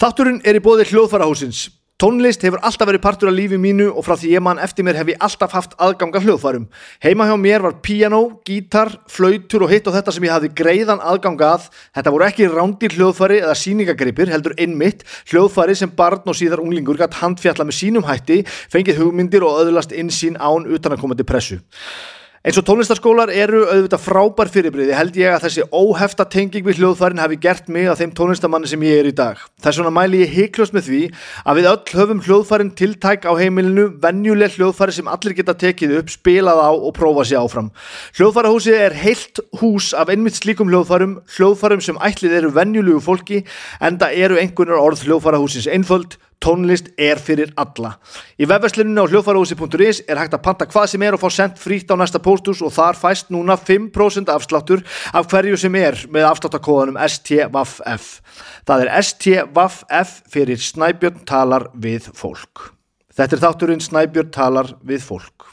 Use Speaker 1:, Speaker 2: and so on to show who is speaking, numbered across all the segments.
Speaker 1: Þátturinn er í bóði hljóðfarahúsins. Tónlist hefur alltaf verið partur af lífi mínu og frá því ég mann eftir mér hef ég alltaf haft aðgang að hljóðfarum. Heima hjá mér var píanó, gítar, flautur og hitt og þetta sem ég hafði greiðan aðgang að. Þetta voru ekki rándir hljóðfari eða síningagripir, heldur innmitt, hljóðfari sem barn og síðar unglingur gætt handfjalla með sínum hætti, fengið hugmyndir og öðlast insýn án utanakomandi pressu. Eins og tónlistaskólar eru auðvitað frábær fyrirbriði held ég að þessi óhefta tenging við hljóðfærin hafi gert mig að þeim tónlistamanni sem ég er í dag. Þess vegna mæli ég heiklust með því að við öll höfum hljóðfærin tiltæk á heimilinu, venjuleg hljóðfæri sem allir geta tekið upp, spilað á og prófa sér áfram. Hljóðfærahúsið er heilt hús af einmitt slíkum hljóðfærum, hljóðfærum sem ætlið eru venjulegu fólki, en það eru einhvernar orð hljóðfærahúsins einföld, Tónlist er fyrir alla. Í vefversluninu á hljófarhúsi.is er hægt að panta hvað sem er og fá sendt frítt á næsta póstus og þar fæst núna 5% afsláttur af hverju sem er með afsláttakóðanum STVF. Það er STVF fyrir Snæbjörn talar við fólk. Þetta er þátturinn Snæbjörn talar við fólk.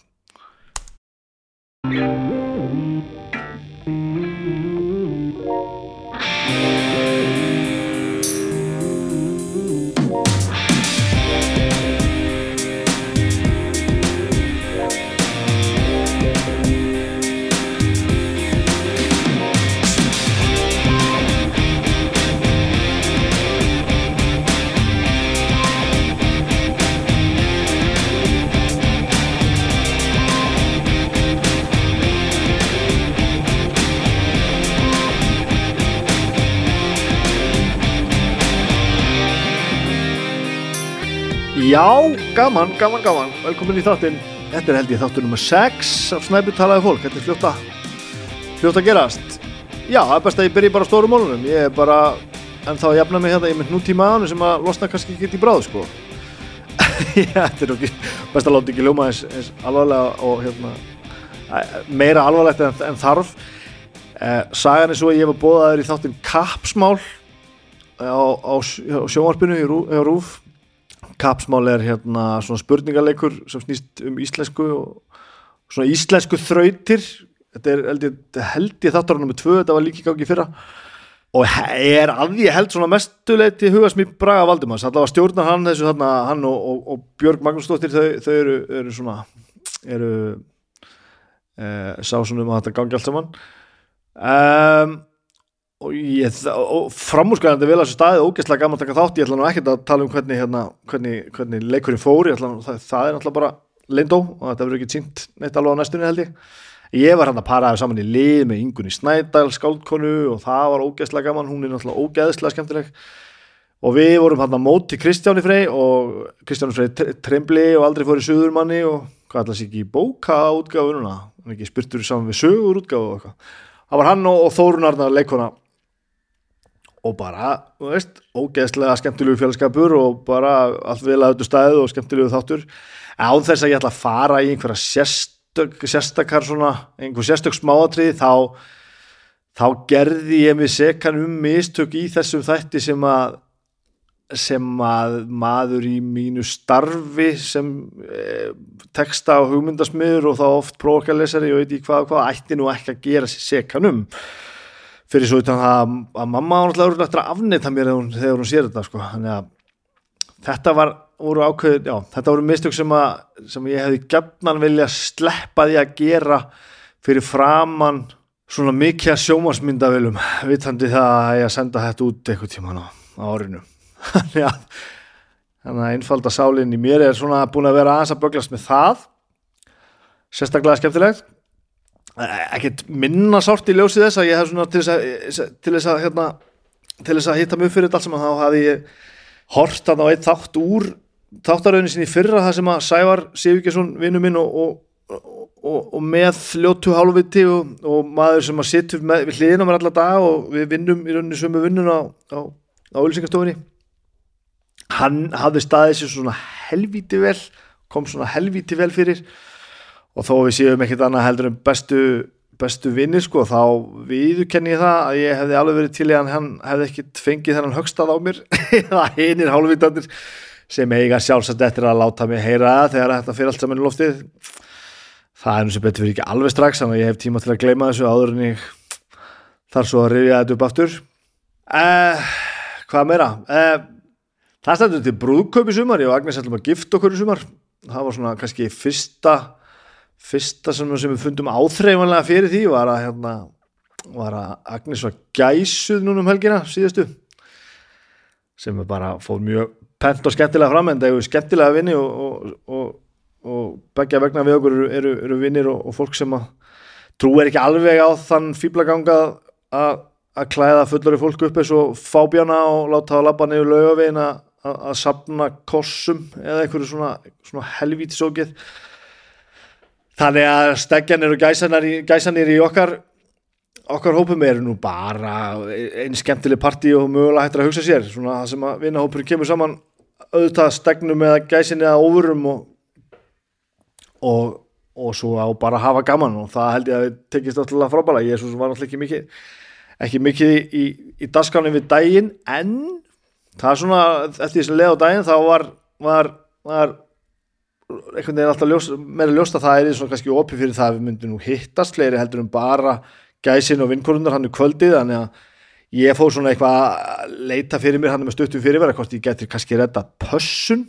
Speaker 1: Já, gaman, gaman, gaman. Velkomin í þáttinn. Þetta er held ég þáttur nummer 6 af Snæbjörn talaði við fólk. Þetta er fljóta, fljóta gerast. Já, það er best að ég byrji bara á stóru málunum. Ég er bara, en þá jafna mig hérna, ég mynd nútíma að hann sem að losna kannski ekki í bráð, sko. Já, þetta er okkur, best að láta ekki ljóma eins, eins alvarlega og hérna, æ, meira alvarlegt en, en þarf. Eh, sagan er svo að ég var bóðaður í þáttinn Kapsmál á, á, sjó- á sjónvarpinu í Rú, á Rúf kapsmál er hérna svona spurningaleikur sem snýst um íslensku og svona íslensku þrautir þetta er held ég, held ég þáttur nummer tvö, þetta var líki gangi í fyrra og he- er að ég held svona mestuleiti hugast mér Braga Valdimars allavega stjórnar hann þessu þarna hann og, og, og Björg Magnúsdóttir þau, þau eru, eru svona eru e, sá svona um að þetta gangi allt saman um, og, ég, og framúrskarandi vel að þessu staði ógeðslega gaman að taka þátt, ég ætla nú ekkert að tala um hvernig, hérna, hvernig, hvernig leikurinn fór ég ætla nú, það, það er náttúrulega bara lindó og þetta verður ekki tínt neitt alveg á næstunni held ég ég var hann að paraði saman í lið með Ingunni Snædal, skáldkonu og það var ógeðslega gaman, hún er náttúrulega ógeðslega skemmtileg og við vorum hann að móti Kristjáni Frey og Kristjáni Frey tre- trembli og aldrei fór í söðurmanni og hvað ætla sig ekki í bóka útgáfununa hann ekki spurtur saman við sögur útgáfu og eitthvað það var hann og, og Þórun Arnar leikona og bara, þú veist, ógeðslega skemmtilegu félagskapur og bara allt vel að auðvitað stæðu og skemmtilegu þáttur án þess að ég ætla að fara í einhverja sérstök, sérstakar svona einhver sérstök smáatrið þá þá gerði ég mig sekan um mistök í þessum þætti sem að sem að maður í mínu starfi sem e, texta og hugmyndasmiður og þá oft prókalesari og veit í hvað og hvað ætti nú ekki að gera sér sekan um fyrir svo utan það að, að mamma var náttúrulega örugglega eftir að afneita mér þegar hún, þegar hún sér þetta sko. þannig að þetta var, voru ákveð já, þetta voru mistök sem, að, sem ég hefði gjarnan vilja sleppa því að gera fyrir framann svona mikið að sjómasmyndavölum vitandi það að ég að senda þetta út eitthvað tíman á, á árinu þannig að þannig að einfalda sálinn í mér er svona búin að vera aðeins að böglast með það sérstaklega skemmtilegt Eh, ekkert minna sárt í ljósið þess að ég hef svona til þess að, eh, til þess að hérna, til þess að hitta mig upp fyrir þetta allt saman þá hafði ég hort þarna á eitt þátt úr þáttaröðinu sinni í fyrra það sem að Sævar Sivgjessson vinnu minn og, og, og, og, og með ljótu hálfviti og, og maður sem að situr með, við hliðina mér alla dag og við vinnum í rauninni sömu vinnun á, á, á ölsingastofinni hann hafði staðið sér svona helvíti vel kom svona helvíti vel fyrir og þó að við séum ekkert annað heldur en bestu, bestu vinnir sko, þá viðurkenni ég það að ég hefði alveg verið til í að hann hefði ekkert fengið þennan högstað á mér eða hinir hálfvítandir sem eiga sjálfsagt eftir að láta mig heyra það þegar þetta fyrir allt saman í loftið það er nú sem betur fyrir ekki alveg strax þannig að ég hef tíma til að gleyma þessu áður en ég þar svo að rifja þetta upp aftur eh, hvað meira eh, Það stendur til brúðkaup í sumar, ég og Agnes ætlum að gifta okkur í sumar. Það var svona kannski fyrsta, fyrsta sem, sem við fundum áþreifanlega fyrir því var að, hérna, var að Agnes var gæsuð núna um helgina síðustu sem er bara fór mjög pent og skemmtilega fram en það eru skemmtilega vini og, og, og, og begja vegna við okkur eru, eru, eru vinnir og, og fólk sem að trúir ekki alveg á þann fýblaganga að að klæða fullari fólk upp eins og fábjana og láta það labba niður laugavegin að, að að safna kossum eða einhverju svona, svona helvítisókið þannig að stegjanir og gæsanir, í- gæsanir í okkar okkar hópum eru nú bara einn skemmtileg partí og mögulega hættir að hugsa sér svona það sem að vinahópur kemur saman auðvitað stegnum eða gæsinni eða óvurum og, og, og svo á bara að hafa gaman og það held ég að við tekist alltaf frábæla ég er svo sem var alltaf ekki mikið ekki mikið í, í, í daskáni við daginn en það er svona eftir því sem leið á daginn þá var, var, var einhvern veginn alltaf ljós, meira ljóst að það er svona kannski opið fyrir það að við myndum nú hittast fleiri heldur en bara gæsin og vinkorunar hann er kvöldið þannig að ég fór svona eitthvað að leita fyrir mér hann er með stuttum fyrirvera hvort ég getur kannski redda pössun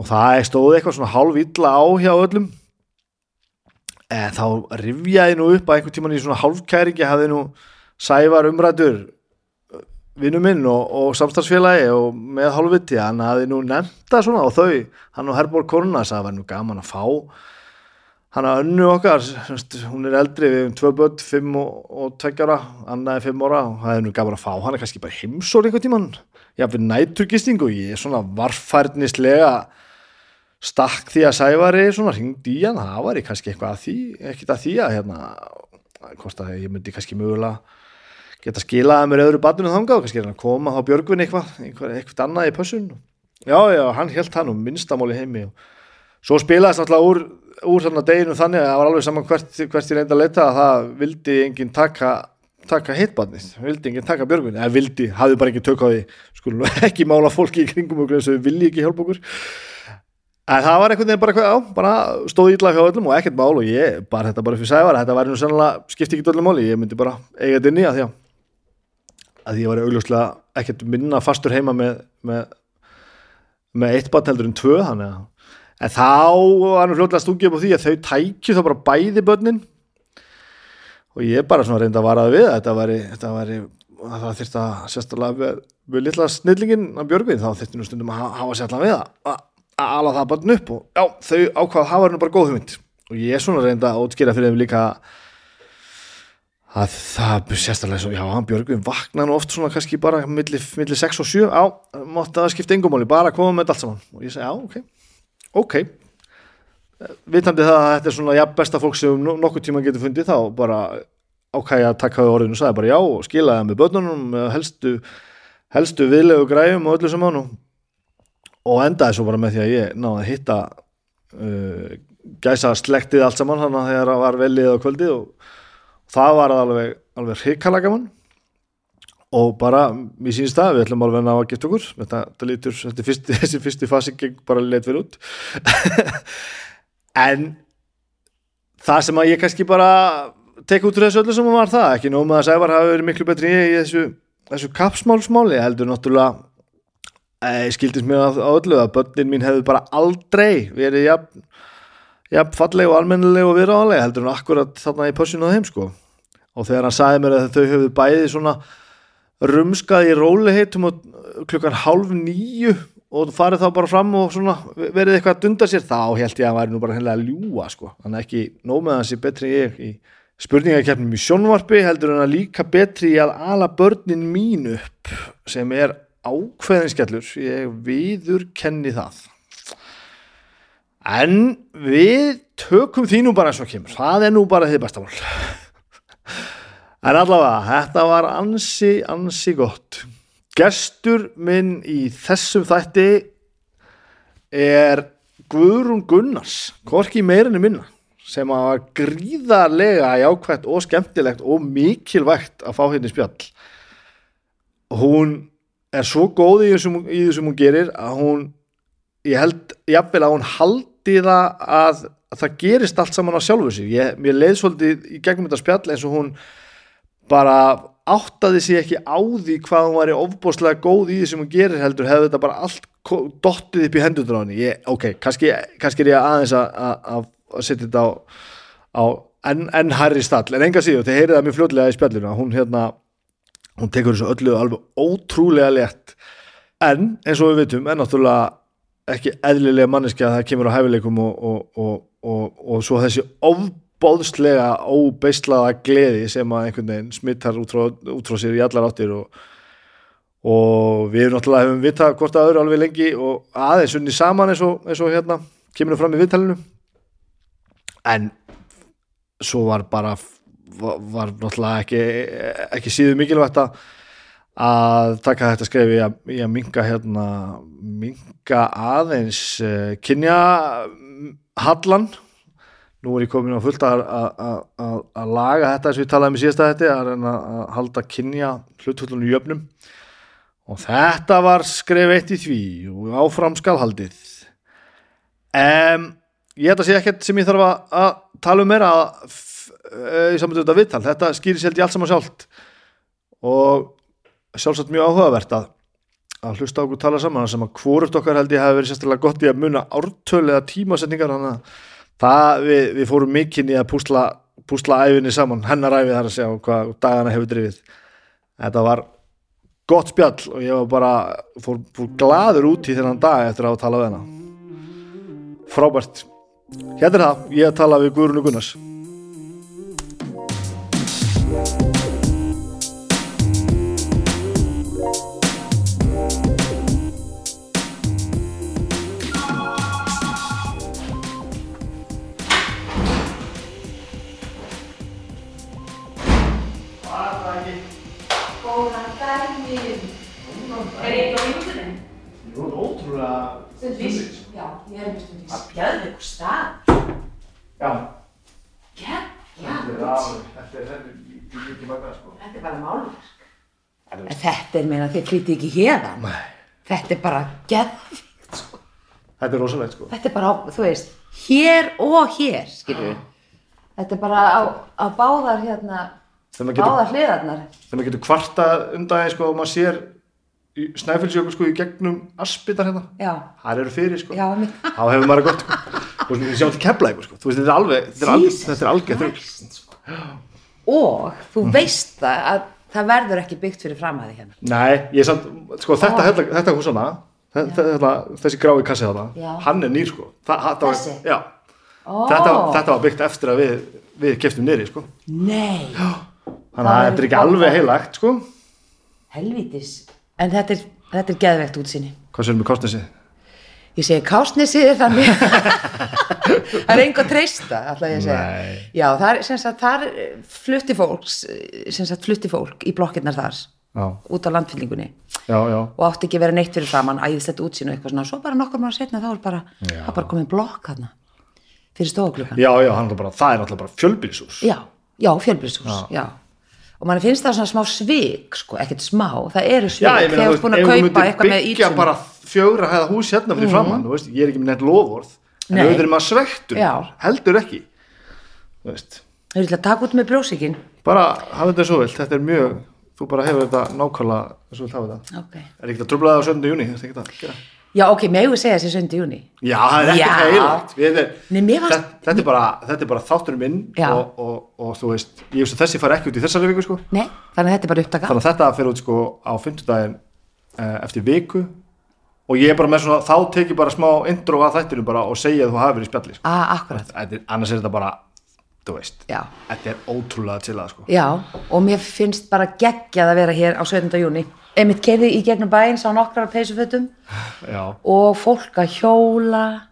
Speaker 1: og það stóð eitthvað svona hálf illa á hjá öllum en þá rifjaði nú upp að einhvern tíman í svona hálfkæringi hafði nú sævar umrætur vinnu minn og, og samstarfsfélagi og með hálfviti, hann hafði nú nefnta svona og þau, hann og Herborg Kornas það var nú gaman að fá hann að önnu okkar, semst, hún er eldri við um tvö börn, fimm og, og tveggjára annaði fimm ára og það er nú gaman að fá hann er kannski bara heimsór einhvern tíman jafnveg næturgistingu, ég er svona varfærnislega stakk því að Sævari svona hringdi í hann, það var ég kannski eitthvað að því ekkert að því að hérna hvort að ég myndi kannski mögulega geta skilaði mér öðru barninu þangað og kannski er hann að koma á Björgvin eitthvað eitthvað, eitthvað annað í pössun já, já, hann held hann og minnstamáli heimi og svo spilaðist alltaf úr, úr þarna deginu þannig að það var alveg saman hvert, hvert ég reyndi að leita að það vildi enginn taka taka hitbarnið, vildi enginn taka björgun eða vildi, hafði bara ekki tök á því skulum nú ekki mála fólki í kringum okkur eins og þau vilji ekki hjálpa okkur en það var einhvern veginn bara, hvað, já, bara stóð ítla hjá öllum og ekkert mál og ég bara þetta bara fyrir sævar, þetta var nú sannlega skipti ekki öllum máli, ég myndi bara eiga þetta inn í að því að að því ég var augljóslega ekkert minna fastur heima með, með, með eitt barn heldur en tvö þannig að en þá var nú fljótlega stungið upp á því að þau tækju þá bara bæði börnin og ég bara svona reyndi að varaði við að þetta væri, þetta væri að það þyrfti að sérstæðlega við, við litla snillingin að Björgvin þá þyrfti nú stundum að ha- hafa sérstæðlega við að- að að ala það bara upp og já, þau ákvað hafa nú bara góð hugmynd og ég svona reyndi að útskýra fyrir þeim líka að það sérstæðlega svo, já, hann Björgvin vakna nú oft svona kannski bara milli, milli 6 og 7, já, mátti að skipta engumáli, bara koma með þetta allt saman og ég segi, já, ok, ok Eh, vitandi það að þetta er svona ja, besta fólk sem um nokkuð tíma getur fundið þá bara ákæði að taka við orðinu og sagði bara já og skilaði það með börnunum með helstu, helstu viðlegu græjum og öllu sem hann og endaði svo bara með því að ég náði að hitta uh, gæsa slektið allt saman þannig að þegar það var velið á kvöldið og það var alveg, alveg hrikalega gaman og bara, mér sínst það, við ætlum alveg að ná að gifta okkur þetta, þetta lítur, þetta er fyrsti, þessi fyrsti fasi geng bara leit vel út en það sem að ég kannski bara tek út úr þessu öllu sem var það ekki nóg með að Sævar hafi verið miklu betri en ég í þessu, þessu kapsmálsmáli heldur náttúrulega eh, skildist mér að, að öllu að börnin mín hefðu bara aldrei verið jafn, jafn falleg og almennileg og viðráðanleg heldur en akkurat þarna í pössinu á þeim sko og þegar hann sagði mér að þau hefðu bæði svona rumskað í róliheitum og klukkan hálf nýju og farið þá bara fram og svona verið eitthvað að dunda sér þá held ég að hann væri nú bara hennilega að ljúa sko, hann er ekki nóg með hans í betri en ég í spurningakeppnum í sjónvarpi heldur hann að líka betri í að ala börnin mín upp sem er ákveðinskellur ég viður kenni það en við tökum því nú bara eins og kemur það er nú bara þið besta mál En allavega, þetta var ansi, ansi gott. Gestur minn í þessum þætti er Guðrún Gunnars, hvorki meirinu minna, sem að var gríðarlega jákvætt og skemmtilegt og mikilvægt að fá hérna í spjall. Hún er svo góð í þessum, í þessum hún gerir að hún, ég held jafnvel að hún haldi það að, að það gerist allt saman á sjálfu sér. Ég, mér leið svolítið í gegnum þetta spjall eins og hún bara áttaði sig ekki á því hvað hún var ofbóðslega góð í því sem hún gerir heldur hefði þetta bara allt ko- dottið upp í hendur á henni ég, ok, kannski, kannski er ég aðeins að- að að- að setja þetta á, á enn en Harry Stall en enga síður, þið heyrið það mjög fljótlega í spjallinu að hún hérna, hún tekur þessu öllu alveg ótrúlega létt en eins og við vitum, er náttúrulega ekki eðlilega manneskja að það kemur á hæfileikum og, og, og, og, og svo þessi ofbóðslega óbeislaða gleði sem að einhvern veginn smittar út frá, út frá sér í allar áttir og, og við náttúrulega hefum vitað hvort að öðru alveg lengi og aðeins unni saman eins og, eins og hérna kemur fram í viðtalinu en svo var bara var, var náttúrulega ekki, ekki síður mikilvægt að að taka þetta skref í að, í að minka hérna minka aðeins uh, kynja hallan nú er ég komin á fullt að, að, að- að, að laga þetta eins og ég talaði um í síðasta þetta að reyna að halda kynja hluthullunum jöfnum og þetta var skref eitt í því og áfram skal haldið um, ég held að sé ekkert sem ég þarf að, að tala um meira að, f, uh, í samvættu þetta viðtal þetta skýri sér í allt saman sjálft og sjálfsagt mjög áhugavert að, að hlusta á okkur tala saman þar sem að hvort okkar held ég hafi verið sérstaklega gott í að muna ártöl eða tímasetningar þannig að það við, við fórum mikinn í að púsla, púsla æfinni saman hennar æfi þar að segja og hvað dagana hefur drifið þetta var gott spjall og ég var bara fór, fór gladur út í þennan dag eftir að hafa talað við hana frábært hérna er það, ég tala við Guðrunu Gunnars
Speaker 2: Góðan daginn.
Speaker 3: Er ég ekki á mínútinni?
Speaker 1: Jú, ótrúlega
Speaker 2: Stundvís? Já, ég er um stundvís.
Speaker 3: Geðveikur stað.
Speaker 1: Já,
Speaker 2: Gekkja.
Speaker 1: þetta er mikið magna sko.
Speaker 3: Þetta er bara málverk.
Speaker 2: En þetta er meina þið flytti ekki hérðan.
Speaker 1: Nei.
Speaker 2: Þetta er bara geðvikt sko.
Speaker 1: Þetta er rosalegt sko.
Speaker 2: Þetta er bara, á- þú veist, hér og hér, skilur við. Þetta er bara á, á báðar hérna,
Speaker 1: Þegar maður getur,
Speaker 2: báðar hliðarnar.
Speaker 1: þegar maður getur kvarta undan sko og maður sér snæfilsjöku sko í gegnum aspitar hérna.
Speaker 2: Já,
Speaker 1: Það eru fyrir sko.
Speaker 2: já, mér.
Speaker 1: Þá hefur maður það gott sko. Og sem við sjáum til kepla ykkur sko. Þú veist þetta er alveg, þetta er alveg,
Speaker 2: Jesus
Speaker 1: þetta er alveg þrugl.
Speaker 2: Christ, sko. Og þú
Speaker 1: Mhm.
Speaker 2: veist það að það verður ekki byggt fyrir framhæði hérna.
Speaker 1: Nei, ég er samt, sko þetta, hérna, þetta hús hana, þetta, hérna, þessi grái kassi hana,
Speaker 2: Já.
Speaker 1: hann er nýr sko. Þa, það, var,
Speaker 2: Þessi?
Speaker 1: já,
Speaker 2: Ó,
Speaker 1: þetta, þetta var byggt eftir að við, við keftum nýri sko.
Speaker 2: Nei,
Speaker 1: Þannig að
Speaker 2: Það er
Speaker 1: þetta er ekki
Speaker 2: gott.
Speaker 1: alveg heilagt sko.
Speaker 2: helvítis. En þetta er, þetta er geðveikt útsinni.
Speaker 1: Hvað um sérum við kostnesi?
Speaker 2: Ég segi kásnesið er þannig Það er engu að treysta ætla ég að segja
Speaker 1: Nei.
Speaker 2: Já, þar, sem sagt, þar eh, flutti fólks eh, sem sagt, flutti fólk í blokkinnar þar
Speaker 1: Já,
Speaker 2: út á landfyllingunni
Speaker 1: já, já.
Speaker 2: og átti ekki að vera neitt fyrir framann æðislegt útsýn og eitthvað svona svo bara nokkur maður setna þá er bara,
Speaker 1: Já.
Speaker 2: það er bara komið blokk þarna fyrir stofuklukkan
Speaker 1: Já, já, hann er bara, það er alltaf bara fjölbýlshús.
Speaker 2: Já, já, fjölbrystús, já. Og mann finnst það svona smá svik, sko, ekkert smá, það eru svik,
Speaker 1: Já, ég meina,
Speaker 2: þegar
Speaker 1: þú
Speaker 2: þú ert
Speaker 1: veist,
Speaker 2: búin
Speaker 1: ef
Speaker 2: að
Speaker 1: þú
Speaker 2: kaupa
Speaker 1: myndir
Speaker 2: eitthvað með
Speaker 1: byggja
Speaker 2: ítsum.
Speaker 1: bara fjögra hæða hús hérna fyrir framann, þú veist, ég er ekki með neitt lofvörð, en
Speaker 2: Nei.
Speaker 1: auðvitað er maður svektur,
Speaker 2: Já.
Speaker 1: heldur ekki. Þú veist,
Speaker 2: Þau eru til að taka út með brjósikinn.
Speaker 1: bara hafa þetta svo vilt, þetta er mjög, þú bara hefur þetta nákvæmlega, svo vilt hafa þetta.
Speaker 2: Okay.
Speaker 1: Er ekki það trublaðið á 7. júni, þetta er ekki það að gera.
Speaker 2: Já, ok, megu segja þessi söndi júni.
Speaker 1: Já, það er
Speaker 2: Já.
Speaker 1: ekki heilagt. Við-
Speaker 2: Nei, mér fannst-
Speaker 1: Þetta, þetta, er bara, þetta er bara þátturinn minn
Speaker 2: Já.
Speaker 1: og, og, og þú veist, ég veist að þessi fari ekki út í þessari viku, sko.
Speaker 2: Nei, þannig að þetta er bara upptaka.
Speaker 1: þannig að þetta fer út sko á fimmtudaginn uh, eftir viku og ég er bara með svona, þá tek ég bara smá intro að þættinu bara og segja að þú hafi verið í spjalli sko.
Speaker 2: Á, Ah, akkurat.
Speaker 1: Þetta er- annars er þetta bara, þú veist
Speaker 2: Já.
Speaker 1: þetta er ótrúlega til að sko
Speaker 2: Já, og mér finnst bara geggjað að vera hér á 17. júni. Einmitt keði í gegnum bæinn, sá nokkrar af peysufötum
Speaker 1: já,
Speaker 2: og fólk að hjóla,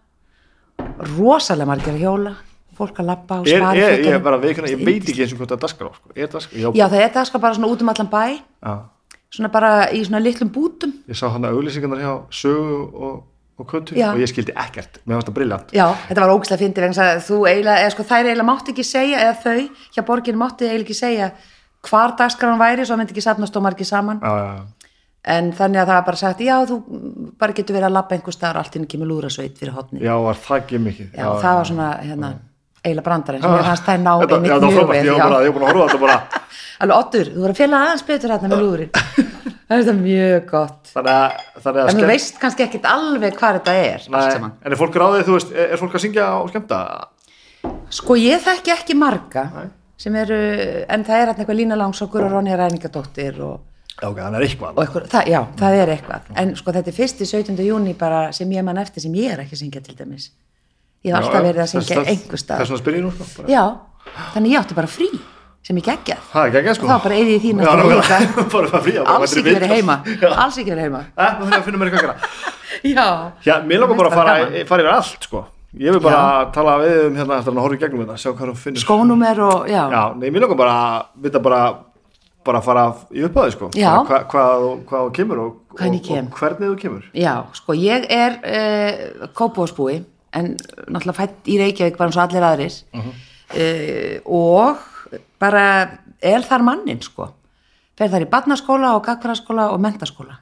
Speaker 2: rosalega margir að hjóla, fólk að labba og
Speaker 1: er,
Speaker 2: spara
Speaker 1: er, ég, er bara, veikuna, ég veit ekki eins og hvort það er daskar á sko. er daskar, já,
Speaker 2: Já, það er það sko bara svona út um allan bæ,
Speaker 1: já.
Speaker 2: svona bara í svona litlum bútum.
Speaker 1: ég sá hann að auglýsingarnar hjá sögu og, og köttu
Speaker 2: Já.
Speaker 1: og ég skildi ekkert, mér fannst það brilljant
Speaker 2: Já, þetta var ógislega fyndið vegna þess að þú eiginlega, eða sko þær eiginlega mátti ekki segja, eða þau hjá borgin mátti eiginlega ekki segja hvar dagskráin væri, svo það myndi ekki safnast og margir saman.
Speaker 1: já, já, já
Speaker 2: en þannig að það var bara sagt já, þú mm, bara getur verið að labba einhver staðar og allt inni kemur lúrasveit fyrir hotni já,
Speaker 1: Já, var það ekki mikið
Speaker 2: það var svona, hérna, eiginlega brandarinn sem ég fannst það ná
Speaker 1: Ah. Þetta-
Speaker 2: einmitt
Speaker 1: já, það var
Speaker 2: mjög
Speaker 1: frábært,
Speaker 2: vel
Speaker 1: ég var bara, ég var búin að horfa á þetta bara
Speaker 2: alveg oddur, þú voru að fjalla aðeins betur hérna með lúðurinn það er þetta mjög gott
Speaker 1: Þannig að, þannig að
Speaker 2: en þú
Speaker 1: skemmt-
Speaker 2: veist kannski ekkit alveg hvað þetta er allt
Speaker 1: Nei,
Speaker 2: saman.
Speaker 1: en er fólk ráðið, þú veist, er er fólk að syngja og skemmta?
Speaker 2: Sko ég þekki ekki marga
Speaker 1: Nei.
Speaker 2: sem eru, en það er hérna eitthvað Lína Langsokkur og Ronja Ræningadóttir og,
Speaker 1: Já, ok, þannig er eitthvað.
Speaker 2: og eitthvað, það, já, það er eitthvað en sko þetta er fyrsti 17. júni bara sem ég man eftir sem ég er ekki að syngja til dæmis ég hef alltaf verið að syngja einhver
Speaker 1: Þess
Speaker 2: stað
Speaker 1: vegna spyr ég nú, sko. bara.
Speaker 2: já, þannig ég átti bara frí sem ég geggjað
Speaker 1: Það er geggjað, sko.
Speaker 2: Og þá bara eyði ég því næstu
Speaker 1: Já,
Speaker 2: vika.
Speaker 1: nákvæmlega. Bara það frí, já, bara
Speaker 2: alls
Speaker 1: mætir í
Speaker 2: ekki verið
Speaker 1: viðtal.
Speaker 2: heima
Speaker 1: Já.
Speaker 2: alls ekki verið heima
Speaker 1: Eh, Nú þarf ég að finna mér eitthvað að gera.
Speaker 2: já,
Speaker 1: Já, mér langar bara að
Speaker 2: Mér
Speaker 1: fara,
Speaker 2: finnst
Speaker 1: fara yfir allt, sko. Ég vil bara tala við um hérna, eftir að horfa í gegnum þetta, sjá hvað þú finnir.
Speaker 2: skónúmer og já,
Speaker 1: Já, nei, mér langar bara að vita bara, bara að fara í upphafi, sko.
Speaker 2: Já.
Speaker 1: Bara Hva, hvað, þú- hvað þú kemur og,
Speaker 2: Hvernig
Speaker 1: og,
Speaker 2: ég kem.
Speaker 1: og hvernig þú kemur.
Speaker 2: Já, sko, ég er uh, kópúasbúi, en náttúrulega fætt í Reykjavík bara eins og allir aðrir uh, og bara er þar mannin, sko. Fer þar í barnaskóla og gagfæraskóla og mentaskóla.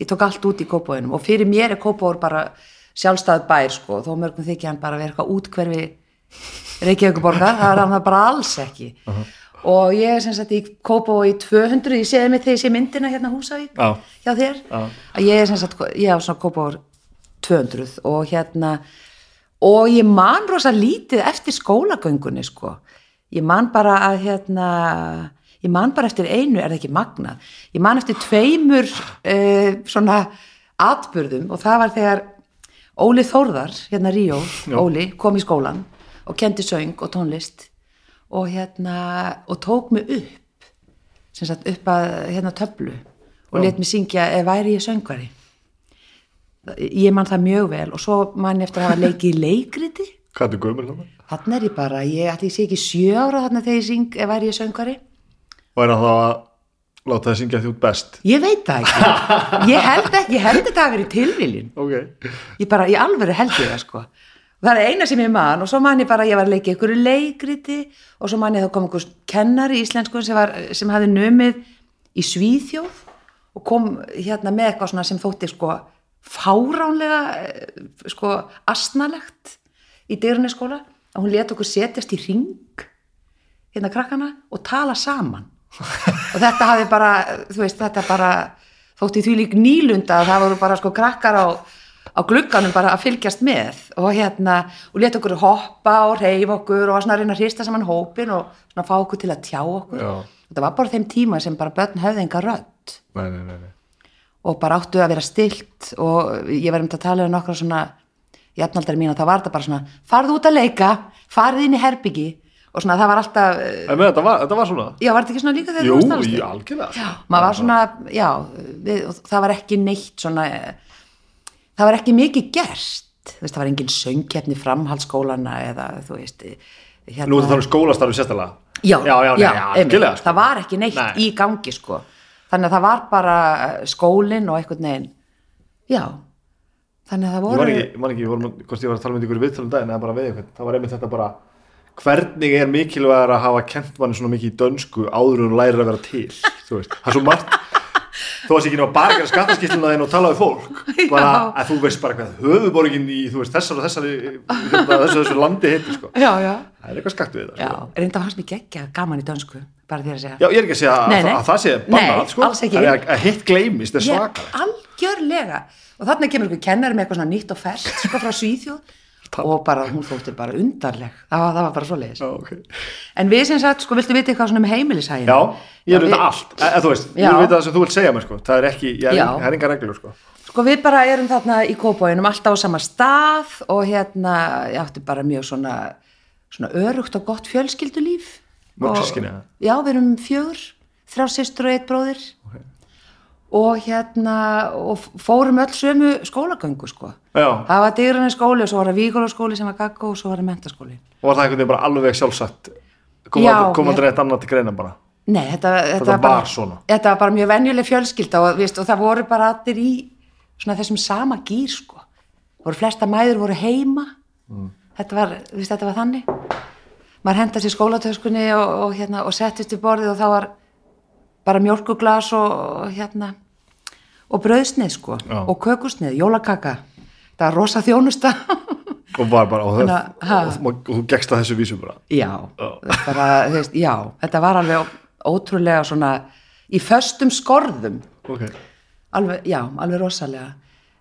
Speaker 2: Ég tók allt út í kópúinum og fyrir mér er kópúar bara sjálfstæð bær, sko, þó mörgum þykja hann bara vera eitthvað útkverfi Reykjavíkuborgar, það er hann það bara alls ekki. Og ég er sem sagt í kópúi í 200, ég séði mig þegar ég sé myndina hérna á Húsavík
Speaker 1: Já.
Speaker 2: hjá þér
Speaker 1: Já.
Speaker 2: að ég er sem sagt, ég á svona kópáður 200 og hérna og ég man rosa lítið eftir skólagöngunni sko ég man bara að hérna ég man bara eftir einu, er það ekki magnað ég man eftir tveimur uh, svona atburðum og það var þegar Óli Þórðar, hérna Ríó,
Speaker 1: Já.
Speaker 2: Óli kom í skólan og kendi söng og tónlist og hérna og tók mig upp sem sagt upp að hérna töflu og
Speaker 1: Já.
Speaker 2: let mér syngja ef væri ég söngvari ég man það mjög vel og svo man ég eftir að hafa leikið í leikriti
Speaker 1: Hvað er gömur þarna?
Speaker 2: þannig er ég bara, ég ætli ég sé ekki sjö ára þannig þegar ég syng ef væri ég söngvari
Speaker 1: Og er það þá að láta það syngja því út best?
Speaker 2: ég veit það ekki ég held ekki, ég held þetta að vera tilviljun
Speaker 1: Ok.
Speaker 2: ég bara, ég alveg held ég það sko og það er eina sem ég man og svo man ég bara að ég var að leika í einhverju leikriti og svo man ég að það kom einhvers kennari í íslensku sem, var, sem hafði numið í Svíþjóð og kom hérna með eitthvað svona sem þótti sko fáránlega eh, sko asnalegt í dyruniskóla að hún let okkur setjast í ring hérna krakkana og tala saman og þetta hafi bara, þú veist, þetta bara þótti því lík nýlunda að það voru bara sko krakkar á, á glugganum bara að fylgjast með og hérna, og leta okkur hoppa og reyfa okkur og var svona að reyna að hrista saman hópin og svona fá okkur til að tjá okkur
Speaker 1: Já.
Speaker 2: þetta var bara þeim tíma sem bara börn höfði enga rödd
Speaker 1: Nei, nei, nei, nei.
Speaker 2: og bara áttu að vera stilt og ég var um þetta að tala um nokkra svona jafnaldari mín og það var þetta bara svona farðu út að leika, farðu inn í herbyggi og svona það var alltaf eh,
Speaker 1: En með þetta var, þetta var svona?
Speaker 2: já, var þetta ekki svona líka þegar
Speaker 1: Jú,
Speaker 2: þú varst
Speaker 1: í
Speaker 2: alveg
Speaker 1: algjörlega. sko.
Speaker 2: já, maður var svona, já við, og það var ekki neitt svona eh, það var ekki mikið gert þú veist, það var engin söngkeppni framhaldsskólana eða þú veist eh, hérna,
Speaker 1: Nú er þetta þannig skólastarfi um sérstaklega.
Speaker 2: já,
Speaker 1: já, já, nei, já
Speaker 2: einmitt.
Speaker 1: algjörlega. Sko.
Speaker 2: það var ekki neitt
Speaker 1: Nei.
Speaker 2: í gangi sko. þannig að það var bara eh, skólinn og einhvern veginn já, þannig að það
Speaker 1: Ég man
Speaker 2: voru
Speaker 1: ekki, ég man ekki, ég vorum, að- hvort ég var að tala með ykkur í viðtölum um daginn, eða bara við eitthvað. Það var einmitt þetta bara, hvernig er mikilvægur að hafa kent manni svona mikið í dönsku áður en læra að vera til, þú veist. Það er svo margt, þú veist ekki nú að bara gera skattaskýsluna þinn og tala við fólk. Bara
Speaker 2: Já.
Speaker 1: að þú veist bara hvað höfuborgin í, þú veist, þessar og þessari, hérna, þessu, þessu landi heitir, sko.
Speaker 2: já, já,
Speaker 1: Það er eitthvað skakt við þetta,
Speaker 2: já,
Speaker 1: sko.
Speaker 2: reynda fannst mér geggja gaman í dönsku, bara því að segja
Speaker 1: Já, ég er ekki að segja að,
Speaker 2: Nei, nei.
Speaker 1: að það sé
Speaker 2: Nei,
Speaker 1: bannað, sko.
Speaker 2: alls ekki.
Speaker 1: En Að, að hitt gleymist er
Speaker 2: Ég,
Speaker 1: svakar.
Speaker 2: algjörlega og þarna kemur einhver kennari með eitthvað svona nýtt og ferskt sko frá Svíþjóð og bara hún þótti bara undarleg það var, það var bara svoleiðis
Speaker 1: Já, ok.
Speaker 2: en við sem sagt, sko, viltu vita eitthvað svona um heimilishægin
Speaker 1: Já, ég vil
Speaker 2: við,
Speaker 1: vita allt, e, þú veist,
Speaker 2: Já.
Speaker 1: ég vil vita það sem þú vilt segja mér sko, það er ekki, ég
Speaker 2: Já.
Speaker 1: er, það er enga reglur sko.
Speaker 2: sko við bara erum þarna í kópóinum alltaf á sama stað og hérna ég átti bara mjög svona svona örugt og gott fjölskyldulíf
Speaker 1: Mörg
Speaker 2: Og-
Speaker 1: systkini, eða?
Speaker 2: já, við erum fjögur, þrjá systur og eitt bróðir og hérna og f- fórum öll sömu skólagöngu sko
Speaker 1: Já,
Speaker 2: Það var dyrunni skóli og svo var það víkólaskóli sem var gaggó og svo var það mentaskóli.
Speaker 1: og var það einhvern veginn bara alveg sjálfsagt, kom
Speaker 2: Já,
Speaker 1: aldrei- kom
Speaker 2: ég-
Speaker 1: aldrei eitt annað til greina bara.
Speaker 2: Nei, þetta, þetta
Speaker 1: var
Speaker 2: bara,
Speaker 1: svona.
Speaker 2: Þetta var bara mjög venjuleg fjölskylda og, veist, og það voru bara allir í svona þessum sama gýr sko. Voru flesta mæður voru heima.
Speaker 1: Mm.
Speaker 2: Þetta, var, veist, þetta var þannig. Maður henda sér skólatöskunni og, og, hérna, og settist í borðið og þá var bara mjólkuglas og, og hérna og brauðsneið sko
Speaker 1: Já.
Speaker 2: og kökusneið, jólakaka. Það var rosa þjónusta.
Speaker 1: Og var bara, og,
Speaker 2: Þannig að-
Speaker 1: og, og, og þú gegst að þessu vísu bara.
Speaker 2: Já,
Speaker 1: Já.
Speaker 2: bara, þú veist, já, þetta var alveg ótrúlega svona í föstum skorðum
Speaker 1: ok,
Speaker 2: alveg, já, alveg rosalega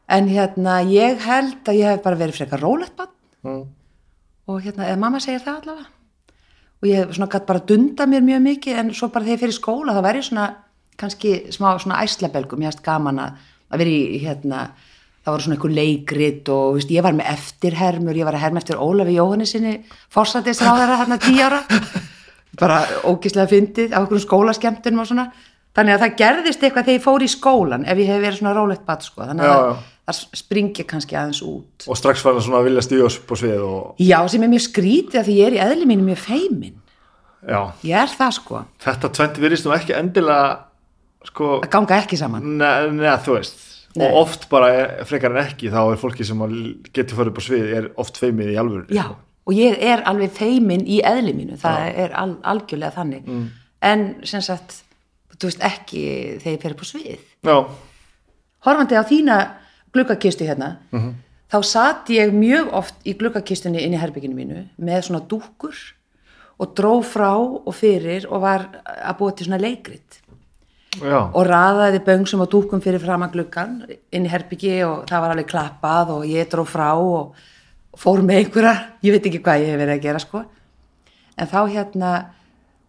Speaker 2: en hérna, ég held að ég hef bara verið frekar rólegt bann
Speaker 1: Mm.
Speaker 2: og hérna, eða mamma segir það allavega og ég svona gætt bara dunda mér mjög mikið en svo bara þegar ég fyrir skóla þá væri ég svona kannski smá svona æslabelgum, ég hafst gaman að, að vera í hérna, það voru svona einhver leikrit og veist, ég var með eftirhermur, ég var að herma eftir Ólafi Jóhanni sinni, fórsættis ráðara hérna tíu ára bara ógislega fyndið á einhverjum skólaskemtunum og svona þannig að það gerðist eitthvað þegar ég fór í skólan ef ég hef verið svona rólegt bat sko þannig að
Speaker 1: Já,
Speaker 2: það-
Speaker 1: já.
Speaker 2: það springi kannski aðeins út
Speaker 1: og strax fann það svona að vilja stíða upp á svið og
Speaker 2: Já, sem er mjög skrítið að því ég er í eðli mínu mjög feimin.
Speaker 1: já,
Speaker 2: Ég er það sko,
Speaker 1: þetta tvent virðist nú ekki endilega sko,
Speaker 2: að ganga ekki saman.
Speaker 1: neða, ne, þú veist
Speaker 2: Nei.
Speaker 1: og oft bara eh, frekar en ekki þá er fólki sem að l- getur farið upp á svið er oft feimið í sko. alvöru
Speaker 2: Já, og ég er alveg feimin í eðli mínu, það er al, algjörlega þannig. En sem sagt, þú veist ekki þegar ég fer upp á svið.
Speaker 1: já,
Speaker 2: Horfandi á þína gluggakistu hérna, þá sat ég mjög oft í gluggakistunni inn í herbygginu mínu með svona dúkur og dró frá og fyrir og var að búa til svona leikrit.
Speaker 1: já,
Speaker 2: og raðaði böngsum og dúkum fyrir fram að gluggan inn í herbyggi og það var alveg klappað og ég dró frá og fór með einhverja, ég veit ekki hvað ég hef verið að gera sko en þá hérna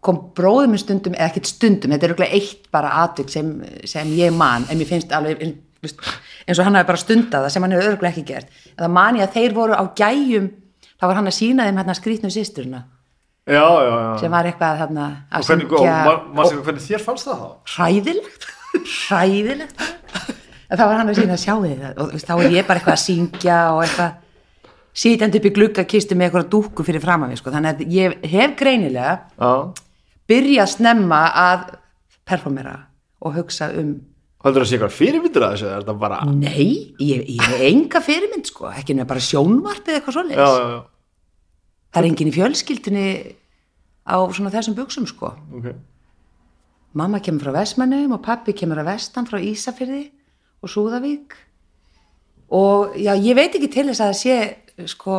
Speaker 2: kom bróðum minn stundum, eða ekkert stundum, þetta er auðvitað eitt bara atvik sem, sem ég man, en mér finnst alveg veist, eins og hann hafi bara stundað það sem hann hefur auðvitað ekki gert, en það man ég að þeir voru á gæjum, þá var hann að sína þeim hérna skrýtnum systurina,
Speaker 1: já, já, já.
Speaker 2: sem var eitthvað þarna að
Speaker 1: og hvernig, og,
Speaker 2: syngja-
Speaker 1: man, man, hvernig þér fannst það þá?
Speaker 2: hræðilegt hræðilegt en það var hann að sína að sjá þið það og þú veist, þá er ég bara eitthvað að syngja og eitthvað sitjandi upp í gluggakistu með eitthvað dúkku fyrir fram að mér sko. þannig að ég hef greinilega
Speaker 1: já,
Speaker 2: byrjað snemma að performera og hugsa um
Speaker 1: heldur það sé eitthvað fyrirmyndur að þessu eða er þetta bara,
Speaker 2: nei, ég, ég hef enga fyrirmynd sko, ekki nefnir bara sjónvarpið eitthvað
Speaker 1: já,
Speaker 2: svoleiðis
Speaker 1: já, já
Speaker 2: það er enginn í fjölskyldinni á svona þessum buksum sko
Speaker 1: Okay.
Speaker 2: Mamma kemur frá Vestmannum og pappi kemur að vestan frá Ísafyrði og Súðavík og já, ég veit ekki til þess að það sé sko,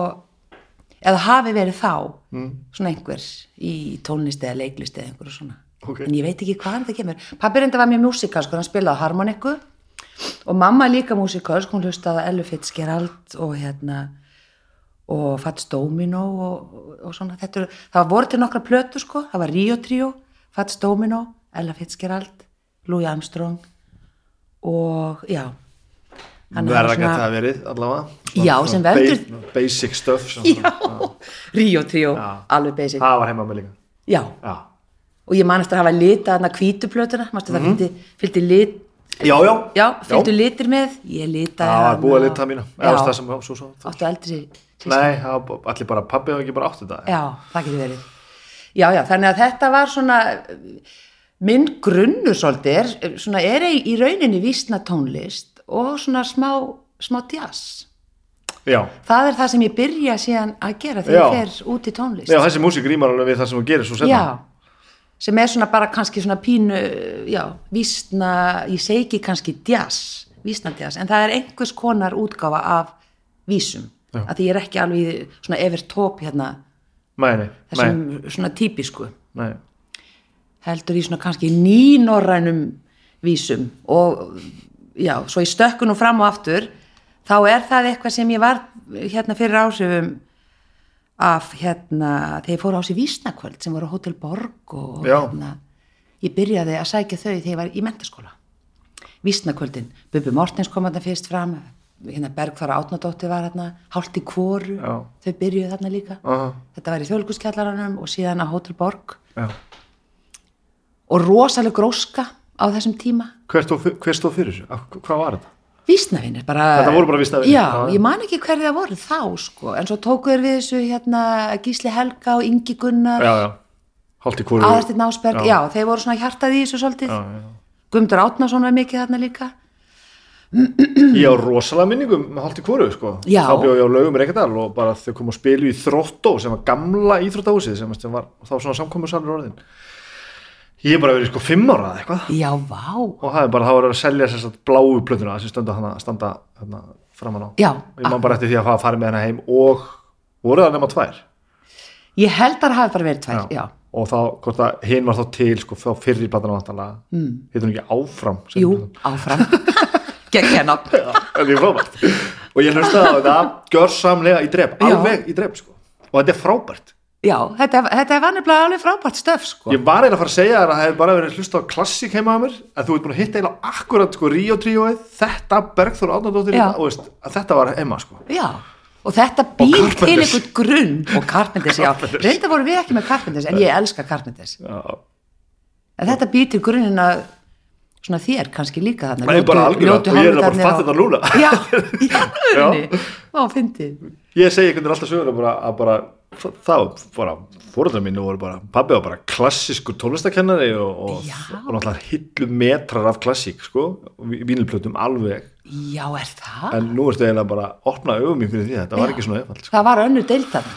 Speaker 2: eða hafi verið þá
Speaker 1: Mm.
Speaker 2: svona einhver í tónlisti eða leiklisti eða einhverju svona
Speaker 1: Ok.
Speaker 2: en ég veit ekki hvaðan það kemur pappi reynda var mjög músikal, sko, hann spilaði á harmoniku og mamma líka músikal sko, hún hlustaði á Ellu Fitzgerald og hérna og Fats Domino og, og, og svona þetta eru, það voru til nokkra plötu sko það var Rio Trio, Fats Domino Ella Fitzgerald, Louis Armstrong og já hann
Speaker 1: verða
Speaker 2: hafði
Speaker 1: ekki að það hafi verið allavega Svona-
Speaker 2: Já,
Speaker 1: svona
Speaker 2: sem veldur-
Speaker 1: ba- basic stuff sem
Speaker 2: já,
Speaker 1: svona-
Speaker 2: Rio Trio,
Speaker 1: Já.
Speaker 2: alveg basic
Speaker 1: það var heima með líka
Speaker 2: já,
Speaker 1: já,
Speaker 2: og ég man eftir að hafa lita þarna hvítu plötuna, manstu það fylgdi, fylgdi lit,
Speaker 1: já, Mhm. já,
Speaker 2: já, fylgdi litir með ég lita
Speaker 1: það var búið að lita mína eða
Speaker 2: já,
Speaker 1: það sem var svo svo þú-
Speaker 2: áttu eldri
Speaker 1: nei, það var bara- allir bara pabbi og ekki bara átti þetta
Speaker 2: Já, það getur verið. Já, já, þannig að þetta var svona, minn grunnur svolítið er, svona er í, í rauninni vísna tónlist og svona smá, smá jazz.
Speaker 1: já,
Speaker 2: Það er það sem ég byrja síðan að gera
Speaker 1: Já.
Speaker 2: þegar ég fer út í tónlist.
Speaker 1: já þessi músík rýmar alveg við það sem þú gerir svo setna
Speaker 2: Já, sem er svona bara kannski svona pínu, já, vísna, ég segi ekki kannski jazz, vísna jazz, en það er einhvers konar útgáfa af vísum.
Speaker 1: Já.
Speaker 2: Af Því ég er ekki alveg í svona yfir tóp hérna,
Speaker 1: nei, nei,
Speaker 2: þessum svona típisku.
Speaker 1: nei, nei.
Speaker 2: heldur í svona kannski nýnorrænum vísum og já, svo í stökkun og fram og aftur þá er það eitthvað sem ég var hérna fyrir áhrifum af hérna þegar ég fór á sig vísnakvöld sem voru á Hotel Borg og
Speaker 1: Já.
Speaker 2: hérna ég byrjaði að sækja þau þegar ég var í mentaskóla vísnakvöldin, Bubi Mortens kom þarna fyrst fram hérna Bergþóra Átnadóttir var hérna hálft í kvoru,
Speaker 1: Já.
Speaker 2: þau byrjuðu þarna líka
Speaker 1: Aha.
Speaker 2: þetta var í þjóðlíkuskjallaranum og síðan á Hotel Borg
Speaker 1: Já.
Speaker 2: og rosaleg gróska á þessum tíma
Speaker 1: hver stóð fyr- hver stóð fyrir þessu? Af- hvað var þetta?
Speaker 2: vísnavinir bara
Speaker 1: Þetta voru bara vísnavinir,
Speaker 2: já,
Speaker 1: já.
Speaker 2: ég man ekki hverði það voru þá sko, en svo tóku þér við þessu hérna, Gísli Helga og Ingi Gunnar
Speaker 1: já, já, hálft í kóru
Speaker 2: Aðarstinn Ásberg, já. þeir voru svona hjartað í þessu svolítið,
Speaker 1: Já, já.
Speaker 2: Guðmundur Átnason var mikið þarna líka
Speaker 1: ég á rosalega minningum með hálft í kóru sko.
Speaker 2: Já.
Speaker 1: þá bjóð ég á laugum Reykjadal og bara þau komu að spilu í Þróttó sem var gamla íþróttahúsið sem, sem var þá svona samkomusalur orðin ég er bara verið sko fimm ára eða eitthvað
Speaker 2: já, vá,
Speaker 1: og það er bara, það var að selja þess að bláu plötuna sem standa hana, standa hana framan á
Speaker 2: Já.
Speaker 1: og ég man bara eftir því að fara- fara með hana heim og voru það nema tvær
Speaker 2: ég held að það hafi bara verið tvær já,
Speaker 1: og þá, hvort að hinn var þá til sko, þá fyrri platan vantanlega mm. heitur hún ekki áfram seinni
Speaker 2: Jú,
Speaker 1: platan?
Speaker 2: áfram Gekk hérna
Speaker 1: þetta er frábært og ég hlustaði á þetta gjörsamlega í drep,
Speaker 2: Já.
Speaker 1: alveg í drep sko. og þetta er frábært
Speaker 2: Já, þetta, þetta var nefnilega alveg frábært stöf sko.
Speaker 1: ég var eiginlega að fara að segja þér að það hefur bara verið hlusta á klassík heima á mér að þú ert búin að hitta eiginlega akkurat sko Ríó tríóið þetta Bergþór Árnardóttir
Speaker 2: Já.
Speaker 1: og veist, að þetta var heima sko
Speaker 2: Já, og þetta býr til
Speaker 1: Carpenters.
Speaker 2: einhvern grunn og Carpenters, já, reynda voru við ekki með Carpenters en ég elska Carpenters
Speaker 1: Já.
Speaker 2: en þetta býr til grunninn að svona þér kannski líka þarna
Speaker 1: Nei, bara algjörlega, og ég er bara að fatta þetta núna.
Speaker 2: Já, í alvörunni, má fyndið
Speaker 1: ég segi einhvern veginn alltaf sögur að bara, að bara þá bara fóröldar mínu voru bara pabbi var bara klassískur tónlistakennari og, og,
Speaker 2: Já.
Speaker 1: og náttúrulega hillu metrar af klassík sko, vínilplötum alveg
Speaker 2: Já, er það?
Speaker 1: en nú ertu eiginlega bara að opna augum mín fyrir því þetta var
Speaker 2: Já.
Speaker 1: ekki svona efald sko.
Speaker 2: Það var önnur deildar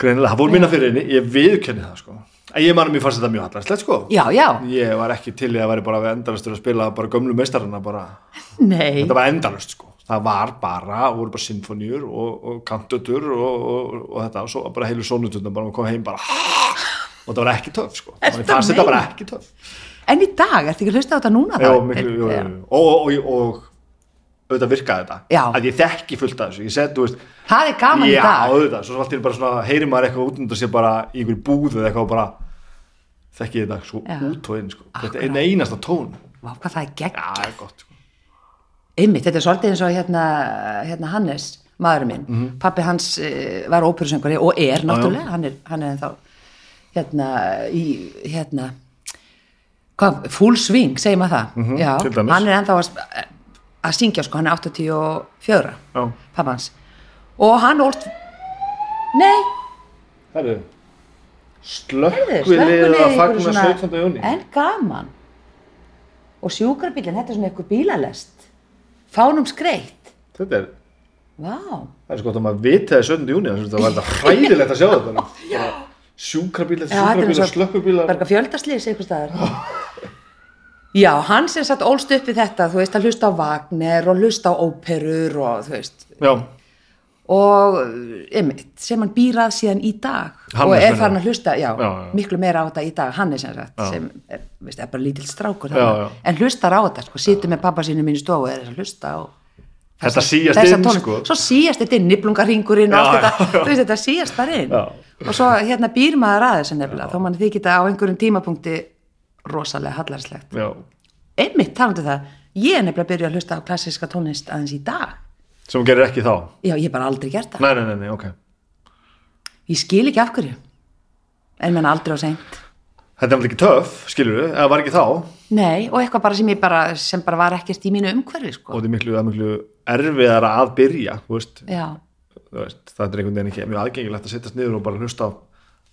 Speaker 1: greinilega, það voru mína fyrir henni, ég viðkenni það sko. en ég manum, ég fannst þetta mjög hallarslegt sko.
Speaker 2: Já, já,
Speaker 1: ég var ekki til í að vera bara við endalastur að spila bara gömlu meistarana bara
Speaker 2: nei
Speaker 1: þetta var endalust sko það var bara, það voru bara symfóníur og, og kantutur og, og, og þetta og svo bara heilu sónuturna bara kom heim bara og það var ekki töf sko
Speaker 2: Ertu
Speaker 1: og ég fannst
Speaker 2: að
Speaker 1: þetta bara
Speaker 2: meina?
Speaker 1: ekki töf
Speaker 2: En í dag, ertu ekki að hlusta á þetta núna?
Speaker 1: Jó,
Speaker 2: bara?
Speaker 1: miklu, jó,
Speaker 2: Já.
Speaker 1: jó, jó. og, og, og, og auðvitað virkaði þetta
Speaker 2: Já.
Speaker 1: að ég þekki fullt af þessu ég segi, þú veist,
Speaker 2: Það er gaman í
Speaker 1: já,
Speaker 2: dag
Speaker 1: auðvitað svo allt í einu bara svona, heyri maður eitthvað út undan sér bara í einhverju búð eða eitthvað og bara þekki ég þetta svo
Speaker 2: Já.
Speaker 1: út og inn sko. þetta er
Speaker 2: Akkurat.
Speaker 1: einn einasta tón
Speaker 2: Vá, hvað það er gegn
Speaker 1: já, það er gott sko.
Speaker 2: Einmitt, þetta er svolítið eins og hérna, hérna Hannes, maðurinn minn
Speaker 1: Mhm.
Speaker 2: Pappi hans uh, var óperusöngari og er náttúrulega, hann er, hann er ennþá hérna í hérna hvað, full swing, segir maður það
Speaker 1: Mhm,
Speaker 2: Já,
Speaker 1: til dæmis.
Speaker 2: hann er ennþá að, sp- að syngja sko, hann er 84
Speaker 1: já,
Speaker 2: pappi hans og hann ólst Nei,
Speaker 1: herru
Speaker 2: Heyrðu,
Speaker 1: slökkvilið
Speaker 2: slökkvilið
Speaker 1: að
Speaker 2: í einhverju
Speaker 1: fagna
Speaker 2: svona-
Speaker 1: 17. júni
Speaker 2: En gaman. Og sjúkrabílinn, þetta er svona einhver bílalest. Fánum skreitt.
Speaker 1: Þetta er,
Speaker 2: Vá.
Speaker 1: það er sko gott að maður viti það er 7. júni, þannig að það var þetta hræðilegt að sjá þetta. Bara Sjúkrabílar, sjúkrabílar, slökkubílar.
Speaker 2: Berga fjöldaslýs einhver staðar. Já, hann sem satt ólst upp við þetta, þú veist, að hlusta á Wagner og hlusta á óperur og þú veist.
Speaker 1: Já,
Speaker 2: Og, einmitt, sem hann býrað síðan í dag.
Speaker 1: Hannes
Speaker 2: og er
Speaker 1: meina.
Speaker 2: farin að hlusta, já,
Speaker 1: Já, já.
Speaker 2: miklu meira á þetta í dag, hann er sem sagt,
Speaker 1: Já.
Speaker 2: sem er, veist, er bara lítill strákur
Speaker 1: Já,
Speaker 2: þarna.
Speaker 1: já.
Speaker 2: En hlustar á þetta, sko, situr með pappa sínum mínu stofu og er að hlusta á
Speaker 1: þetta síast
Speaker 2: þessa
Speaker 1: inn,
Speaker 2: tónlist,
Speaker 1: sko.
Speaker 2: svo síast þetta inn, niblungarringurinn
Speaker 1: Já,
Speaker 2: og allt
Speaker 1: já,
Speaker 2: þetta,
Speaker 1: já.
Speaker 2: þú veist þetta síast þar inn
Speaker 1: Já.
Speaker 2: og svo hérna býr maður að þessu nefnilega, þá mann þykir þetta á einhverjum tímapunkti rosalega hallarslegt
Speaker 1: Já,
Speaker 2: einmitt talandi um það, ég er nefnilega að byrja að hlusta á klassiska tónlist aðeins í dag
Speaker 1: sem hún gerir ekki þá.
Speaker 2: já, ég hef bara aldrei gert það,
Speaker 1: Nei, nei, nei, nei, ok.
Speaker 2: ég skil ekki af hverju en menn aldrei á seint
Speaker 1: Þetta er alveg ekki töf, skilur við, eða var ekki þá. Og
Speaker 2: nei, og eitthvað bara sem ég bara sem bara var ekkert í mínu umhverfi sko.
Speaker 1: þetta er miklu, það er miklu erfiðara að byrja, þú veist.
Speaker 2: já,
Speaker 1: Þú veist, það er einhvern veginn ekki mjög aðgengilegt að sittast niður og bara hlusta á,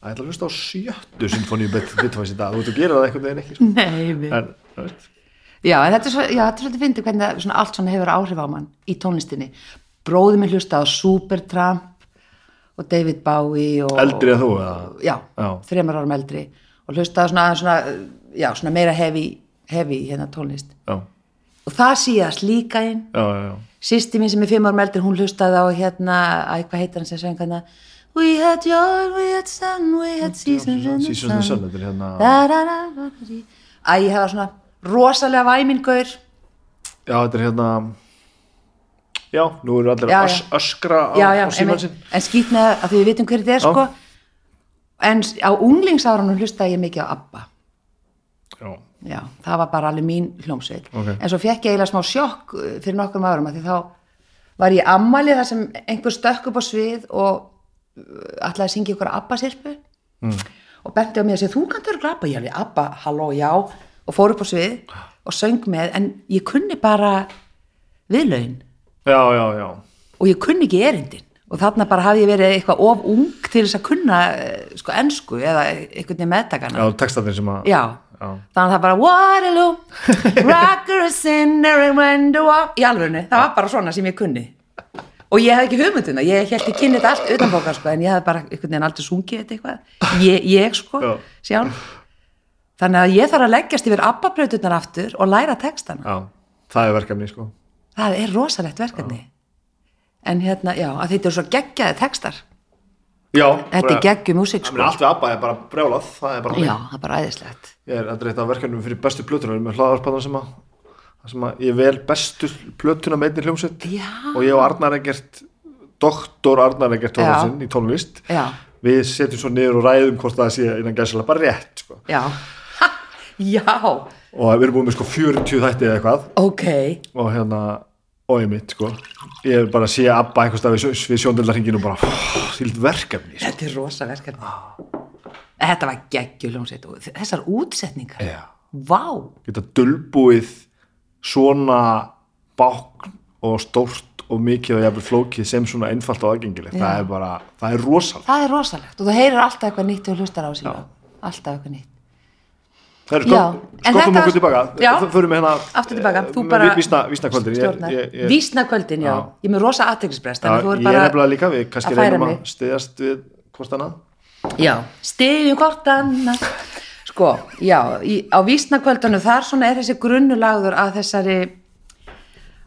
Speaker 1: að ég ætla að hlusta á sjöttu sinfoníu Beethoven's í dag. Þú veist, þú gerir það einhvern veginn ekki, sko.
Speaker 2: nei við
Speaker 1: En, þú veist,
Speaker 2: Já, en þetta er svo, já, þetta er svolítið fyndið hvernig það, svona, allt svona hefur áhrif á mann í tónlistinni. Bróðið minn hlusta á Supertramp og David Bowie og...
Speaker 1: eldri að þú, eða?
Speaker 2: Já,
Speaker 1: Já.
Speaker 2: þremur árum eldri og hlusta á svona, aðeins svona, já, svona meira hefi, hefi hérna tónlist.
Speaker 1: Já,
Speaker 2: Og það síðast líka inn.
Speaker 1: já, já, já.
Speaker 2: Sýsti mín sem er fimm árum eldri, hún hlustaði á hérna, að hvað heitir hann sem söng hérna We had joy, we had sun, we had seasons in the
Speaker 1: Seasons in the Sun,
Speaker 2: sun.
Speaker 1: þetta er hérna
Speaker 2: Da, da, da, da, da, da. Æ, ég hefa svona rosalega væmingaur.
Speaker 1: Já, þetta er hérna Já, nú eru allir
Speaker 2: Já, já.
Speaker 1: að ös- öskra á,
Speaker 2: já, já,
Speaker 1: á síman
Speaker 2: einmitt.
Speaker 1: sinn
Speaker 2: en skýt með að því við vitum hverju þetta er
Speaker 1: Já.
Speaker 2: sko en s- á unglingsárunum hlustaði ég mikið á ABBA
Speaker 1: Já,
Speaker 2: já, það var bara alveg mín hljómsveit
Speaker 1: Ok.
Speaker 2: en svo fekk ég eiginlega smá sjokk uh, fyrir nokkrum árum að því þá var ég ammalið þar sem einhver stökk upp á svið og uh, ætlaði að syngja ykkur ABBA-sirpu
Speaker 1: Hmm.
Speaker 2: og benti á mig að segja þú kannt örgla ABBA, ég alveg ABBA, halló, já og fór upp á svið og söng með en ég kunni bara viðlaun
Speaker 1: já, já, já
Speaker 2: og ég kunni ekki erindin og þarna bara hafði ég verið eitthvað of ung til þess að kunna eh, sko ensku eða einhvern veginn meðtakana
Speaker 1: Já, textatinn sem að
Speaker 2: já,
Speaker 1: Já.
Speaker 2: þannig að það bara Waterloo, rocker a sinner and window up í alvörinu, það var bara svona sem ég kunni og ég hafði ekki hugmyndina, ég held ég kynni þetta allt utanbókar sko, en ég hafði bara einhvern veginn aldrei sungið þetta eitthvað, ég, ég sko
Speaker 1: Já.
Speaker 2: sjálf, þannig að ég þarf að leggjast yfir abbabrauturnar aftur og læra textana
Speaker 1: já, það er verkefni sko
Speaker 2: Það er rosalegt verkefni. En hérna, já, að þetta eru svo geggjaði textar.
Speaker 1: Já,
Speaker 2: Þetta er geggjum músík
Speaker 1: Það
Speaker 2: sko
Speaker 1: meina allt við ABBA er bara brjálað, það er bara
Speaker 2: Já,
Speaker 1: þannig.
Speaker 2: það er bara æðislegt
Speaker 1: Ég er að reyta verkefnum fyrir bestu plötunar, við erum með hlaðarpannar sem að það sem að ég vel bestu plötuna með einni hljómsveit
Speaker 2: Já.
Speaker 1: og ég og Arnar Egert doktor Arnar Egert
Speaker 2: Já.
Speaker 1: Tóðarsson í tónlist
Speaker 2: Já,
Speaker 1: við setjum svo niður og ræðum hvort það sé innan gæsilega bara rétt sko.
Speaker 2: já Ha, Já,
Speaker 1: og við erum búin með sko 40 þætti eða eitthvað
Speaker 2: ok
Speaker 1: og hérna og ég mitt sko ég hef bara sé Abba einhvers stað við, sjó- við sjóndeldarhingin og bara "Pff, þvílíkt verkefni sko.
Speaker 2: Þetta er rosa verkefni Þetta var geggjuljónsett og þessar útsetningar
Speaker 1: Já.
Speaker 2: Vá,
Speaker 1: geta dulbúið svona bákn og stórt og mikið og jafnvel flókið sem svona einfalt og aðgengilegt það er bara, það er rosalega
Speaker 2: það er rosalegt og þú heyrir alltaf eitthvað nýtt og hlustar á síðan Alltaf eitthvað nýtt
Speaker 1: Það er
Speaker 2: Já,
Speaker 1: skopp,
Speaker 2: en
Speaker 1: skoppum
Speaker 2: þetta-
Speaker 1: okkur tilbaka
Speaker 2: Já.
Speaker 1: það fyrir mig hérna
Speaker 2: Aftur tilbaka, þú
Speaker 1: eh,
Speaker 2: bara
Speaker 1: vi- vísna, vísna kvöldin ég,
Speaker 2: stjórnar.
Speaker 1: ég, ég,
Speaker 2: Vísnakvöldin, já.
Speaker 1: Já.
Speaker 2: Ég er með rosa aðteglisbrest,
Speaker 1: já,
Speaker 2: þannig að
Speaker 1: ég
Speaker 2: þú er
Speaker 1: er
Speaker 2: bara...
Speaker 1: nefnilega líka við kannski
Speaker 2: að færa
Speaker 1: reynum
Speaker 2: mig.
Speaker 1: að stiðast við hvort annað
Speaker 2: Já, stigjum hvort annað. Sko, já, í, á vísnakvöldunum þar svona er þessi grunnulagður að þessari,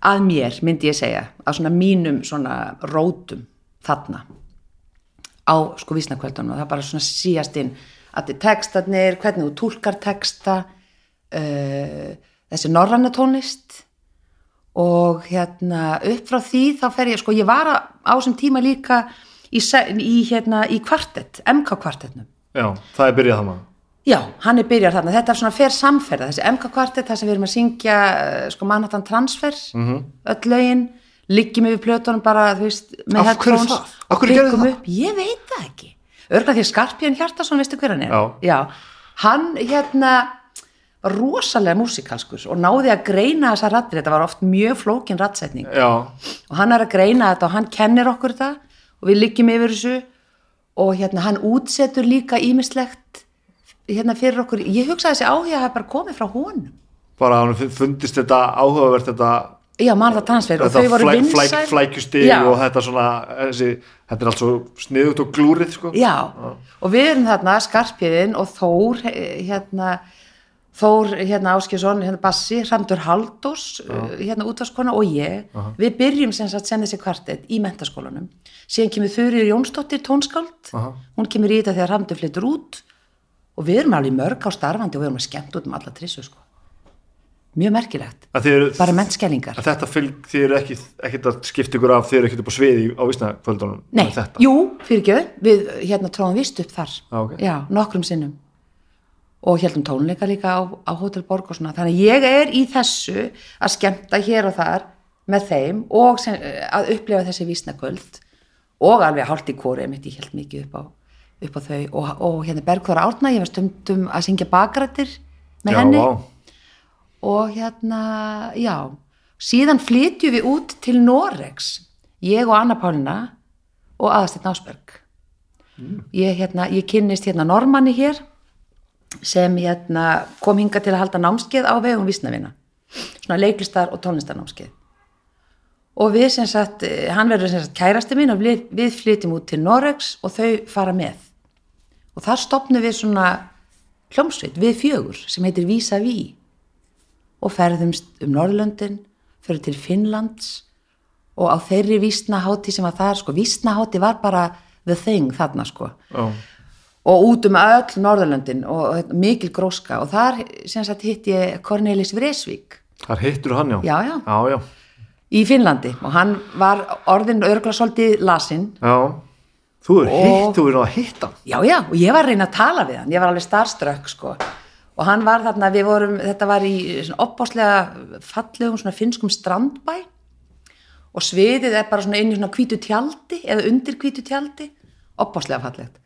Speaker 2: að mér, myndi ég segja, að svona mínum svona rótum þarna á sko vísnakvöldunum og það bara svona síast inn að þið textarnir, hvernig þú túlkar texta, uh, þessi norranna tónlist og hérna upp frá því þá fer ég, sko ég var að- á þessum tíma líka í, se- í hérna í kvartett, MK kvartettnum
Speaker 1: já, það er byrjað það maður
Speaker 2: Já, hann er byrjar þarna, þetta er svona fer samferða, þessi MK kvartett, það sem við erum að syngja eh, sko Manhattan Transfer,
Speaker 1: Mhm.
Speaker 2: -hmm. öll lögin, liggjum yfir plötunum bara, þú veist, með
Speaker 1: Af hverju
Speaker 2: headphones
Speaker 1: það? Af hverju
Speaker 2: og
Speaker 1: gerðu
Speaker 2: pikkum
Speaker 1: það?
Speaker 2: Upp, ég veit það ekki, örgla því að Skarpjörn Hjartason, veistu hver hann er?
Speaker 1: Já.
Speaker 2: hann hérna var rosalega músikalskur og náði að greina þessa rattir, þetta var oft mjög flókin rattsetning
Speaker 1: já,
Speaker 2: og hann er að greina þetta og hann kennir okkur þetta og við liggjum yfir þessu og hérna hann útsetur líka ímislegt hérna fyrir okkur, ég hugsa að þessi áhuga hafi bara komið frá honum
Speaker 1: bara hann fundist þetta áhugavert þetta
Speaker 2: já, mann það transfer og
Speaker 1: þetta
Speaker 2: þau voru
Speaker 1: flæk-
Speaker 2: vinsæl
Speaker 1: flæk- flækjustig
Speaker 2: Já.
Speaker 1: og þetta svona þessi, þetta er allt svo sniðugt og glúrið sko.
Speaker 2: Já, og við erum þarna Skarpiðin og Þór eh, hérna Þór hérna Áskjesson, hérna Bassi, Hramdur Haldós, eh, hérna útvarskona og ég, við byrjum sem sagt sem þessi kvartett í mentaskólanum, síðan kemur Þurir Jónsdóttir tónskáld,
Speaker 1: Aha.
Speaker 2: hún kemur í þetta þegar Hramdur flyttur út og við erum alveg mörg á starfandi og við erum að skemmt út um alla trissu sko, mjög merkilegt,
Speaker 1: Að þið eru-
Speaker 2: bara mennskellingar.
Speaker 1: að þetta fylg þið eru ekki, ekkert að skipta ykkur af þið eru ekkert upp á sviði á vísnakvöldunum
Speaker 2: Nei,
Speaker 1: með þetta.
Speaker 2: jú, fyrir við hérna tróðum vist upp þar,
Speaker 1: Já, ok.
Speaker 2: já, nokkrum sinnum og heldum tónleika líka á, á Hotel Borg og svona, þannig að ég er í þessu að skemmta hér og þar með þeim og sem, eh, að upplifa þessi vísnakvöld og alveg hálft í kóri, einmitt ég held mikið upp á, upp á þau og, og hérna Bergþóra Árna, ég var stundum að syngja bakrættir með
Speaker 1: já,
Speaker 2: henni
Speaker 1: vá.
Speaker 2: og hérna, já síðan flytjum við út til Noregs ég og Anna Pálina og aðastinn Ásberg ég, hérna, ég kynnist hérna Normanni hér sem hérna kom hinga til að halda námskeið á vegum vísnavina svona leiklistar og tónlistarnámskeið og við sem sagt, eh, hann verður sem sagt kærasti minn og við, við flytjum út til Noregs og þau fara með og þar stopnum við svona hljómsveit, við fjögur sem heitir Vísa Ví og ferðumst um Norðlöndin, fyrir til Finnlands og á þeirri vísnahátti sem að það er, sko, vísnahátti var bara the thing þarna, sko
Speaker 1: Já.
Speaker 2: og út um öll Norðurlöndin og mikil gróska og þar sem sagt hitt ég Cornelis Vreesvík
Speaker 1: þar hittur hann já
Speaker 2: Já, já.
Speaker 1: já, já.
Speaker 2: í Finnlandi og hann var orðin örgla svolítið lasinn
Speaker 1: já. þú er
Speaker 2: Og-
Speaker 1: hitt, þú er að hitta hann.
Speaker 2: já já og ég var að reyna að tala við hann ég var alveg starstruck sko og hann var þarna, við vorum, þetta var í svona opbáslega fallegum svona finnskum strandbæ og sviðið er bara svona inn í svona hvítu tjaldi eða undir hvítu tjaldi opbáslega fallegt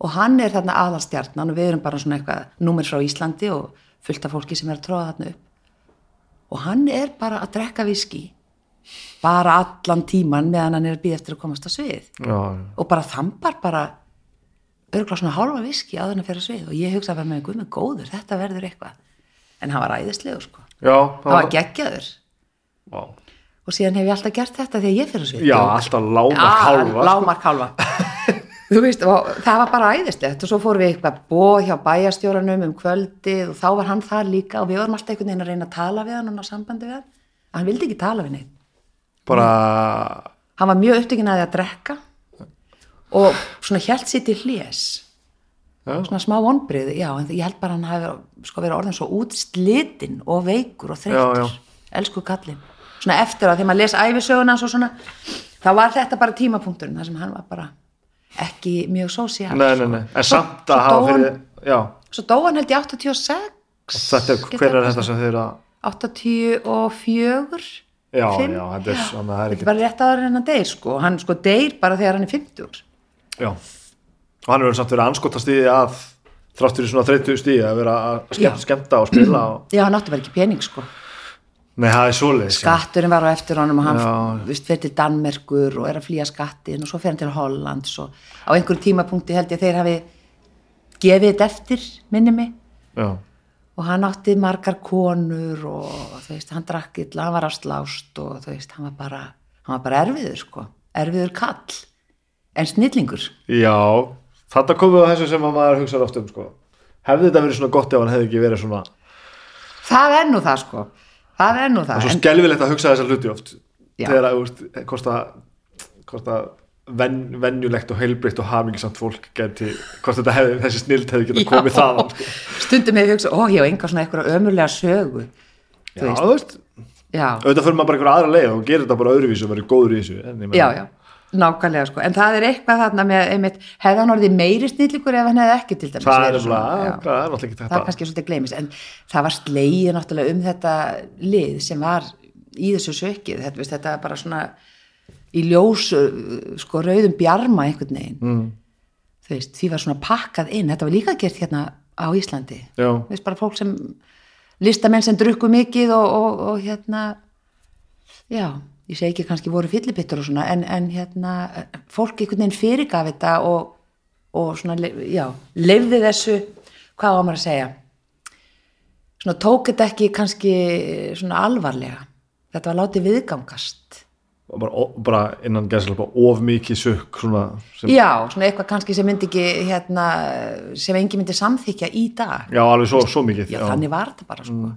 Speaker 2: og hann er þarna aðalstjarnan og við erum bara svona eitthvað númer frá Íslandi og fullt af fólki sem er að tróða þarna upp og hann er bara að drekka viski bara allan tíman meðan hann er að býða eftir að komast á svið
Speaker 1: já, já.
Speaker 2: og bara þambar bara örgla svona hálfa viski á þennan fyrir svið og ég hugsaði bara með guð með góður, þetta verður eitthvað en hann var æðislegur sko
Speaker 1: já,
Speaker 2: hann var geggjaður
Speaker 1: já.
Speaker 2: og síðan hef ég alltaf gert þetta þegar ég fyrir svið
Speaker 1: já, alltaf lámar
Speaker 2: Ah,
Speaker 1: hálfa sko.
Speaker 2: lágmark hálfa þú veist, og það var bara æðislegt og svo fórum við eitthvað bóð hjá bæjarstjóranum um kvöldið og þá var hann þar líka og við vorum alltaf einhvern veginn að reyna að tala við hann og ná sambandi við hann hann vildi ekki tala við neitt
Speaker 1: bara
Speaker 2: hann var mjög upptökin að því að drekka og svona hjælt sér til hlés
Speaker 1: Já.
Speaker 2: svona smá vonbriði, já, en ég held bara hann hafi sko verið orðin svo útslitinn og veikur og
Speaker 1: Já, já.
Speaker 2: þreytur elsku kallinn, svona eftir að þegar maður les æfisöguna og svona þá var þetta bara tímapunkturinn, þar sem hann var bara ekki mjög sósíal sko.
Speaker 1: Nei, nei, nei, en
Speaker 2: Svo-
Speaker 1: samt
Speaker 2: svo
Speaker 1: að hafa
Speaker 2: dó hann-
Speaker 1: fyrir Já,
Speaker 2: svo dó hann held ég 86
Speaker 1: þetta,
Speaker 2: Getur
Speaker 1: hver er
Speaker 2: það-
Speaker 1: þetta sem þið eru að
Speaker 2: 84
Speaker 1: Já,
Speaker 2: Fimm?
Speaker 1: já, þetta er, þannig að það er
Speaker 2: þetta
Speaker 1: ekki
Speaker 2: er bara rétt áður en hann deyr sko hann sko deyr bara þegar hann er 50
Speaker 1: Já, og hann er samt verið að anskota stíði að þrátt fyrir svona 30 stíði að vera að skemmt, skemmta og spila og...
Speaker 2: já, hann átti bara ekki pening sko
Speaker 1: Nei, það er svoleiðis já.
Speaker 2: skatturinn var á eftir honum og hann
Speaker 1: Já.
Speaker 2: vist, fer til Danmerkur og er að flýja skattin og svo fer hann til Hollands og á einhverjum tímapunkti held ég að þeir hafi gefið þetta eftir minni mig
Speaker 1: Já,
Speaker 2: og hann átti margar konur og þú veist, hann drakk illa, hann var afslást og þú veist, hann var bara, hann var bara erfiður sko, erfiður kall en snillingur
Speaker 1: já Þetta komið á þessu sem að maður hugsaði oft um sko. Hefði þetta verið svona gott ef hann hefði ekki verið svona
Speaker 2: það er nú það sko það er nú
Speaker 1: Það
Speaker 2: það,
Speaker 1: er svo
Speaker 2: en
Speaker 1: skelfilegt að hugsa þessa hluti oft
Speaker 2: Já.
Speaker 1: þegar að, þú veist, hvort að hvort að ven, venjulegt og heilbritt og hamingisamt fólk geti, hvort þetta hefði, þessi snild hefði getað komið
Speaker 2: Já.
Speaker 1: þaðan sko.
Speaker 2: stundum hefur hugsað, ó ég á enga svona einhverja ömurlega sögu
Speaker 1: Já,
Speaker 2: þú veist,
Speaker 1: þú veist,
Speaker 2: já
Speaker 1: auðvitað fyrir maður bara einhverja aðra leið og gerir þetta bara öðruvísu og verið góður í þessu en ég meina-
Speaker 2: já, já, nákvæmlega sko en það er eitthvað þarna með einmitt, hefði hann orðið meiri snillingur ef hann hefði ekki til dæmis
Speaker 1: það er
Speaker 2: verið svona,
Speaker 1: nefnilega,
Speaker 2: já.
Speaker 1: það er náttúrulega ekki
Speaker 2: það er
Speaker 1: þetta
Speaker 2: kannski svolítið gleymis en það var slegið náttúrulega um þetta lið sem var í þessu sökið þetta, veist, þetta er bara svona í ljósu sko rauðum bjarma einhvern veginn mm. þú veist, því var svona pakkað inn þetta var líka gert hérna á Íslandi
Speaker 1: Já.
Speaker 2: þú veist bara fólk sem listamenn sem drukku mikið og, og, og hérna já, ég segi ekki kannski voru fyllibittur og svona en, en hérna fólk einhvern veginn fyrirgaf þetta og, og svona, le- já, leifði þessu hvað á maður að segja svona tók þetta ekki kannski svona alvarlega þetta var látið viðgangast
Speaker 1: og bara, og bara innan gæðslega of mikið sukk svona, sem,
Speaker 2: já, svona eitthvað kannski sem myndi ekki hérna, sem engin myndi samþykja í dag
Speaker 1: já, Mm. alveg svo, svo mikið
Speaker 2: já, þannig var þetta bara sko.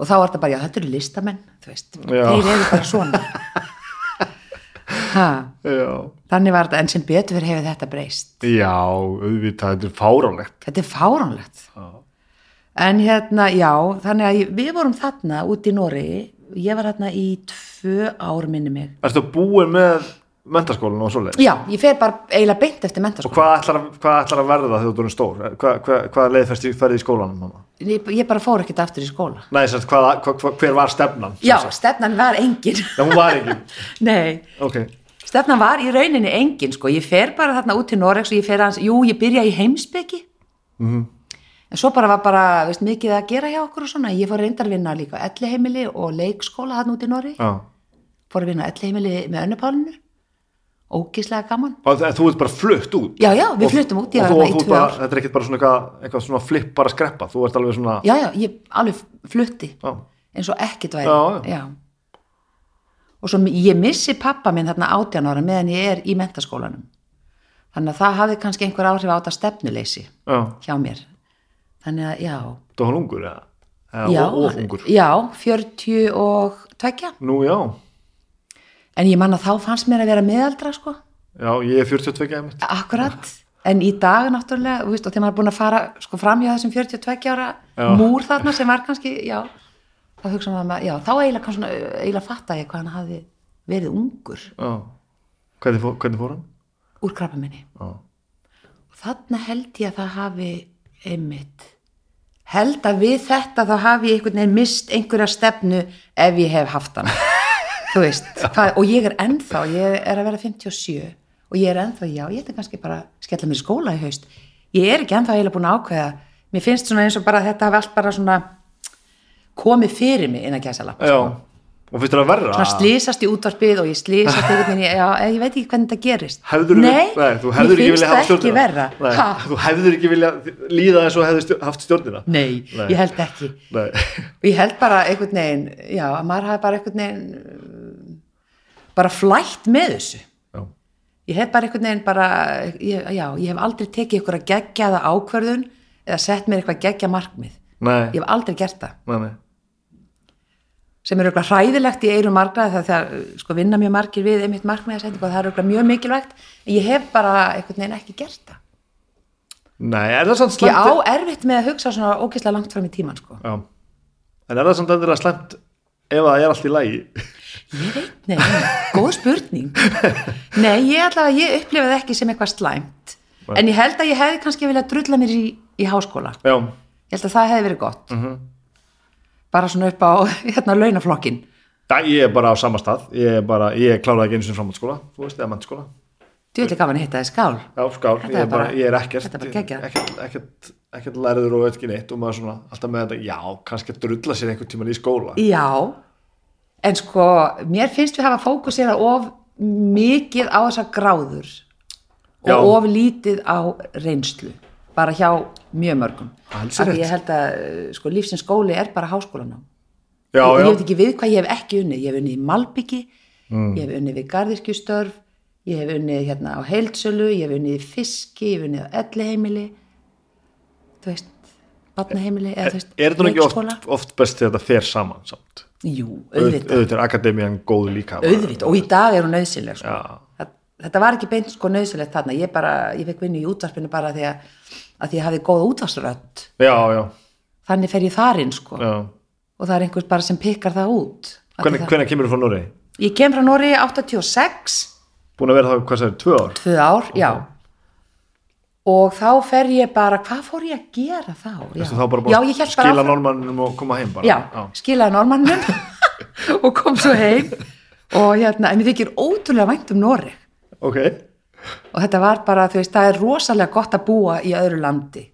Speaker 2: og þá var þetta bara, já þetta eru listamenn þú veist,
Speaker 1: Já.
Speaker 2: þeir eru bara svona ha,
Speaker 1: já,
Speaker 2: þannig var þetta en sem betur fyrir hefur þetta breyst
Speaker 1: já, auðvitað, þetta er fáránlegt
Speaker 2: þetta er fáránlegt en hérna, já, þannig að ég- við vorum þarna út í Nóri ég var þarna í tvö ár minni mig
Speaker 1: Ertu búin með mentaskólan og svoleiðis?
Speaker 2: já, ég fer bara eiginlega beint eftir mentaskóla
Speaker 1: Og hvað ætlar, að- hvað ætlar að verða þegar þú erum stór? Eh, Hvað, hvað, hvað leið færst í ferði í skólanum? Hana?
Speaker 2: ég, ég bara fór ekkert aftur í skóla
Speaker 1: Nei, sérst, hvað, hvað, hvað, hver var stefnan? sem
Speaker 2: já,
Speaker 1: sagt?
Speaker 2: stefnan var engin
Speaker 1: Nei, hún var ekki.
Speaker 2: nei,
Speaker 1: Ok.
Speaker 2: stefnan var í rauninni engin sko, ég fer bara þarna út til Noregs og ég fer hans, jú, ég byrja í heimsbyggi
Speaker 1: Mhm.
Speaker 2: en svo bara var bara veist, mikið að gera hjá okkur og svona ég fór reyndar að vinna líka á elliheimili og leikskóla þarna út í Noregi
Speaker 1: Já.
Speaker 2: fór að vinna á elliheimili með önnupálinu ógislega gaman
Speaker 1: Og þ- en þú ert bara flutt út?
Speaker 2: Já, já, við
Speaker 1: Og-
Speaker 2: fluttum út, ég
Speaker 1: og
Speaker 2: var
Speaker 1: þú-
Speaker 2: þarna í
Speaker 1: og þú
Speaker 2: tvö
Speaker 1: bara-
Speaker 2: ár.
Speaker 1: Þetta er ekkert bara svona eitthvað, eitthvað svona flipp bara skreppa. Þú ert alveg svona...
Speaker 2: já, já, ég alveg flutti
Speaker 1: Já.
Speaker 2: eins og ekkit væri
Speaker 1: Já, já.
Speaker 2: og svo ég missi pappa minn þarna átján ára meðan ég er í mentaskólanum þannig að það hafði kannski einhver áhrif á þetta stefnuleysi
Speaker 1: Já.
Speaker 2: hjá mér þannig að já,
Speaker 1: Þú var ungur, eða? Eða
Speaker 2: já,
Speaker 1: of- of ungur.
Speaker 2: já 40 og tvekja
Speaker 1: Nú, já.
Speaker 2: en ég man að þá fannst mér að vera meðaldra sko,
Speaker 1: Já, ég er 42 eða mitt.
Speaker 2: akkurat en í dag náttúrulega, þú veist, og þegar maður er búin að fara sko fram hjá þessum 42 ára
Speaker 1: Já.
Speaker 2: múr þarna sem var kannski, já þá hugsa maður, með- já, þá eiginlega kannski svona, eiginlega fatta ég hvað hann hafi verið ungur
Speaker 1: Já. Hvernig, fó- hvernig fór hann?
Speaker 2: úr krabba minni
Speaker 1: Já.
Speaker 2: og þarna held ég að það hafi einmitt held að við þetta þá hafi ég einhvern veginn mist einhverja stefnu ef ég hef haft hann þú veist, hvað, og ég er ennþá ég er að vera 57 og ég er ennþá, já, ég ætti kannski bara að skella mér í skóla í haust, ég er ekki ennþá eiginlega búin að ákveða, mér finnst svona eins og bara að þetta hafi allt bara svona komið fyrir mig innan gæsala
Speaker 1: Já. Sko. Og finnst þér að verra?
Speaker 2: svona slýsast í útvarpið og ég slýsast einhvern veginn, í- já, eh, ég veit ekki hvernig þetta gerist
Speaker 1: hefður
Speaker 2: nei,
Speaker 1: nei, þú hefður
Speaker 2: mér
Speaker 1: ekki
Speaker 2: finnst
Speaker 1: viljað hafa
Speaker 2: það ekki
Speaker 1: stjórnina
Speaker 2: verra
Speaker 1: nei,
Speaker 2: Ha?
Speaker 1: þú hefður ekki viljað líða eins og hefður stjórn, haft stjórnina
Speaker 2: Nei,
Speaker 1: Nei.
Speaker 2: ég held ekki.
Speaker 1: nei.
Speaker 2: Og ég held bara einhvern veginn, já, að maður hafi bara einhvern veginn uh, bara flætt með þessu.
Speaker 1: Já.
Speaker 2: Ég hef bara einhvern veginn bara, ég, já, ég hef aldrei tekið ykkur að gegja það ákverðun eða sett mér eitthvað gegja markmið.
Speaker 1: Nei.
Speaker 2: Ég hef aldrei gert það.
Speaker 1: nei, nei
Speaker 2: sem er auðvitað hræðilegt í eirum margra það það sko vinna mjög margir við einmitt markmiðasetningu og það er auðvitað mjög mikilvægt en ég hef bara einhvern veginn ekki gert það
Speaker 1: Nei, er það samt
Speaker 2: ég á
Speaker 1: slæmt
Speaker 2: erfitt með að hugsa svona ógeðslega langt fram í tíman sko.
Speaker 1: Já. En er það samt endilega slæmt ef það er allt í lagi
Speaker 2: ég veit, nei, nei, góð spurning nei, ég allavega, ég upplifaði ekki sem eitthvað slæmt
Speaker 1: Nei.
Speaker 2: en ég held að ég hefði kannski viljað drulla mér í, í háskóla
Speaker 1: Já,
Speaker 2: ég held að það hefði verið gott bara svona upp á hérna launaflokkin
Speaker 1: það, ég er bara á sama stað Ég, er bara, ég kláraði ekki einu sinni framhaldsskóla Þú veist, eða mennskóla
Speaker 2: djúlega gaman að hitta þið skál
Speaker 1: Já, skál,
Speaker 2: Þetta
Speaker 1: ég er
Speaker 2: er
Speaker 1: bara,
Speaker 2: bara-
Speaker 1: ég er ekkert
Speaker 2: þetta er bara geggjað.
Speaker 1: ekkert, ekkert, ekkert lærður og ekki neitt og maður svona alltaf með þetta, já, kannski að drulla sér einhvern tíman í skóla
Speaker 2: já, en sko mér finnst við hafa fókusera of mikið á þessar gráður og
Speaker 1: Já.
Speaker 2: of lítið á reynslu bara hjá mjög mörgum
Speaker 1: Alls
Speaker 2: Af því
Speaker 1: rétt.
Speaker 2: ég held að eh, sko, lífsins skóli er bara háskólanum
Speaker 1: Já, já,
Speaker 2: ég, ég veit ekki við hvað ég hef ekki unnið ég hef unnið í Malbyggi,
Speaker 1: Mm.
Speaker 2: ég hef unnið við gardirkjustörf, ég hef unnið hérna á heildsölu, ég hef unnið í fiski ég hef unnið á elliheimili þú veist, batnaheimili eða þú veist,
Speaker 1: er þetta nú ekki
Speaker 2: leikskóla?
Speaker 1: oft, oft best þegar þetta fer saman samt
Speaker 2: Jú,
Speaker 1: Auð-
Speaker 2: auðvitað,
Speaker 1: auðvitað er akademían góð líka
Speaker 2: auðvitað og í dag er hún nöðsynleg sko.
Speaker 1: Já.
Speaker 2: Það- þetta var ekki beint sko nöðsynlegt þarna ég bara, ég fekk vinnu í útvarpinu bara því að, að því ég hafi góða útvarsrödd
Speaker 1: Já, já,
Speaker 2: þannig fer ég þar inn sko
Speaker 1: já
Speaker 2: og það er einhvers bara sem pikkar það út Af því
Speaker 1: Hvernig,
Speaker 2: það,
Speaker 1: hvernig kemur þú frá Nóri?
Speaker 2: ég kem frá Nóri 86
Speaker 1: Búin að vera það, hvað sagði, tvö ár?
Speaker 2: tvö ár, já og þá fer ég bara, hvað fór ég að gera þá? Já,
Speaker 1: Ertu þá bara búin
Speaker 2: já ég
Speaker 1: að
Speaker 2: held bara
Speaker 1: skila
Speaker 2: áfram-
Speaker 1: normanninum og koma heim bara?
Speaker 2: já, skilaði normannum og kom svo heim og hérna, en ég þykir ótrúlega vænt um Nóri
Speaker 1: Ok,
Speaker 2: og þetta var bara, þú veist, það er rosalega gott að búa í öðru landi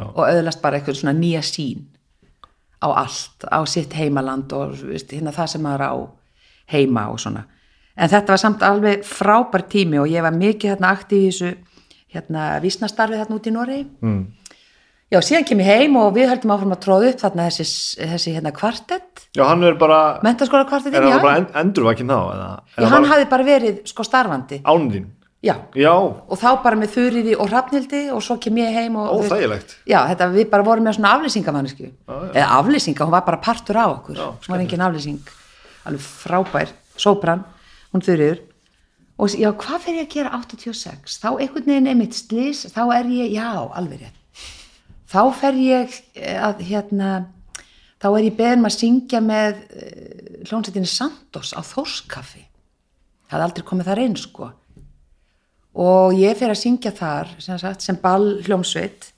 Speaker 1: Já.
Speaker 2: og öðlast bara eitthvað svona nýja sín á allt, á sitt heimaland og þú veist, hérna það sem maður á heima og svona en þetta var samt alveg frábær tími og ég var mikið hérna aktíf í þessu hérna vísnastarfi þarna út í Noregi mm. já, síðan kem ég heim og við höldum áfram að tróða upp þarna þessi, þessi hérna kvartett
Speaker 1: já, hann er bara,
Speaker 2: mentaskóla
Speaker 1: er
Speaker 2: kvartettin,
Speaker 1: hann
Speaker 2: já,
Speaker 1: bara en, endurvakin þá? Eða,
Speaker 2: já
Speaker 1: eða
Speaker 2: hann
Speaker 1: bara
Speaker 2: hafði bara verið sko starfandi,
Speaker 1: án þín?
Speaker 2: já
Speaker 1: Já,
Speaker 2: og þá bara með þurriði og hrafnildi og svo kem ég heim og þú veist-
Speaker 1: Óþægilegt.
Speaker 2: já, þetta, við bara vorum með svona aflýsingamanniski eða aflýsinga, hún var bara partur á okkur
Speaker 1: Já,
Speaker 2: hún var engin aflýsing alveg frábær, sópran hún þurriður og s- já, hvað fer ég að gera 86 þá einhvern veginn einmitt slis þá er ég, já, alveg rétt þá fer ég eh, að hérna þá er ég beðin um að syngja með uh, hljónsettinu Santos á Þórskaffi það hafði aldrei komið þar einn sko og ég fer að syngja þar sem, sagt, sem ball hljómsveit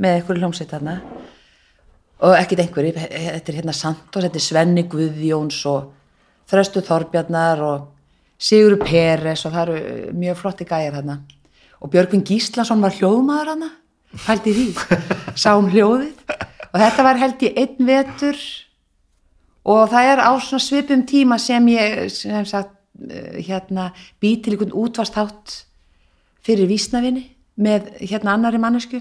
Speaker 2: með einhverju hljómsveit þarna og ekkert einhverju, þetta er hérna Santos, þetta er Svenni Guðjóns og Þröstu Þorbjarnar og Sigur Peres og það eru eh, mjög flotti gæjar þarna og Björgvin Gíslason var hljóðmaður hana hældi því, sá um hljóðið og þetta var held ég einn vetur og það er á svona svipum tíma sem ég sem sagt eh, hérna bý til einhvern útvarstátt fyrir vísnavinni með hérna annari mannesku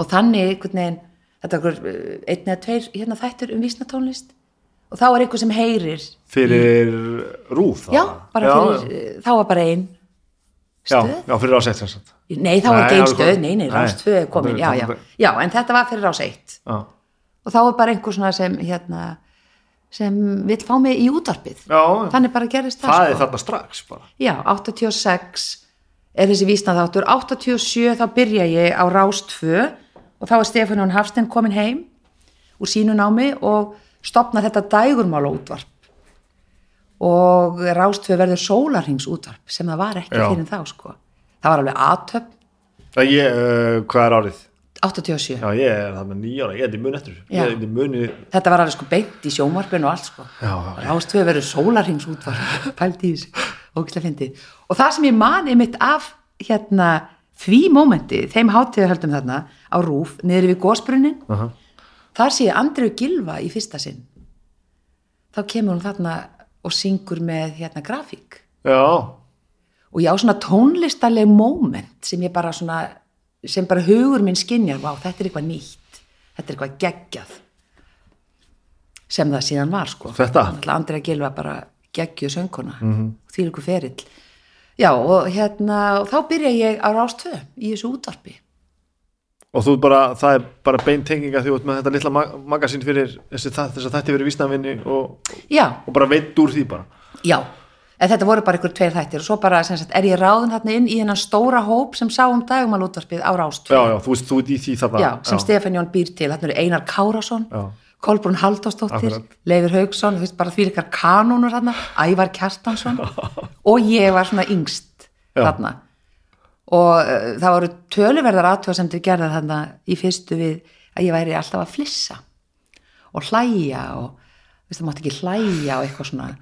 Speaker 2: og þannig einhvern veginn þetta er einhver eh, einn eða tveir hérna þættur um vísnatónlist og þá er einhver sem heyrir
Speaker 1: fyrir rúð
Speaker 2: já, bara fyrir, já. þá var bara einn
Speaker 1: já,
Speaker 2: stöð
Speaker 1: já, fyrir ásett sem sagt
Speaker 2: nei, þá var
Speaker 1: Nei, það
Speaker 2: ekki
Speaker 1: er
Speaker 2: einn stöð,
Speaker 1: komið.
Speaker 2: nei, nei,
Speaker 1: Nei,
Speaker 2: rás tvö er komin
Speaker 1: það
Speaker 2: já,
Speaker 1: er-
Speaker 2: já, já, en þetta var fyrir rás eitt
Speaker 1: já,
Speaker 2: og þá er bara einhver svona sem hérna, sem vill fá mig í útarpið
Speaker 1: já
Speaker 2: þannig bara gerist það,
Speaker 1: það er
Speaker 2: sko.
Speaker 1: þarna strax bara
Speaker 2: já, 86 er þessi vísnaðáttur 87 þá byrja ég á Rás 2 og þá er Stefán Jón Hafstein komin heim úr sínu námi og stopna þetta dægurmála útvarp og Rás 2 verður sólarhings útvarp sem það var ekki
Speaker 1: Já.
Speaker 2: fyrir þá sko það var alveg aðtöp
Speaker 1: það ég, uh, hvað er árið?
Speaker 2: 87
Speaker 1: já, ég er þarna nýjára, ég er þetta í mun eftir þessu.
Speaker 2: Já.
Speaker 1: ég er þetta í muni
Speaker 2: þetta var alveg sko beint í sjónvarpinu og allt sko
Speaker 1: Já, já.
Speaker 2: rástöðu verið sólarhings útvarp pælt í þessu, ógislega fyndið og það sem ég man einmitt af hérna því mómenti þeim hátíðu höldum þarna á rúf niður yfir gósbrunnin
Speaker 1: Aha.
Speaker 2: þar sé ég Andreu Gilva í fyrsta sinn þá kemur hún þarna og syngur með hérna grafík
Speaker 1: já,
Speaker 2: og ég á svona tónlistaleg moment sem ég bara svona sem bara hugur minn skinjar vá, þetta er eitthvað nýtt, þetta er eitthvað geggjað sem það síðan var sko
Speaker 1: Þetta? Mhm.
Speaker 2: Náttúrulega Andrea Gilva bara geggjuð sönguna mm -hmm. því líku ferill já og hérna, og þá byrja ég á rást 2 í þessu útvarpi
Speaker 1: og þú bara, það er bara beintenginga því út með þetta litla ma- magasín fyrir þessi, þa- þess að þetta verið vísnavinni og,
Speaker 2: já,
Speaker 1: og bara veit úr því bara
Speaker 2: já en þetta voru bara ykkur tveir þættir og svo bara sem sagt, er ég ráðin þarna inn í þennan stóra hóp sem sá um dagumalútvarpið á rástfjörn
Speaker 1: já, já, þú veist, þú ert í því þarna
Speaker 2: já, sem Stefán Jón býr til, þarna eru Einar Kárásson
Speaker 1: Já.
Speaker 2: Kolbrún Halldórsdóttir,
Speaker 1: Akkurat.
Speaker 2: Leifur Haugsson þú veist bara því ykkar kanónur þarna Ævar Kjartansson og ég var svona yngst
Speaker 1: Já.
Speaker 2: þarna og uh, það voru töluverðar aðtöðasemdir gerða þarna í fyrstu við að ég væri alltaf að flissa og hlæja og þú veist, það mátti ekki hlæja og eitthvað svona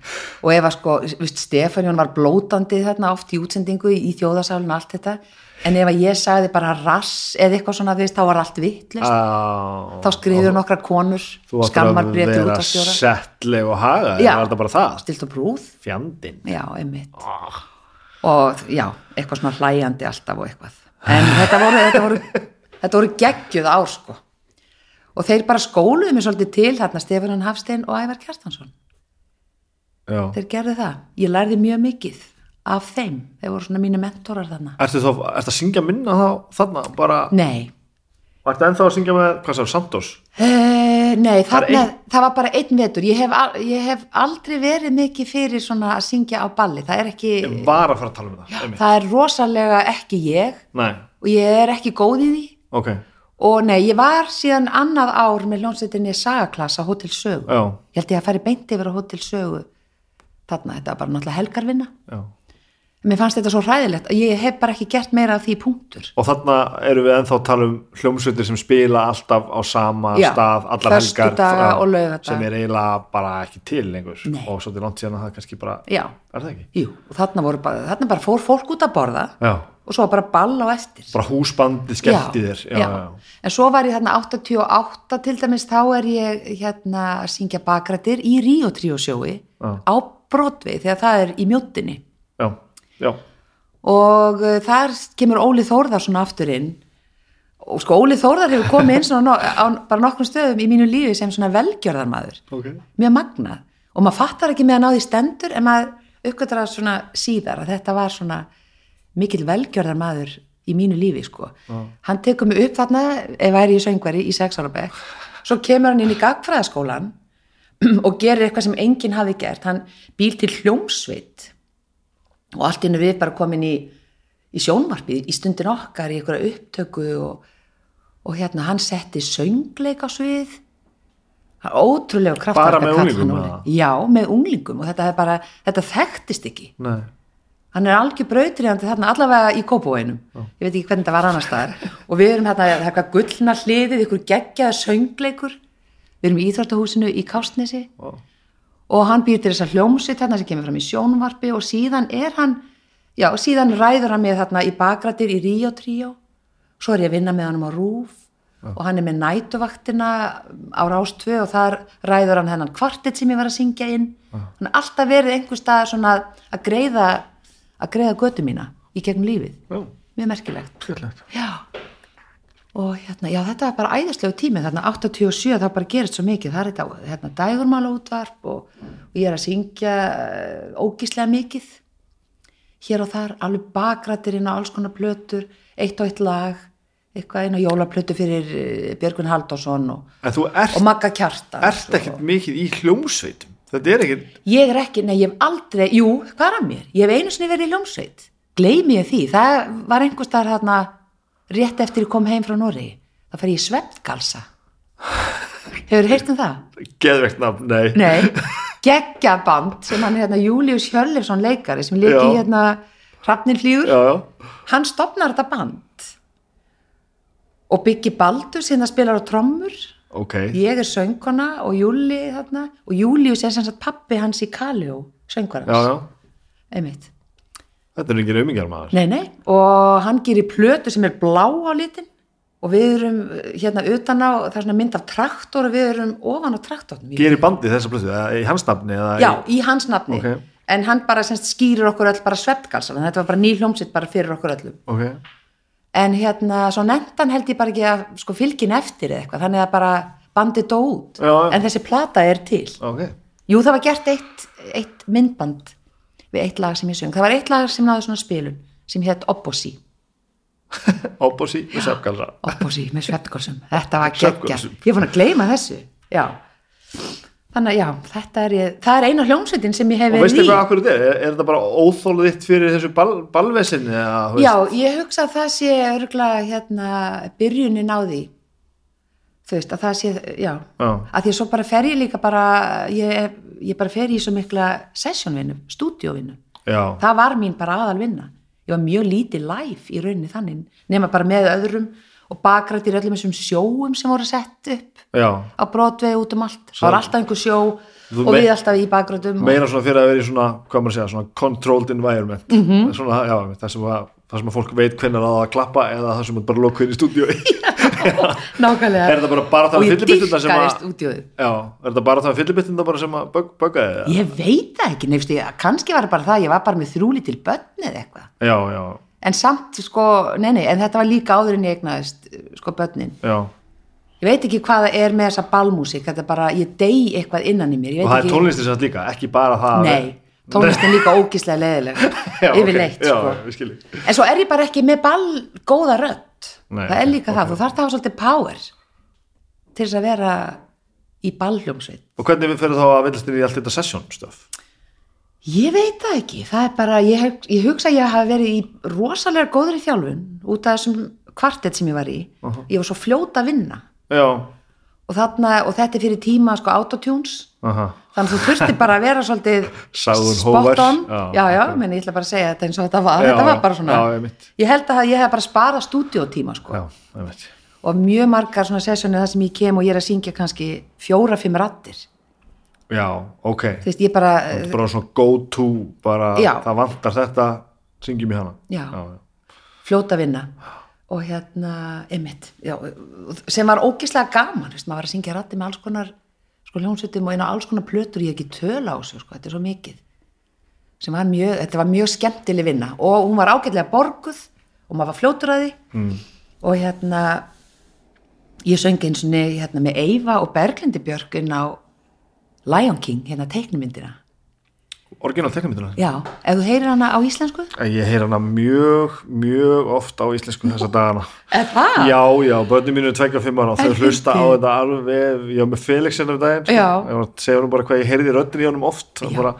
Speaker 2: og ef að sko, viðst, Stefanjón var blótandi þarna oft í útsendingu í þjóðasálinu allt þetta, en ef að ég sagði bara rass eða eitthvað svona, þú veist, þá var allt vittlust,
Speaker 1: Á,
Speaker 2: þá skriður nokkra konur
Speaker 1: Ah, þú áttir
Speaker 2: skammar
Speaker 1: að
Speaker 2: bref til
Speaker 1: vera
Speaker 2: útastjóra
Speaker 1: settleg og haga,
Speaker 2: Já.
Speaker 1: það var þetta bara það
Speaker 2: stilt og brúð,
Speaker 1: fjandinn
Speaker 2: já, einmitt
Speaker 1: Ah.
Speaker 2: og já, eitthvað svona hlæjandi alltaf og eitthvað en þetta voru, þetta voru, þetta voru geggjuð ár sko og þeir bara skóluðu mér svolítið til þarna Stefanjón Hafstein og Ævar Kjartansson
Speaker 1: Já.
Speaker 2: þeir gerðu það, ég lærði mjög mikið af þeim, þeir voru svona mínu mentorar þarna
Speaker 1: ertu þá, ertu að syngja minna þá þarna, bara,
Speaker 2: nei,
Speaker 1: ertu ennþá að syngja með hvað sér, Santos
Speaker 2: uh, nei
Speaker 1: Bara
Speaker 2: þarna,
Speaker 1: einn-
Speaker 2: það var bara einn vetur ég hef, al- ég hef aldrei verið mikið fyrir svona að syngja á balli, það er ekki
Speaker 1: ég var að fara að tala um það, einmitt.
Speaker 2: það er rosalega ekki ég
Speaker 1: nei,
Speaker 2: og ég er ekki góð í því
Speaker 1: ok,
Speaker 2: og nei, ég var síðan annað ár með ljónsettinni sagaklassa Hotel Sögu
Speaker 1: já,
Speaker 2: ég held ég að færi beint yfir á Hotel Sögu þarna, þetta var bara náttúrulega helgarvinna
Speaker 1: já
Speaker 2: mér fannst þetta svo hræðilegt að ég hef bara ekki gert meira af því punktur
Speaker 1: Og þarna erum við ennþá að tala um hljómsveitir sem spila alltaf á sama
Speaker 2: Já,
Speaker 1: stað, allar helgar
Speaker 2: föstudaga
Speaker 1: já,
Speaker 2: og laugardaga.
Speaker 1: sem er eiginlega bara ekki til lengur
Speaker 2: Nei.
Speaker 1: og svolítið langt síðan að það kannski bara
Speaker 2: já,
Speaker 1: er það ekki?
Speaker 2: Jú, og þarna, voru bara, þarna bara fór fólk út að borða
Speaker 1: Já,
Speaker 2: og svo bara ball á eftir.
Speaker 1: bara húsbandi skellti þér já, já. Já.
Speaker 2: En svo var ég þarna 88 til dæmis, þá er ég hérna að syngja bakrættir í Ríó Tríósjói
Speaker 1: Já.
Speaker 2: á Broadway þegar það er í mjóttinni.
Speaker 1: Já. Já.
Speaker 2: Og uh, þar kemur Óli Þórðar svona aftur inn og sko Óli Þórðar hefur komið inn svona no- á bara nokkrum stöðum í mínu lífi sem svona velgjörðarmadur.
Speaker 1: Okay.
Speaker 2: mjög magnað og maður fattar ekki meðan á því stendur en maður uppgötar það svona síðar að þetta var svona mikill velgjörðar maður í mínu lífi sko. hann tekur mig upp þarna ef væri ég söngveri í sex ára bekk svo kemur hann inn í gagfræðaskólan og gerir eitthvað sem enginn hafi gert hann býr til hljómsveit og allt innur við bara komin í, í sjónvarpið í stundin okkar í einhverja upptöku og, og hérna hann setti söngleik á svið Það er ótrúlega kraftverk
Speaker 1: Bara með unglingum, eða?
Speaker 2: Já, með unglingum og þetta, er bara, þetta þekktist ekki
Speaker 1: Nei.
Speaker 2: hann er algjör brautriðandi þarna allavega í kópóinum ég veit ekki hvernig þetta var annar staðar og við erum þarna, það er eitthvað gullna hliðið ykkur geggjaða söngleikur við erum í Íþróttahúsinu í Kástnesi
Speaker 1: Vá.
Speaker 2: og hann býr til þess að hljómsitt þarna sem kemur fram í sjónvarpi og síðan er hann já, síðan ræður hann með þarna í bakrættir í Ríó Tríó svo er ég að vinna með honum á Rúf og hann er með nætuvaktina á Rástvö og þar ræður hann hennan kvartett sem ég var að syngja inn hann er alltaf verið einhver stað svona að greiða að greiða götu mína í gegnum lífið
Speaker 1: Já.
Speaker 2: mjög merkilegt
Speaker 1: skemmtilegt.
Speaker 2: Já, og hérna, já þetta er bara æðislegu tími, þarna 87 það bara gerist svo mikið, það er þetta hérna, dægurmála útvarp og, og ég er að syngja uh, ógíslega mikið hér og þar, alveg bakrættir inn á alls konar plötur, eitt og eitt lag, eitthvað inn á jólaplötu fyrir eh, Björgvin Halldórsson og,
Speaker 1: En þú ert,
Speaker 2: og Magga Kjartan.
Speaker 1: ert ekkert mikið í hljómsveitum þetta er ekkert,
Speaker 2: Ég er ekki, nei, ég hef aldrei, jú, hvað er að mér? Ég hef einu sinni verið í ljómsveit. Gleimi ég því, það var einhvers staðar þarna rétt eftir ég kom heim frá Noregi. Það fer ég í svefngalsa. Hefur heyrt um það?
Speaker 1: geðveikt nafn, nei,
Speaker 2: Nei, geggjaband sem hann er hérna Július Hjörlefsson leikari sem leiki
Speaker 1: Já.
Speaker 2: í hérna Hrafnin flýgur.
Speaker 1: Já, já.
Speaker 2: Hann stopnar þetta band og byggi Baldur sem það spilar á trommur.
Speaker 1: ok,
Speaker 2: Ég er söngkona og Júli þarna og Július er sem sagt pappi hans í Kaljó, söngvarans
Speaker 1: já, já
Speaker 2: einmitt,
Speaker 1: þetta er engin aumingar maður
Speaker 2: nei nei og hann gerir plötu sem er blá á litin og við erum eh, hérna utan á, það er svona mynd af traktor og við erum ofan á traktornum Ég-
Speaker 1: gerir bandið þessa plötu, eða í hans nafni eða
Speaker 2: já,
Speaker 1: í,
Speaker 2: í hans nafni
Speaker 1: Ok.
Speaker 2: en hann bara semst skýrir okkur öll bara sveppgalsan, þetta var bara ný hljómsitt bara fyrir okkur öllum
Speaker 1: ok
Speaker 2: en hérna, svo nendan held ég bara ekki að sko fylgin eftir eða eitthvað, þannig að bara bandi dó út,
Speaker 1: Já, já.
Speaker 2: en þessi plata er til
Speaker 1: Ok,
Speaker 2: Jú, það var gert eitt, eitt myndband við eitt lag sem ég söng. Það var eitt lag sem náði svona spilun sem hétt Obbosi.
Speaker 1: Opposí og Seppgalsa
Speaker 2: Opposí með svefngolsum, þetta var geggja
Speaker 1: Svefngölsum.
Speaker 2: ég er búin að gleyma þessu já. þannig að já, þetta er ég, það er eina hljómsveitin sem ég hef
Speaker 1: Og veistu
Speaker 2: verið í
Speaker 1: hvað akkur þetta er? er? Er þetta bara óþólið þitt fyrir þessu bal, balvesinni? Eða, þú
Speaker 2: já,
Speaker 1: veist?
Speaker 2: ég hugsa að það sé örgla hérna, byrjunin á því þú veist, að það sé já,
Speaker 1: Já.
Speaker 2: að því að svo bara fer ég líka bara ég, ég bara fer í svo mikla sessionvinnu, stúdíóvinnu
Speaker 1: Já.
Speaker 2: það var mín bara aðal vinna ég var mjög lítið live í rauninni þannig nema bara með öðrum og bakrættir öllum þessum sjóum sem voru sett upp
Speaker 1: Já.
Speaker 2: á brotvei út um allt það var alltaf einhver sjó
Speaker 1: Þú
Speaker 2: og við
Speaker 1: mein-
Speaker 2: alltaf í bakgrættum og...
Speaker 1: Meina svona fyrir að vera í svona, hvað maður segja, svona controlled environment.
Speaker 2: Mhm.
Speaker 1: -hmm. svona, já, það, sem að, það sem að fólk veit hvernig það á að klappa eða það sem að bara loka inn í stúdíu.
Speaker 2: nákvæmlega
Speaker 1: Er þetta bara bara það
Speaker 2: og ég
Speaker 1: fyllibitunda sem
Speaker 2: dýrkaði
Speaker 1: að-
Speaker 2: stúdíóið
Speaker 1: já, er þetta bara það fyllibittinda bara sem að bög, böggaði það?
Speaker 2: ég veit það ekki, nefnst ég kannski var það bara það, að ég var bara með þrúlítil börn eða eitthvað,
Speaker 1: Já, já,
Speaker 2: en samt sko, nei nei, en þetta var líka áður en ég egnaðist sko börnin,
Speaker 1: já.
Speaker 2: ég veit ekki hvað það er með þessa balmúsík, þetta er bara, ég dey eitthvað innan í mér, ég
Speaker 1: Og
Speaker 2: veit
Speaker 1: það er
Speaker 2: ekki
Speaker 1: tónlistin sem þetta líka, ekki bara það. að-
Speaker 2: Nei, tónlistin líka ógíslega leðileg
Speaker 1: Já,
Speaker 2: yfir
Speaker 1: ok,
Speaker 2: neitt
Speaker 1: Já,
Speaker 2: sko.
Speaker 1: við skiljum.
Speaker 2: En svo er ég bara ekki með ball góða rödd
Speaker 1: Nei,
Speaker 2: Það er
Speaker 1: ok,
Speaker 2: líka það, þú þarft að hafa svolítið power til þess að vera í ballhljómsveit
Speaker 1: Og hvernig við fyrir þá að villast inn í allt þetta session stuff?
Speaker 2: Ég veit það ekki, það er bara ég, hef, ég hugsa að ég hafa verið í rosalega góðri þjálfun út af þessum kvartett sem ég var í Ég var svo fljóta að vinna
Speaker 1: Já,
Speaker 2: og, þarna, og þetta er fyrir tíma sko autotunes
Speaker 1: aha.
Speaker 2: Þannig að þú þurfti bara að vera svolítið
Speaker 1: Sagði hún
Speaker 2: spot
Speaker 1: hógvær.
Speaker 2: on. Já,
Speaker 1: Já,
Speaker 2: já, já
Speaker 1: ok.
Speaker 2: menn ég ætla bara að segja þetta eins og þetta var.
Speaker 1: Já,
Speaker 2: þetta var
Speaker 1: já,
Speaker 2: bara svona.
Speaker 1: já, einmitt.
Speaker 2: ég held að ég hef bara sparað stúdíótíma, sko.
Speaker 1: Já, ég veit.
Speaker 2: Og mjög margar svona sessjónir þar sem ég kem og ég er að syngja kannski fjóra, fimm rattir.
Speaker 1: Já, ok.
Speaker 2: Þú veist, ég bara,
Speaker 1: Þetta er bara svona go to, bara
Speaker 2: Já.
Speaker 1: það vantar þetta, syngjum í hana.
Speaker 2: Já.
Speaker 1: já.
Speaker 2: fljóta vinna. Og hérna, einmitt, já, sem var ógislega gaman, þú veist, maður var að syngja rattir með alls konar, sko, hljónsutum og einu alls konar plötur ég hef ekki töl á þessu, sko, þetta er svo mikið. sem var mjög, þetta var mjög skemmtileg vinna og hún var ágætlega borguð og maður var fljótur að því mm. og hérna ég söng eins og niður hérna, með Eyva og Berglindi Björk inn á Lion King, hérna teiknumyndina
Speaker 1: Orginal teknumyndina.
Speaker 2: já, ef þú heyrir hana á íslensku
Speaker 1: Ég heyr hana mjög, mjög oft á íslensku þessa dagana.
Speaker 2: er það?
Speaker 1: Já, já, börnum mínu er 25 ára og
Speaker 2: En
Speaker 1: þau hlusta á
Speaker 2: fyndið.
Speaker 1: þetta alveg, ég var með Felix hennar daginn, sko.
Speaker 2: Já.
Speaker 1: ég var að segja hún bara hvað ég heyrði röddin í honum oft,
Speaker 2: Já.
Speaker 1: bara,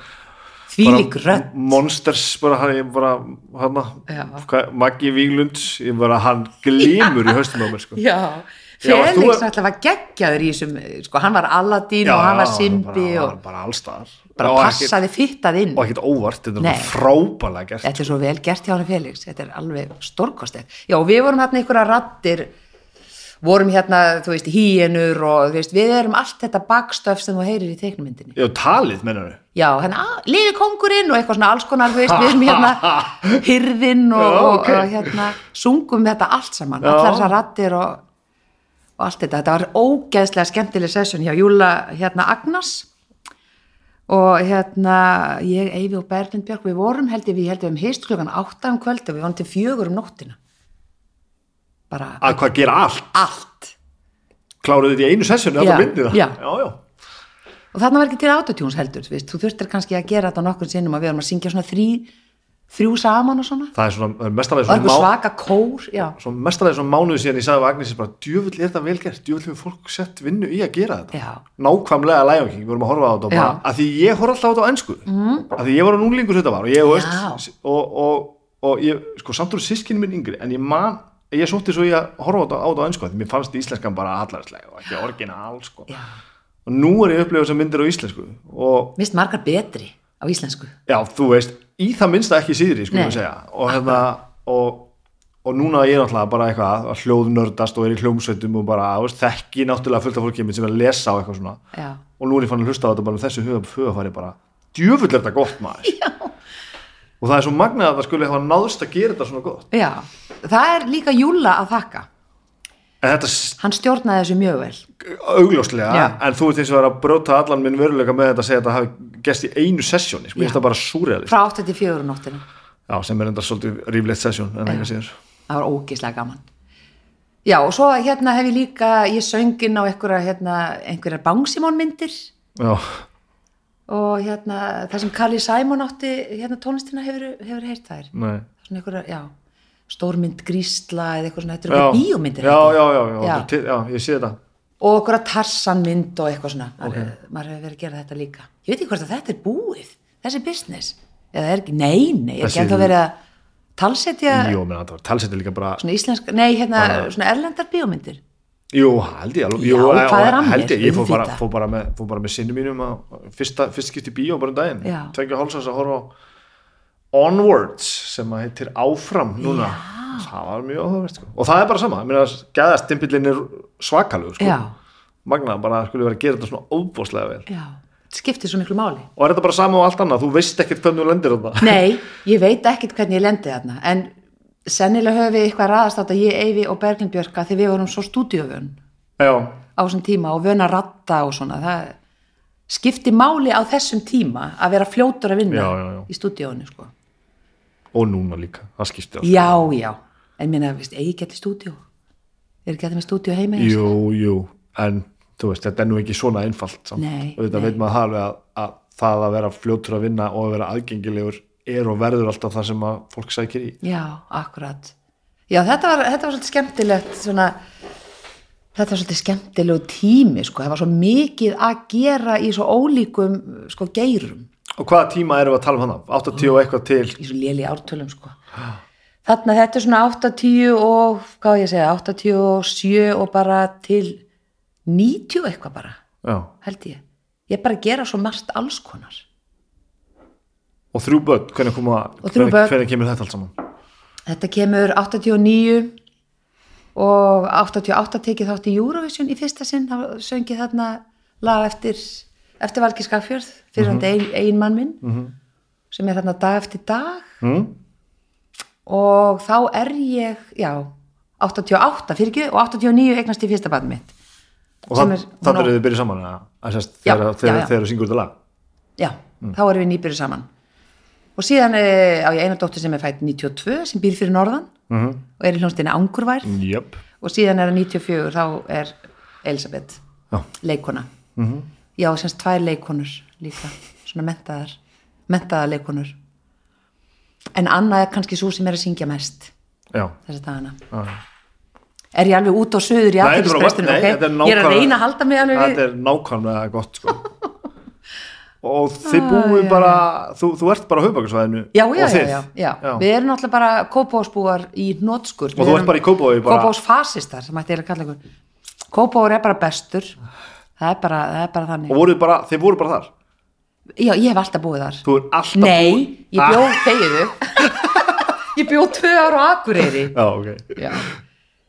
Speaker 2: því
Speaker 1: bara
Speaker 2: lík rödd
Speaker 1: Monsters, bara hann, ég bara, hann,
Speaker 2: Já.
Speaker 1: hvað, Maggi Víglund, ég bara, hann glímur í höstum á mér, sko.
Speaker 2: já,
Speaker 1: Já, varst þú
Speaker 2: Felix
Speaker 1: að-
Speaker 2: náttúrulega var geggjaður í þessum sko, hann var Aladdin og hann var Simbi
Speaker 1: bara, bara,
Speaker 2: og
Speaker 1: bara allstaðar.
Speaker 2: bara
Speaker 1: Og ekkert-
Speaker 2: passaði fyttað inn
Speaker 1: og ekkert óvart, þetta er
Speaker 2: Nei.
Speaker 1: bara frábælega gert
Speaker 2: Þetta er svo vel gert hjá hann Felix, þetta er alveg stórkostið. Já, og við vorum hérna einhverja rattir, vorum hérna, þú veist, híenur og þú veist, við erum allt þetta bakstöf sem þú heyrir í teiknumyndinni.
Speaker 1: Já, talið, mennar við
Speaker 2: Já, hérna, "Ah, lifi kongurinn og eitthvað svona alls konar, þú veist, við erum hérna hyrðinn og,
Speaker 1: Já, ok.
Speaker 2: og, og hérna, sungum þetta allt saman,
Speaker 1: Já.
Speaker 2: allar þessar rattir og, og allt þetta. Þetta var ógeðslega skemmtileg session hjá Júla, hérna, Agnars og hérna ég, Eyvi og Berglind Björk við vorum held ég, við heldum við heist klukkan átta um kvöldu, við vorum til fjögur um nóttina bara
Speaker 1: að hvað gera allt,
Speaker 2: allt
Speaker 1: kláruðu þetta í einu sessjónu
Speaker 2: Já,
Speaker 1: alltaf myndið það
Speaker 2: já.
Speaker 1: já, já.
Speaker 2: og þarna var ekki til autotunes heldur þú veist, þú þurftir kannski að gera þetta nokkur sinnum að við vorum að syngja svona þrý, þrjú saman og svona,
Speaker 1: það er svona
Speaker 2: og
Speaker 1: mestalega
Speaker 2: eitthvað
Speaker 1: svona,
Speaker 2: svaka kór já,
Speaker 1: má, svona, mestalega svona mánuði síðan ég sagði við Agnesi bara, djöfull er þetta vel gert djöfull hefur fólk sett vinnu í að gera þetta
Speaker 2: Já.
Speaker 1: nákvæmlega Lion King, við vorum að horfa á þetta og bara,
Speaker 2: Já.
Speaker 1: að því ég horf alltaf á þetta á ennsku mm. að því ég var að núlingur þetta var og ég, veist,
Speaker 2: Já.
Speaker 1: og, og, og ég, sko samt úr sískinu minn yngri, en ég man ég sótti svo í að horfa á þetta á þetta á ennsku af því mér fannst íslenskan bara allarslega og ekki orginal sko.
Speaker 2: já,
Speaker 1: og nú er ég upplifað sem myndir á íslensku og
Speaker 2: mist margar betri á íslensku
Speaker 1: já, þú veist, í það minnsta ekki síðri, sko
Speaker 2: Nei.
Speaker 1: við segja og, hérna, og, og núna ég er náttúrulega bara eitthvað að hljóðnördast og er í hljómsveitum og bara, þú veist, þekki náttúrulega fullt af fólki mitt sem er að lesa á eitthvað svona
Speaker 2: já,
Speaker 1: og nú er ég fann að hlusta á þetta bara með þessu huga- hugafæri bara, djöfull er þetta gott maður já. og það er svo magnað að það skulle hafa náðst að gera þetta svona gott
Speaker 2: já það er líka Júla að þakka
Speaker 1: en þetta s-
Speaker 2: hann stjórnaði þessu mjög vel
Speaker 1: augljóslega,
Speaker 2: Já.
Speaker 1: en þú veist eins og það er að brjóta allan minn veruleika með þetta að segja að þetta hafi gest í einu sessjóni, sko, ég
Speaker 2: Já.
Speaker 1: veist það bara súrið
Speaker 2: frá 84 nóttina
Speaker 1: já, sem er enda svolítið ríflegt sessjón en ekki síður
Speaker 2: það var ógeðslega gaman já og svo hérna hef ég líka ég söngin á einhverja hérna, einhverjar bangsimónmyndir
Speaker 1: já.
Speaker 2: og hérna það sem Carly Simon átti hérna tónlistina hefur, hefur heyrt þær
Speaker 1: Nei,
Speaker 2: svona einhverjar, já stórmynd grísla eða eitthvað svona, þetta eru
Speaker 1: Já.
Speaker 2: eitthvað bíómyndir
Speaker 1: já,
Speaker 2: held ég.
Speaker 1: já, já, já,
Speaker 2: Já.
Speaker 1: já. Til, já, ég sé þetta
Speaker 2: og okkur að tarsanmynd og eitthvað svona okay. maður hefur verið að gera þetta líka ég veit ekki hvort að þetta er búið, þessi business eða er ekki, nei, nei, er
Speaker 1: Þessi-
Speaker 2: ekki ennþá verið að talsetja
Speaker 1: Jó, menn, það var talsettir líka bara
Speaker 2: svona íslensk, nei, hérna svona erlendar bíómyndir
Speaker 1: Jú, held ég alveg
Speaker 2: Já,
Speaker 1: jú,
Speaker 2: hvað er að mér?
Speaker 1: Held ég, ég fór bara,
Speaker 2: Auðvitað.
Speaker 1: fór bara með, fór bara með sinni mínum að fyrsta, fyrst skipti í bíó bara um daginn
Speaker 2: Já.
Speaker 1: Tveggja hálsans að horfa á Onwards sem að heitir Áfram núna Það var mjög áhverfist sko. Og það er bara sama, ég meina að geða stimpillin er svakalug sko.
Speaker 2: Já.
Speaker 1: Magnað bara að skulle vera að gera þetta svona óbúslega vel
Speaker 2: já, þetta skiptir svo miklu máli
Speaker 1: Og er þetta bara sama á allt annað, þú veist ekkert hvernig þú lendir þetta
Speaker 2: Nei, ég veit ekkert hvernig ég lendi þarna en sennilega höfum við eitthvað raðast á þetta ég, Eyvi og Berglind Björka þegar við vorum svo stúdíovön
Speaker 1: Já,
Speaker 2: á þessum tíma og vön að ratta og svona það skipti máli á þessum tíma að vera fljótur að vinna
Speaker 1: Já, já, já.
Speaker 2: í stúdíónu sko.
Speaker 1: og núna líka, það skipti allt
Speaker 2: Já, já, en minna, veist, Eyvi getur stúdíó er ekki að það með stúdíó heima hjá sér?
Speaker 1: Jú, jú, en þú veist, þetta er nú ekki svona einfalt samt.
Speaker 2: Nei,
Speaker 1: og þetta
Speaker 2: nei.
Speaker 1: veit maður það alveg að, að það að vera fljótur að vinna og að vera aðgengilegur er og verður alltaf það sem að fólk sækir í
Speaker 2: Já, akkurat. Já, þetta var, þetta var svolítið skemmtilegt, svona, þetta var svolítið skemmtilegu tími, sko, það var svo mikið að gera í svo ólíkum, sko, geirum,
Speaker 1: Og hvaða tíma erum við að tala um hann af? 80 og eitthvað til
Speaker 2: í svo léli ártölum, sko. Þarna þetta er svona 80 og, hvað á ég að segja, 87 og bara til 90 eitthvað bara,
Speaker 1: Já,
Speaker 2: held ég. Ég er bara að gera svo margt alls konar.
Speaker 1: og þrjú börn, hvernig koma
Speaker 2: Og þrjú
Speaker 1: hvernig,
Speaker 2: börn.
Speaker 1: hvernig kemur þetta allt saman?
Speaker 2: Þetta kemur 89 og 88 tekið þátt í Eurovision í fyrsta sinn, þá söngið þarna lag eftir, eftir Valgi Skafjörð, fyrir hann ein, ein mann minn, sem er þarna dag eftir dag
Speaker 1: Mm?
Speaker 2: og þá er ég, já, 88 fyrir ekki og 89 eignast í fyrsta barn mitt.
Speaker 1: Og
Speaker 2: Sem
Speaker 1: það,
Speaker 2: er-
Speaker 1: það
Speaker 2: hún á-
Speaker 1: eru þið byrjuð saman að, að sérst,
Speaker 2: Já,
Speaker 1: þegar,
Speaker 2: já,
Speaker 1: þegar,
Speaker 2: já.
Speaker 1: þegar þú syngur þetta lag
Speaker 2: Já, þá erum við nýbyrju saman. Og síðan eh, á ég eina dóttur sem er fætt 92 sem býr fyrir norðan og er í hljónstinni Angurvær.
Speaker 1: Jöp,
Speaker 2: og síðan er það 94 þá er Elisabeth
Speaker 1: já, Mhm.
Speaker 2: leikona mm -hmm. já, semst tvær leikonur líka svona mentaðar, mentaðar leikonur en Anna er kannski svo sem er að syngja mest
Speaker 1: já
Speaker 2: þessa dagana
Speaker 1: Já.
Speaker 2: er ég alveg út og söður í
Speaker 1: Nei, þetta er bara-
Speaker 2: aðeinsprestinu
Speaker 1: nei, þetta
Speaker 2: ég er að
Speaker 1: nákvæmlega-
Speaker 2: reyna að halda mig alveg
Speaker 1: þetta
Speaker 2: við
Speaker 1: er nákvæmlega gott sko. og þið búið bara þú, þú ert bara á höfbakarsvæðinu
Speaker 2: Já, já,
Speaker 1: og
Speaker 2: já,
Speaker 1: þið
Speaker 2: já, já, við erum náttúrulega bara kópásbúar í hnótskur
Speaker 1: Og þú ert bara í Kópavogi, bara-
Speaker 2: Kópásfasistar, sem ætti ég að kalla ykkur Kópáur er bara bestur það er bara, það er bara þannig
Speaker 1: og voruð bara, þið voruð bara þar
Speaker 2: Já, ég hef alltaf búið þar
Speaker 1: þú er alltaf
Speaker 2: Nei, ég bjó,
Speaker 1: Ah.
Speaker 2: þegiðu Ég bjó tvö ára á Akureyri
Speaker 1: Ah, já, ok
Speaker 2: Já.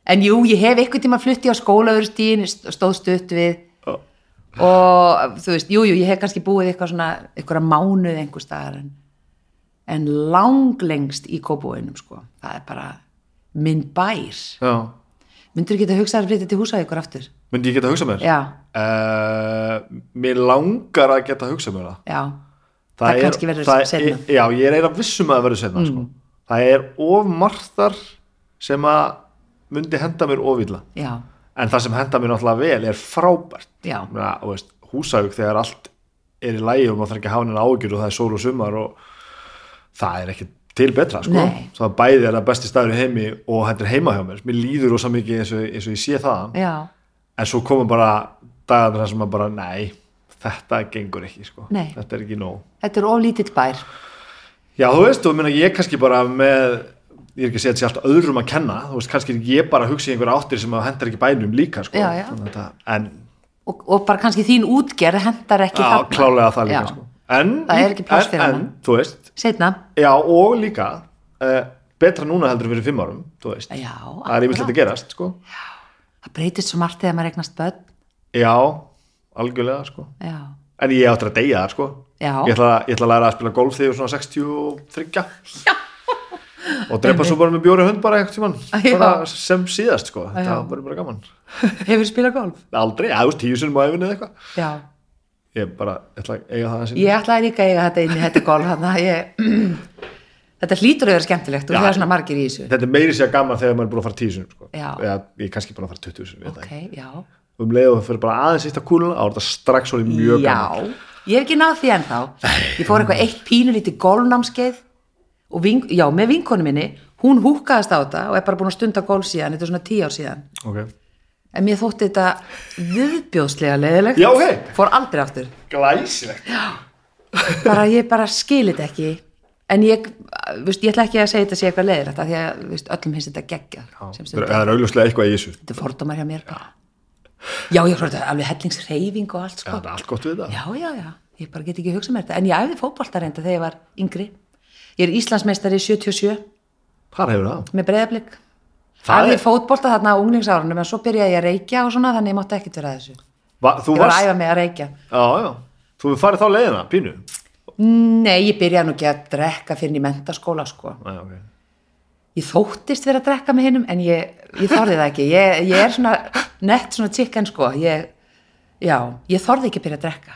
Speaker 2: En jú, ég hef einhvern tíma flutti á skólaverstíðin stóð stutt við
Speaker 1: Já.
Speaker 2: og þú veist, jú, jú, ég hef kannski búið eitthvað svona, einhverja mánuð einhver staðar en, en langlengst í kópúinum, sko það er bara minn bær
Speaker 1: já.
Speaker 2: Myndur þú geta hugsað að flytja til húsa ykkur aftur?
Speaker 1: myndi ég geta að hugsa mér
Speaker 2: Já,
Speaker 1: Eh, mér langar að geta að hugsa mér það
Speaker 2: já Það kannski verður seinna. Mm.
Speaker 1: er- já, ég er eiginlega viss um að það verður setna sko. það er of margt þar sem að myndi henda mér ofilla
Speaker 2: Já,
Speaker 1: en það sem henda mér náttúrulega vel er frábært
Speaker 2: Já.
Speaker 1: Meina, og veist, húsauk þegar allt er í lægi og maður þarf ekki að hafa henni ágjur og það er sól og sumar og það er ekki til betra sko.
Speaker 2: Nei.
Speaker 1: það bæði er það besti staður í heimi og þetta er heima hjá mér, mér líður rosa mikið eins og, eins og ég sé það
Speaker 2: já,
Speaker 1: en svo koma bara dagarnar þar sem maður bara nei, þetta gengur ekki sko.
Speaker 2: Nei.
Speaker 1: þetta er ekki nóg
Speaker 2: þetta er ólítill bær
Speaker 1: Já, þú veist, og minna, ég kannski bara með, ég er ekki að segja þetta sé allt öðrum að kenna, þú veist, kannski er ég bara að hugsa í einhverja áttir sem að hendar ekki bænum líka, sko.
Speaker 2: Já, já.
Speaker 1: Þannig að það- En,
Speaker 2: og, og bara kannski þín útgerð hendar ekki
Speaker 1: já,
Speaker 2: þarna.
Speaker 1: klálega það líka,
Speaker 2: Já.
Speaker 1: sko. En,
Speaker 2: Það er ekki pláss fyrir
Speaker 1: en, en,
Speaker 2: hana.
Speaker 1: þú veist,
Speaker 2: Seinna.
Speaker 1: já, og líka, uh, betra núna heldur en fyrir fimm árum, þú veist.
Speaker 2: Já,
Speaker 1: Það er yfirlega að gerast, sko.
Speaker 2: það breytist svo margt þegar maður eignast börn
Speaker 1: Já, algjörlega, sko.
Speaker 2: já,
Speaker 1: En ég áttur að deyja það, sko.
Speaker 2: Já.
Speaker 1: Ég ætla, ég ætla að læra að spila golf þegar ég er svona 63. Já. Og drepa svo bara með bjóri hund bara einhvern
Speaker 2: Já.
Speaker 1: tímann. Bara sem síðast, sko.
Speaker 2: Já.
Speaker 1: Það verður bara gaman.
Speaker 2: hefur spilað golf
Speaker 1: Aldrei, eða þú veist, tíu sinnum á efinu eða eitthvað.
Speaker 2: já,
Speaker 1: Ég bara ætla að eiga það að sinni.
Speaker 2: ég ætlaði líka að eiga þetta inn í þetta golf þannig að ég þetta hlýtur að vera skemmtilegt og
Speaker 1: Já.
Speaker 2: það er svona margir í þessu
Speaker 1: Þetta er meiri sér gaman þegar maður er búin að fara tíu sinnum, sko.
Speaker 2: Já.
Speaker 1: Eða ég er kannski búin að fara 20 sinnum, ég veit
Speaker 2: ok,
Speaker 1: það ekki.
Speaker 2: já,
Speaker 1: Um leið og fyrir bara aðeins eitt að kúluna, þá er þetta strax svolítið mjög gaman.
Speaker 2: já ég hef ekki náð því ennþá ég fór eitthvað eitt pínu lítið golfnámskeið og ving, já, með vinkonu minni hún húkaðast á þetta og er bara búin að stunda golf síðan, þetta er svona tíu ár síðan
Speaker 1: ok,
Speaker 2: en mér þótti þetta viðbjóðslega leiðilegt
Speaker 1: Já, ok.
Speaker 2: fór aldrei aftur
Speaker 1: glæsilegt
Speaker 2: bara ég bara skil þetta ekki en ég, viðst, ég ætla ekki að segja þetta sé eitthvað leiðilegt af því að viðst, öllum finnst þetta geggja sem
Speaker 1: það
Speaker 2: stundar,
Speaker 1: er augljóslega eitthvað í þessu
Speaker 2: þetta er fordómar hjá mér bara. já, ég hrótti alveg hellingsreyfing og allt
Speaker 1: Já,
Speaker 2: sko.
Speaker 1: það er allt gott við það
Speaker 2: já, já, já, ég bara get ekki hugsað mér þetta en ég æfði fótbolta reynda þegar ég var yngri ég er Íslandsmeistari í 77
Speaker 1: Hvar hefur það?
Speaker 2: með breyðablík
Speaker 1: Það
Speaker 2: æfði
Speaker 1: er-
Speaker 2: fótbolta þarna á unglingsárunum en svo byrjaði ég að reykja og svona þannig ég mátti ekkert vera að þessu ég
Speaker 1: Va, þú
Speaker 2: var að
Speaker 1: varst,
Speaker 2: æfa mig að reykja
Speaker 1: já, já, þú hefur farið þá leiðina, pínu
Speaker 2: nei, ég byrjaði nú ekki að drekka fyrir en í mentaskóla sko.
Speaker 1: Æ, okay.
Speaker 2: ég þóttist vera að drekka með hinnum en ég, ég þorði það ekki ég, ég er svona nett svona chicken sko ég, já, ég þorði ekki að byrja að drekka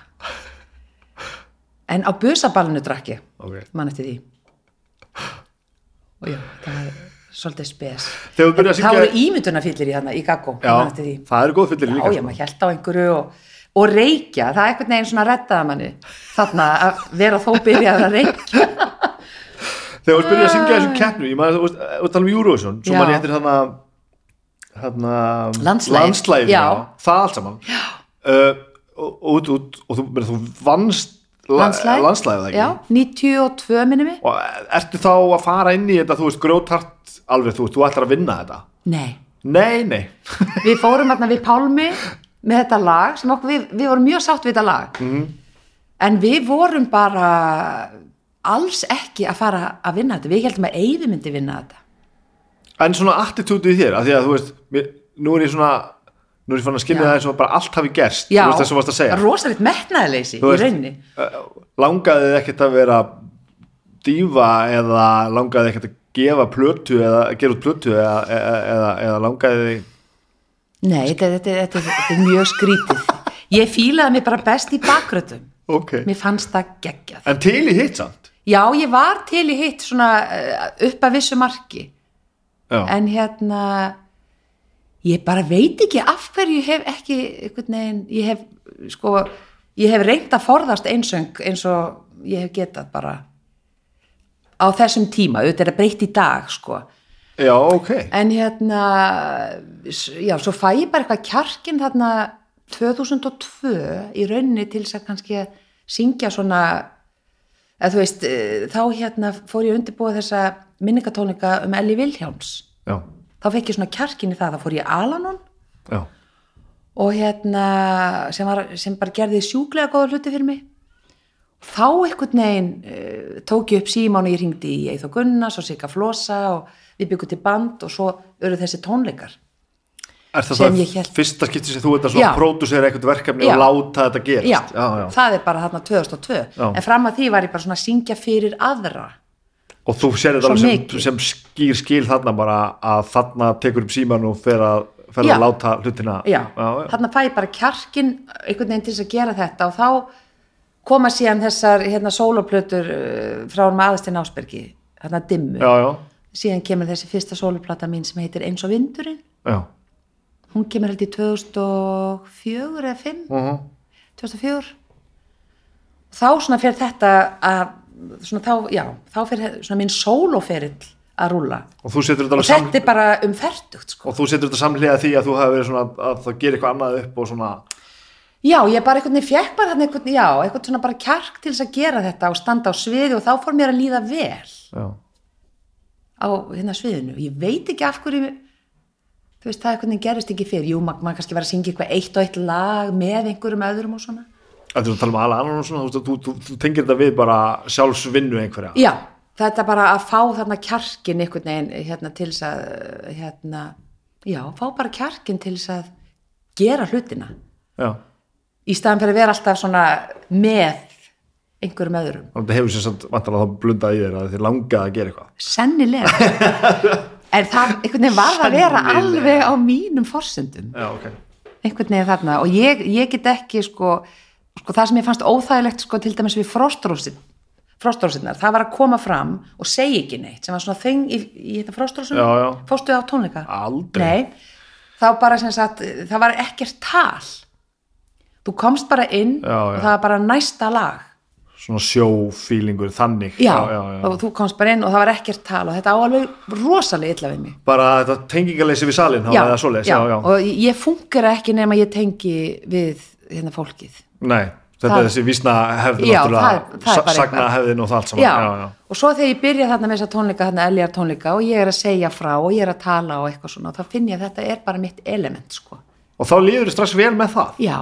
Speaker 2: en á busaballinu drakk ég
Speaker 1: Ok.
Speaker 2: mann eftir því og já, það var svolítið spes
Speaker 1: Þegar þú byrjaði að
Speaker 2: það
Speaker 1: syngja-
Speaker 2: voru ímyndunarfyllir í þarna í Gaggo mann eftir því
Speaker 1: Já, það eru góð fyllir líka
Speaker 2: Já, já,
Speaker 1: sko.
Speaker 2: maður held á einhverju og, og reykja, það er einhvern veginn svona rettaða manni þarna að vera þó byrjað að reykja
Speaker 1: Þegar þú byrjaði að syngja þessum keppnu Ég maður, þú veist, þú tala um Eurovision Svo
Speaker 2: Ah. Já.
Speaker 1: mann eftir þarna þarna
Speaker 2: Landslagið.
Speaker 1: landslægir
Speaker 2: Já.
Speaker 1: Það allt saman uh, og, og, út- út- og þú, meina, þú vannst
Speaker 2: landslæg,
Speaker 1: landslægið ekki
Speaker 2: já, 92 minni mig,
Speaker 1: Og eh, ertu þá að fara inn í þetta Þú veist, grótart alveg Þú, veist, þú ætlar að vinna þetta
Speaker 2: nei
Speaker 1: Nei, nei
Speaker 2: við fórum þarna við Pálmi með þetta lag sem okkur, við, við vorum mjög sátt við þetta lag
Speaker 1: Mhm.
Speaker 2: en við vorum bara alls ekki að fara að vinna þetta við heldum að Eyvi myndi vinna þetta
Speaker 1: En svona attitúti í þér af Því að þú veist, mér, nú er ég svona Nú er ég fann að skynja
Speaker 2: Já.
Speaker 1: það eins og bara allt hafi gerst
Speaker 2: já,
Speaker 1: Þú veist þessum varst að segja
Speaker 2: rosalegt metnaðileysi
Speaker 1: Þú
Speaker 2: í
Speaker 1: veist-
Speaker 2: rauninni
Speaker 1: Uh, langaði þið ekkert að vera dífa eða langaði þið ekkert að gefa plötu eða gera út plötu eða, eða, eða, eða langaði þið
Speaker 2: nei, þetta, þetta, þetta, þetta er mjög skrítið ég fílaði mig bara best í bakrötum
Speaker 1: ok,
Speaker 2: mér fannst það geggjað
Speaker 1: en til í hitt samt
Speaker 2: já, ég var til í hitt svona eh, upp að vissu marki
Speaker 1: já,
Speaker 2: en hérna ég bara veit ekki af hverju ég hef ekki einhvern veginn, ég hef sko, ég hef reynd að forðast einsöng eins og ég hef getað bara á þessum tíma, auðvitað er að breytt í dag sko,
Speaker 1: já ok
Speaker 2: en hérna s- já, svo fæ ég bara eitthvað kjarkin þarna 2002 í rauninni til þess að kannski að syngja svona eða þú veist, eh, þá hérna fór ég að undirbúa þessa minningatónleika um Ellie Vilhjáms
Speaker 1: já,
Speaker 2: þá fekk ég svona kjarkin í það, þá fór ég í Alanon
Speaker 1: já,
Speaker 2: og hérna sem, var, sem bara gerði sjúklega góða hluti fyrir mig og þá einhvern veginn uh, tók ég upp síman og ég ringdi í Eithó Gunnars og Sigga Flosa og við byggum til band og svo eru þessi tónleikar
Speaker 1: er það
Speaker 2: Sem
Speaker 1: það
Speaker 2: ég hélt-
Speaker 1: fyrsta skipti sem þú þetta svona
Speaker 2: Já.
Speaker 1: pródusera eitthvað verkefni
Speaker 2: Já.
Speaker 1: og láta þetta
Speaker 2: já,
Speaker 1: gerast já, já.
Speaker 2: það er bara þarna 2002
Speaker 1: Já.
Speaker 2: en fram að því var ég bara svona að syngja fyrir aðra
Speaker 1: og þú sér
Speaker 2: Svo
Speaker 1: þetta alveg
Speaker 2: mikið.
Speaker 1: sem, sem skýr skil þarna bara að þarna tekur upp síman og fer að, fer
Speaker 2: Já.
Speaker 1: að láta hlutina
Speaker 2: já,
Speaker 1: já, já.
Speaker 2: þarna fæ ég bara kjarkin einhvern veginn til þess að gera þetta og þá koma síðan þessar hérna sóloplötur uh, frá hún með aðastinn Ásbergi, þarna dimmu
Speaker 1: Já, já,
Speaker 2: síðan kemur þessi fyrsta sóluplata mín sem heitir Eins og vindurinn
Speaker 1: já.
Speaker 2: hún kemur held í 2004 eða 5,
Speaker 1: Uh
Speaker 2: 2004 þá svona fer þetta að, svona þá, já þá fer svona minn sóloferill að rúla
Speaker 1: og þú setur þetta
Speaker 2: og
Speaker 1: alveg sam-
Speaker 2: þetta er bara um ferdugt sko
Speaker 1: og þú setur þetta samlega því að þú hafi verið svona að það gerir eitthvað annað upp og svona
Speaker 2: já, ég bara einhvern veginn fekk bara þarna einhvern, já, einhvern svona bara kjark til þess að gera þetta og standa á sviði og þá fór mér að líða vel
Speaker 1: já,
Speaker 2: á hérna sviðinu ég veit ekki af hverju þú veist það er hvernig gerist ekki fyrir jú, maður mað kannski var að syngja eitthvað eitt og eitt lag með einhverjum öðrum og svona
Speaker 1: þetta er að tala um alla annan og svona þú, þú, þú, þú tengir þetta við bara sjálfsvinnu einhverja
Speaker 2: já, þetta bara að fá þarna kjarkin einhvern veginn hérna til þess að hérna, já, fá bara kjarkin til þess að gera hlutina
Speaker 1: já,
Speaker 2: í staðan fyrir að vera alltaf svona með einhverjum öðrum
Speaker 1: þannig að þetta hefur sér samt vantarlega þá blundað í þér að þið langaði að gera eitthvað
Speaker 2: sennilega en það einhvern veginn var að vera
Speaker 1: Sennilega.
Speaker 2: alveg á mínum forsendum
Speaker 1: já, ok,
Speaker 2: einhvern veginn þarna og ég, ég get ekki sko, sko það sem ég fannst óþægilegt sko til dæmis við frostrósin frostrósinnar, það var að koma fram og segja ekki neitt, sem var svona þeng í, í þetta frostrósum,
Speaker 1: Já, já.
Speaker 2: fórstu á tónleika
Speaker 1: Aldrei.
Speaker 2: Nei, þá bara sem sagt það var ekkert tal þú komst bara inn
Speaker 1: Já, já.
Speaker 2: og það var bara næsta lag
Speaker 1: svona sjófílingur þannig
Speaker 2: já,
Speaker 1: já, já.
Speaker 2: og þú komst bara inn og það var ekkert tal og þetta á alveg rosalega illa við mig
Speaker 1: bara þetta tengingaleysi við salin þá var það svoleiðis, já, já,
Speaker 2: og ég fungur ekki nema ég tengi við hérna fólkið
Speaker 1: nei, þetta
Speaker 2: Það-
Speaker 1: er þessi vísna hefði
Speaker 2: Já, það er- það er bara
Speaker 1: sagna
Speaker 2: eitthvað.
Speaker 1: hefðin og það allt saman
Speaker 2: já.
Speaker 1: já, já.
Speaker 2: og svo þegar ég byrja þarna með þessa tónleika þarna eljar tónleika og ég er að segja frá og ég er að tala og eitthvað svona, þá finn ég að þetta er bara mitt element sko,
Speaker 1: og þá líður þið strax vel með það
Speaker 2: já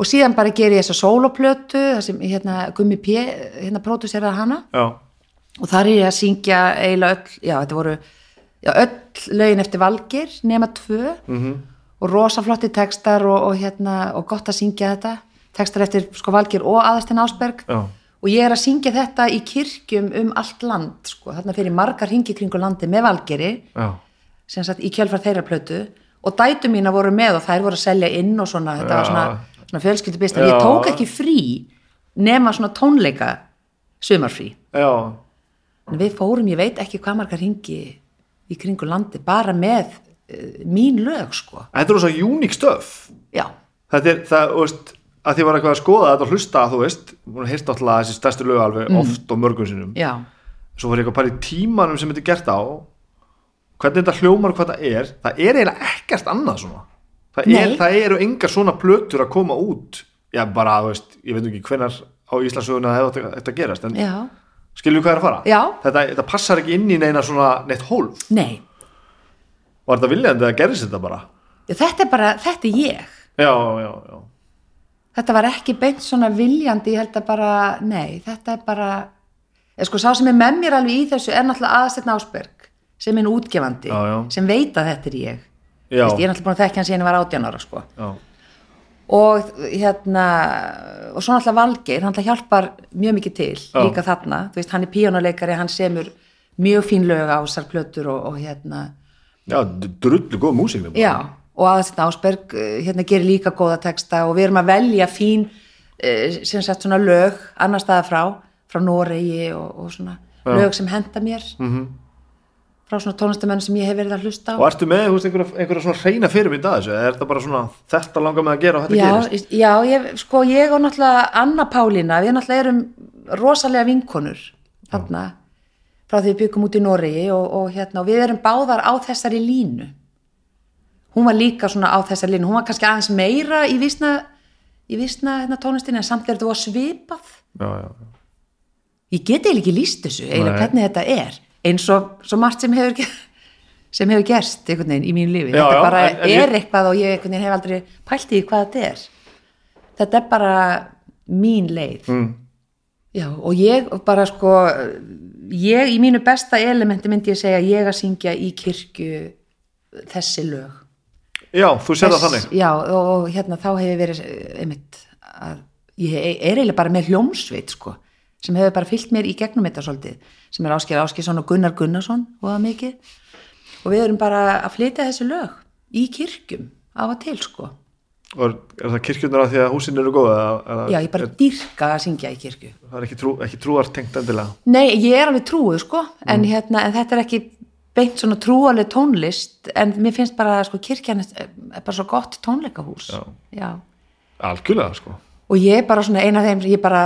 Speaker 2: og síðan bara ger ég þessa sóloplötu það sem hérna Gummi P hérna próduseraði hana
Speaker 1: já,
Speaker 2: og þar er ég að syngja eiginlega öll, já þetta voru já, öll lögin eftir Valgir nema tvö
Speaker 1: Mhm.
Speaker 2: -hmm. og rosa flotti textar og, og hérna og gott að syngja þetta, textar eftir sko Valgir og aðastinn Ásberg
Speaker 1: já,
Speaker 2: og ég er að syngja þetta í kirkjum um allt land sko, þarna fyrir margar hingi kringu landi með Valgiri
Speaker 1: já,
Speaker 2: sem sagt í kjölfar þeirra plötu og dætu mína voru með og þær voru að selja inn og svona, þetta var
Speaker 1: Já.
Speaker 2: svona, svona fjölskyldubist en ég
Speaker 1: Já.
Speaker 2: tók ekki frí nema svona tónleika sumarfrí
Speaker 1: já.
Speaker 2: En við fórum, ég veit ekki hvað margar ringi í kringu landi, bara með uh, mín lög, sko.
Speaker 1: þetta er svona unique stuff
Speaker 2: Já,
Speaker 1: þetta er það, þú veist að því var eitthvað að skoða þetta og hlusta þú veist, hún heist náttúrulega þessi stærstu lög alveg oft og mörgum sinnum
Speaker 2: Mm. já,
Speaker 1: svo var ég eitthvað bara í tímanum sem þetta er gert á hvernig þetta hljómar og hvað það er það er eiginlega ekkert annað svona það, er,
Speaker 2: Nei.
Speaker 1: það eru engar svona plötur að koma út já bara, þú veist, ég veit nú ekki hvenar á Íslandsöguna hefði þetta- þetta gerast en
Speaker 2: já,
Speaker 1: skilju hvað er að fara
Speaker 2: Já.
Speaker 1: þetta, þetta passar ekki inn í neina svona neitt hólf
Speaker 2: nei.
Speaker 1: var þetta viljandi að gerist þetta bara
Speaker 2: Já, Þetta er bara, þetta er ég.
Speaker 1: já, já, já,
Speaker 2: Þetta var ekki beint svona viljandi, ég held að bara, nei, þetta er bara, eða sko, sá sem er með mér alveg í þessu er náttúrulega aðastetna Ásberg, sem er nú útgefandi,
Speaker 1: Já, já.
Speaker 2: sem veit að þetta er ég.
Speaker 1: já,
Speaker 2: Veist, ég er náttúrulega búin að þekka hann síðan ég var 18 ára, sko.
Speaker 1: já,
Speaker 2: og hérna og svo náttúrulega Valgeir, hann náttúrulega hjálpar mjög mikið til,
Speaker 1: Já.
Speaker 2: líka þarna þú veist, hann er píónuleikari, hann semur mjög fín lög á þessar plötur og, og hérna,
Speaker 1: já drullu góð músík þetta bara.
Speaker 2: já og aðeins þetta Ásberg, eh, hérna gerir líka góða texta og við erum að velja fín eh, sem sagt svona lög annar staða frá, frá Noregi og, og svona
Speaker 1: Já.
Speaker 2: lög sem henda mér -hmm. frá svona tónlistamenn sem ég hef verið að hlusta á
Speaker 1: og ertu með, þú veist, einhverja, einhverja svona hreina fyrirmynd að þessu, eða er þetta bara svona þetta langar með að gera og þetta
Speaker 2: já,
Speaker 1: gerist
Speaker 2: já ég, sko ég og náttúrulega Anna Pálína, við náttúrulega erum rosalega vinkonur þarna, frá því við byggum út í Noregi og, og hérna, og við erum báðar á þessari línu hún var líka svona á þessari línu, hún var kannski aðeins meira í vísna, í vísna hérna, tónlistinni en samt er þetta var svipað
Speaker 1: já, já, já.
Speaker 2: ég get eiginlega ekki líst þessu eiginlega
Speaker 1: Nei.
Speaker 2: hvernig þetta er eins og svo margt sem hefur ge- sem hefur gerst einhvern veginn í mínu lífi
Speaker 1: Já,
Speaker 2: þetta
Speaker 1: já,
Speaker 2: bara
Speaker 1: en- en ég-
Speaker 2: er eitthvað og ég einhvern veginn hef aldrei pælt í hvað þetta er þetta er bara mín leið mm. já og ég bara sko ég í mínu besta elementi myndi ég segja ég að syngja í kirkju þessi lög
Speaker 1: Já, þú sér það
Speaker 2: Þess-
Speaker 1: þannig
Speaker 2: já og, og hérna þá hefur verið eh, einmitt að ég er eiginlega bara með hljómsveit sko sem hefur bara fyllt mér í gegnum þetta svolítið sem er Ásker Áskersson og Gunnar Gunnarsson og það mikið og við erum bara að flytja þessi lög í kirkjum af og til sko
Speaker 1: Og er, er það kirkjurnar að því að húsin eru góð eða, eða,
Speaker 2: já ég bara
Speaker 1: er,
Speaker 2: dýrka að syngja í kirkju
Speaker 1: Það er ekki, trú, ekki trúar tengt endilega
Speaker 2: Nei, ég er alveg trúið sko,
Speaker 1: Mm.
Speaker 2: en, hérna, en þetta er ekki beint svona trúaleg tónlist, en mér finnst bara sko, kirkjan er er bara svo gott tónleikahús.
Speaker 1: Já.
Speaker 2: Já.
Speaker 1: Algjörlega, sko
Speaker 2: Og ég er bara svona eina af þeim, ég er bara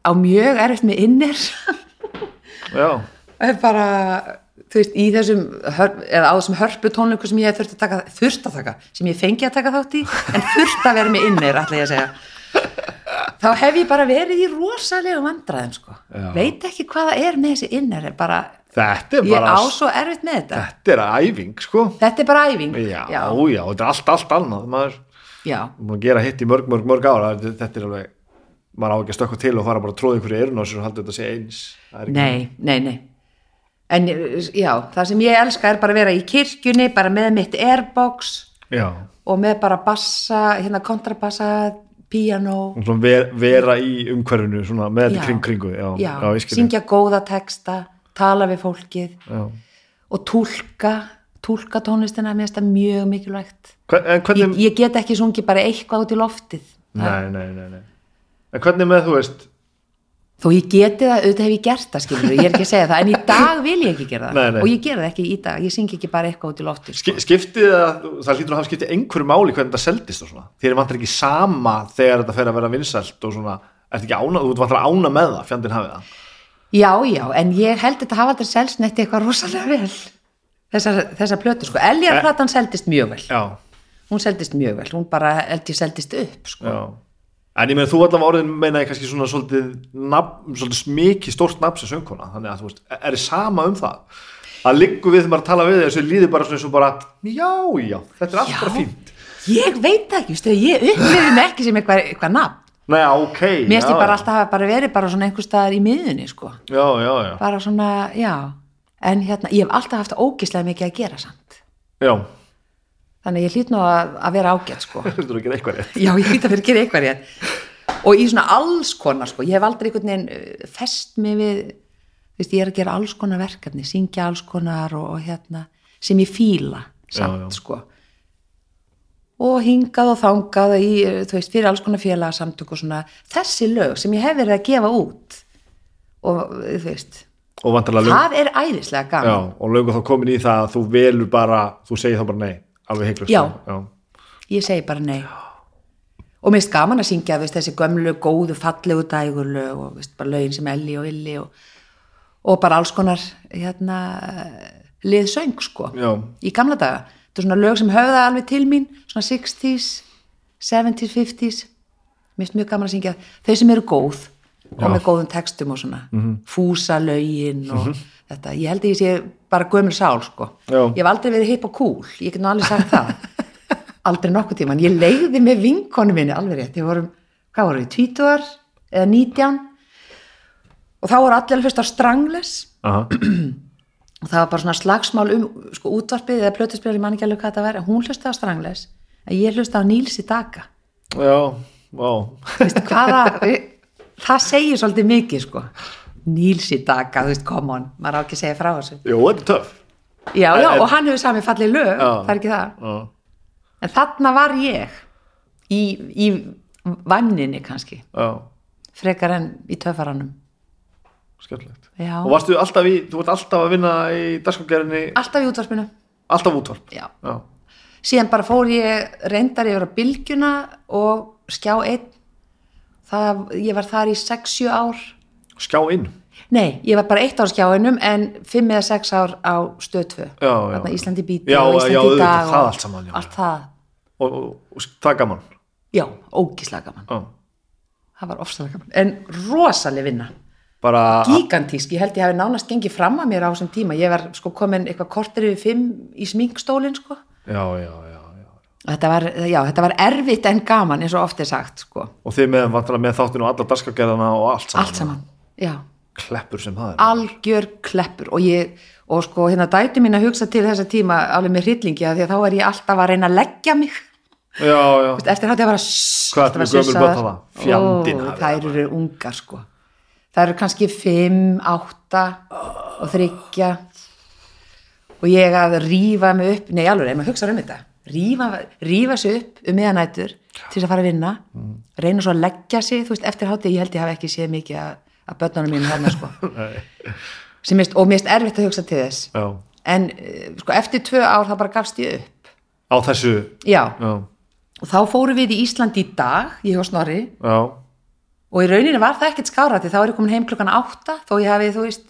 Speaker 2: á mjög erfitt með innir,
Speaker 1: Já,
Speaker 2: er bara, þú veist, í þessum, hör, eða á þessum hörpu tónleiku sem ég þurft að taka, þurft að taka, sem ég fengi að taka þátt í, en þurft að vera með innir, ætla ég að segja. Þá hef ég bara verið í rosalegum vandræðum, sko.
Speaker 1: Já.
Speaker 2: Veit ekki hvaða er með þessi innir, er bara,
Speaker 1: þetta er
Speaker 2: ég
Speaker 1: bara
Speaker 2: á svo erfitt með þetta
Speaker 1: Þetta er æfing, sko
Speaker 2: þetta er bara æfing
Speaker 1: Já, já,
Speaker 2: já,
Speaker 1: þetta er allt, allt annað Maður
Speaker 2: já.
Speaker 1: er búin að gera hitt í mörg, mörg, mörg ára Þetta er alveg Maður á ekki að stökkva til og fara bara að tróða einhverju eirun á sér og halda þetta að segja eins Það er ekki-
Speaker 2: nei, nei, nei en já, það sem ég elska er bara að vera í kirkjunni bara með mitt airbox
Speaker 1: Já,
Speaker 2: og með bara bassa, hérna kontrabassa piano
Speaker 1: og svona ver, vera í umhverfinu svona, með þetta
Speaker 2: Já.
Speaker 1: í kring kringu Já,
Speaker 2: já,
Speaker 1: ég skil
Speaker 2: syngja góða texta tala við fólkið
Speaker 1: Já.
Speaker 2: og túlka túlka tónlistina, mér finnst það mjög mikilvægt
Speaker 1: Hver, En hvernig
Speaker 2: ég, ég get ekki sungið bara eitthvað út í loftið Það-
Speaker 1: nei, nei, nei, nei. En hvernig með, þú veist
Speaker 2: þó ég geti það, auðvitað hef ég gert það skilur, ég er ekki að segja það, en í dag vil ég ekki gera það
Speaker 1: Nei, nei.
Speaker 2: og ég gera það ekki í dag, ég syngi ekki bara eitthvað út í sko. loftur
Speaker 1: Ski- skiptið það, það hlýtur að hafa skiptið einhverju máli hvernig þetta seldist og svona, þér vantar ekki sama þegar þetta fer að vera vinsælt og svona, Ertu ekki ána, þú ert vantar að ána með það, fjandinn hafið það.
Speaker 2: Já, já, en ég held þetta hafa aldrei selst neitt eitthvað rosalega vel þessar, þessar plötur, sko,
Speaker 1: Eh.
Speaker 2: Eljarplatan seldist mjög vel,
Speaker 1: Já,
Speaker 2: hún seldist mjög vel hún bara held ég seldist upp, sko
Speaker 1: já. En ég meina, þú allavega orðin meina ég kannski svona svolítið, nafn, svolítið mikið stórt nafn sem söngkona, þannig að þú veist, er þið sama um það? Það liggur við þegar maður tala við þér, þessu líður bara svona eins og bara, já, já, þetta er allt bara fínt.
Speaker 2: Ég veit það ekki, veistu, ég upplifði mig ekki sem eitthvað, eitthvað nafn,
Speaker 1: Nei, ok.
Speaker 2: mér
Speaker 1: já,
Speaker 2: stið bara
Speaker 1: já.
Speaker 2: alltaf hafa bara verið bara svona einhvers staðar í miðunni, sko
Speaker 1: Já, já, já.
Speaker 2: bara svona, já en hérna, ég hef alltaf haft ógislega mikið að gera samt,
Speaker 1: Já,
Speaker 2: þannig að ég hlýt nú að, að vera ágætt, sko
Speaker 1: þetta er ekki eitthvað rétt.
Speaker 2: Já, ég veit að fyrir að gera eitthvað rétt og í svona alls konar sko, ég hef aldrei einhvern veginn uh, fest mig við þú veist, ég er að gera alls konar verkefni syngja alls konar og, og hérna sem ég fíla samt
Speaker 1: Já, já.
Speaker 2: sko og hingað og þangað í, uh, þú veist, fyrir alls konar félagsamtök og svona þessi lög sem ég hef verið að gefa út og uh, þú veist
Speaker 1: Og vantarlega lög.
Speaker 2: það er æðislega
Speaker 1: Já,
Speaker 2: gaman
Speaker 1: og löngu þá komin í það að þú velur bara, þú segir þá bara nei, alveg heiklust.
Speaker 2: Já.
Speaker 1: já.
Speaker 2: ég segi bara nei og mér finnst gaman að syngja veist, þessi gömlu, góðu, fallegu dægurlög og veist, bara lögin sem Elli og Illi og, og bara alls konar hérna, liðsöng sko,
Speaker 1: Já.
Speaker 2: í gamla daga þetta er svona lög sem höfða alveg til mín svona 60s, 70s, 50s mér finnst mjög gaman að syngja þau sem eru góð og með góðum textum og svona, fúsa lögin og þetta, ég held að ég sé bara gömur sál sko,
Speaker 1: Já.
Speaker 2: ég hef aldrei verið hip og cool, ég get nú alveg sagt það aldrei nokkuð tíman, ég leiði með vinkonu minni alveg rétt, ég vorum hvað vorum við, tvítuar eða nítján og þá voru allir alveg fyrst á strangles
Speaker 1: Aha.
Speaker 2: og það var bara svona slagsmál um sko, útvarpið eða plötuspil, ég man ekki alveg hvað það væri en hún hlustaði á Strangles en ég hlustaði á Níls í Daga
Speaker 1: Já, vá.
Speaker 2: Veist, hvaða, það segir svolítið mikið sko. Níls í Daga, þú veist, come on maður á ekki að segja frá þessu
Speaker 1: Jú, þetta er töff.
Speaker 2: já, já,
Speaker 1: En-
Speaker 2: og hann hefur samið fallið lög það er ekki það,
Speaker 1: Já.
Speaker 2: en þarna var ég í, í vanninni kannski,
Speaker 1: Já,
Speaker 2: frekar en í töfaranum
Speaker 1: skemmtilegt.
Speaker 2: já,
Speaker 1: Og varstu alltaf í, þú vart alltaf að vinna í dagskapgerinni,
Speaker 2: alltaf í útvarpinu
Speaker 1: alltaf útvarp.
Speaker 2: já
Speaker 1: Já,
Speaker 2: síðan bara fór ég reyndar yfir á bylgjuna og skjá einn það, ég var þar í 6-7 ár
Speaker 1: skjá inn.
Speaker 2: nei, ég var bara eitt ár á skjáinum en 5 eða 6 ár á stöð 2
Speaker 1: Já, já.
Speaker 2: þarna Íslandi bíti
Speaker 1: Já,
Speaker 2: og
Speaker 1: já,
Speaker 2: Íslandi í
Speaker 1: auðvitað,
Speaker 2: dag
Speaker 1: það
Speaker 2: og
Speaker 1: allt saman, já.
Speaker 2: allt það,
Speaker 1: Og, og, og það er gaman.
Speaker 2: já, ógislega gaman
Speaker 1: Já.
Speaker 2: það var ofsalega gaman, en rosaleg vinna
Speaker 1: Bara,
Speaker 2: gigantísk, ég held ég hafi nánast gengið fram að mér á þessum tíma, ég var sko komin eitthvað kortir yfir 5 í sminkstólin sko
Speaker 1: já, já, já, já.
Speaker 2: þetta var, já, þetta var erfitt en gaman eins og oft er sagt sko,
Speaker 1: Og þið með, vantarlega með þáttinu og alla dagskapgerðina og allt saman.
Speaker 2: allt saman já
Speaker 1: Kleppur sem það er.
Speaker 2: algjör kleppur og ég og sko hérna dætu mín að hugsa til þessa tíma alveg með hryllingi af því að þá er ég alltaf að reyna að leggja mig
Speaker 1: Já, já.
Speaker 2: eftir hátíð að bara sss,
Speaker 1: Hvað
Speaker 2: alltaf
Speaker 1: ertu
Speaker 2: að
Speaker 1: gömul
Speaker 2: sissa
Speaker 1: börn
Speaker 2: þar.
Speaker 1: þarna? Fjandinn
Speaker 2: Ó,
Speaker 1: hafi
Speaker 2: þær eru ungar sko þær eru kannski 5, 8 og 3 og ég að rífa mig upp nei alveg, ef maður hugsa um þetta rífa, rífa sig upp um meðanætur til þess að fara að vinna reyna svo að leggja sig, þú veist, eftir hátíð ég held ég hafi ekki séð mikið að, að börnunum mínu hérna sko Sem mér finnst- og mér finnst erfitt að hugsa til þess
Speaker 1: Já.
Speaker 2: en eh, sko eftir tvö ár þá bara gafst ég upp
Speaker 1: Á þessu,
Speaker 2: já,
Speaker 1: já,
Speaker 2: og þá fórum við í Ísland í dag ég og Snorri
Speaker 1: já,
Speaker 2: og í rauninni var það ekkert skára því þá er ég komin heim klukkan átta þó ég hafi þú veist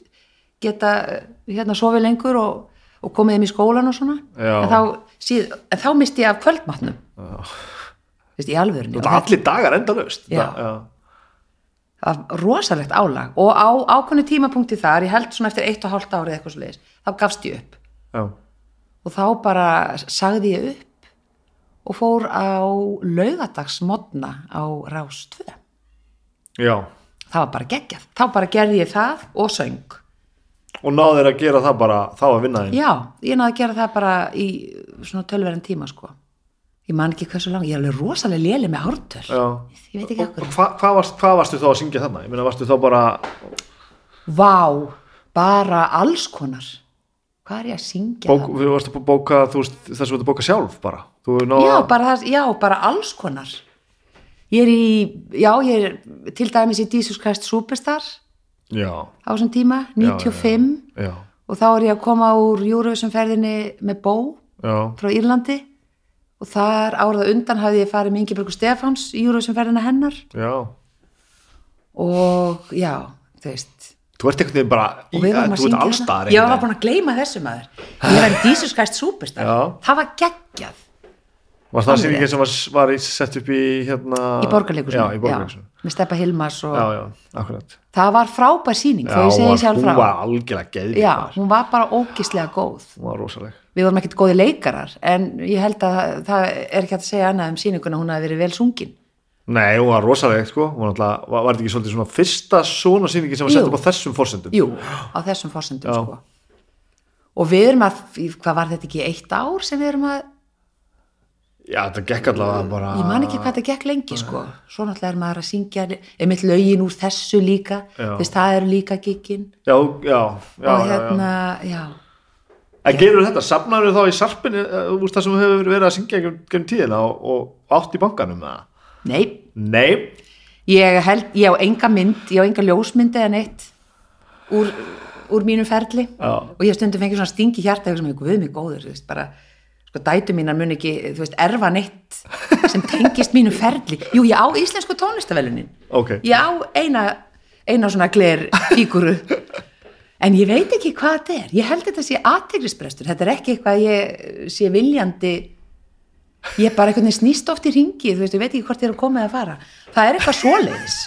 Speaker 2: geta eh, hérna sofið lengur og, og komið um í skólan og svona
Speaker 1: Já.
Speaker 2: en þá, síð, en þá misti ég af kvöldmatnum já. veist í alvörunni
Speaker 1: þetta
Speaker 2: Og
Speaker 1: er allir dagar endalaust.
Speaker 2: Já.
Speaker 1: Það- já.
Speaker 2: það var rosalegt álag og á ákvönnu tímapunkti þar ég held svona eftir eitt og hálft árið eitthvað svo leiðis þá gafst ég upp
Speaker 1: Já,
Speaker 2: og þá bara sagði ég upp og fór á laugadagsmodna á Rás 2
Speaker 1: já.
Speaker 2: það var bara geggjað, þá bara gerði ég það og söng,
Speaker 1: Og náður að gera það bara, þá að vinna þín.
Speaker 2: já, ég náði að gera það bara í svona tölverðan tíma sko, ég man ekki hversu lang ég er alveg rosalega léli með ártöl
Speaker 1: Já.
Speaker 2: ég veit ekki
Speaker 1: Og
Speaker 2: okkur,
Speaker 1: hva, hvað, varst, hvað varstu þá að syngja þarna? Ég meina, varstu þá bara
Speaker 2: vá bara alls konar hvað er ég að syngja
Speaker 1: bók,
Speaker 2: það?
Speaker 1: þú varstu að bóka, þú veist, þess að þú ert að bóka sjálf bara? Þú hefur náð
Speaker 2: já,
Speaker 1: að-
Speaker 2: bara, það- já, bara alls konar ég er í, já, ég er til dæmis í Jesus Christ Superstar
Speaker 1: Já,
Speaker 2: á þessum tíma, 95
Speaker 1: já,
Speaker 2: og þá er ég að koma úr Eurovision ferðinni með bó
Speaker 1: já,
Speaker 2: frá Írlandi og þar árað á undan hafði ég farið með Ingeborg Stefáns í Eurovision ferðina hennar
Speaker 1: já,
Speaker 2: og já, þú veist
Speaker 1: Þú ert einhvern veginn bara, í,
Speaker 2: og við
Speaker 1: þú
Speaker 2: varum að
Speaker 1: ert
Speaker 2: syngja hérna.
Speaker 1: allstar
Speaker 2: ég var búin að gleyma þessu maður ég var í Jesus Christ Superstar
Speaker 1: Já.
Speaker 2: það var geggjað
Speaker 1: Var það
Speaker 2: Alveg.
Speaker 1: sýningin sem var, var í- sett upp í hérna
Speaker 2: í borgarleikusinu
Speaker 1: Já, í borgarleikusinu
Speaker 2: með Steppa Hilmas og
Speaker 1: Já, já, akkurat
Speaker 2: það var frábær síning
Speaker 1: Já,
Speaker 2: þegar ég segi
Speaker 1: var-
Speaker 2: sjálf frá
Speaker 1: Hún var algjörlega geðvík
Speaker 2: já, hún var bara ógislega góð
Speaker 1: Hún var rosaleg
Speaker 2: við vorum ekkert góði leikarar en ég held að það er ekki hægt að segja annað um síninguna hún hafi verið vel sungin
Speaker 1: Nei, hún var rosaleg, sko Hún var alltaf, var, var þetta ekki svolítið svona fyrsta svona sýningin sem var
Speaker 2: Jú.
Speaker 1: sett upp á þessum forsendum
Speaker 2: jú, á þessum forsendum
Speaker 1: Já.
Speaker 2: sko. og við erum að hvað var þetta ekki eitt ár sem við erum að
Speaker 1: Já, þetta gekk allavega bara
Speaker 2: ég man ekki hvað þetta gekk lengi sko. svo náttúrulega er maður að syngja einmitt lögin úr þessu líka
Speaker 1: Já.
Speaker 2: þess það eru líka gikkin
Speaker 1: Já, já, já,
Speaker 2: og
Speaker 1: já, já.
Speaker 2: hérna, já,
Speaker 1: En gerur þetta, safnar þá í sarpinni uh, úr það sem við hefur verið að syngja gegn, gegn tíðina og, og átt í bankanum með það?
Speaker 2: nei
Speaker 1: Nei,
Speaker 2: ég held, ég á enga mynd ég á enga ljósmynd eða neitt úr, úr mínum ferli
Speaker 1: Já.
Speaker 2: og ég hef stundum fengið svona stingi hjarta eitthvað sem ég guð mig góður, þú veist, bara sko dætu mínar mun ekki, þú veist, erfa neitt sem tengist mínu ferli jú, ég á íslensku tónlistavelunin
Speaker 1: ok.
Speaker 2: ég á eina, eina svona gler fíguru en ég veit ekki hvað þetta er ég held þetta sé aðteglisbrestur, þetta er ekki eitthvað ég eh, sé viljandi ég er bara einhvern veginn snýst oft í ringi þú veist, ég veit ekki hvort ég er að koma eða að fara það er eitthvað svoleiðis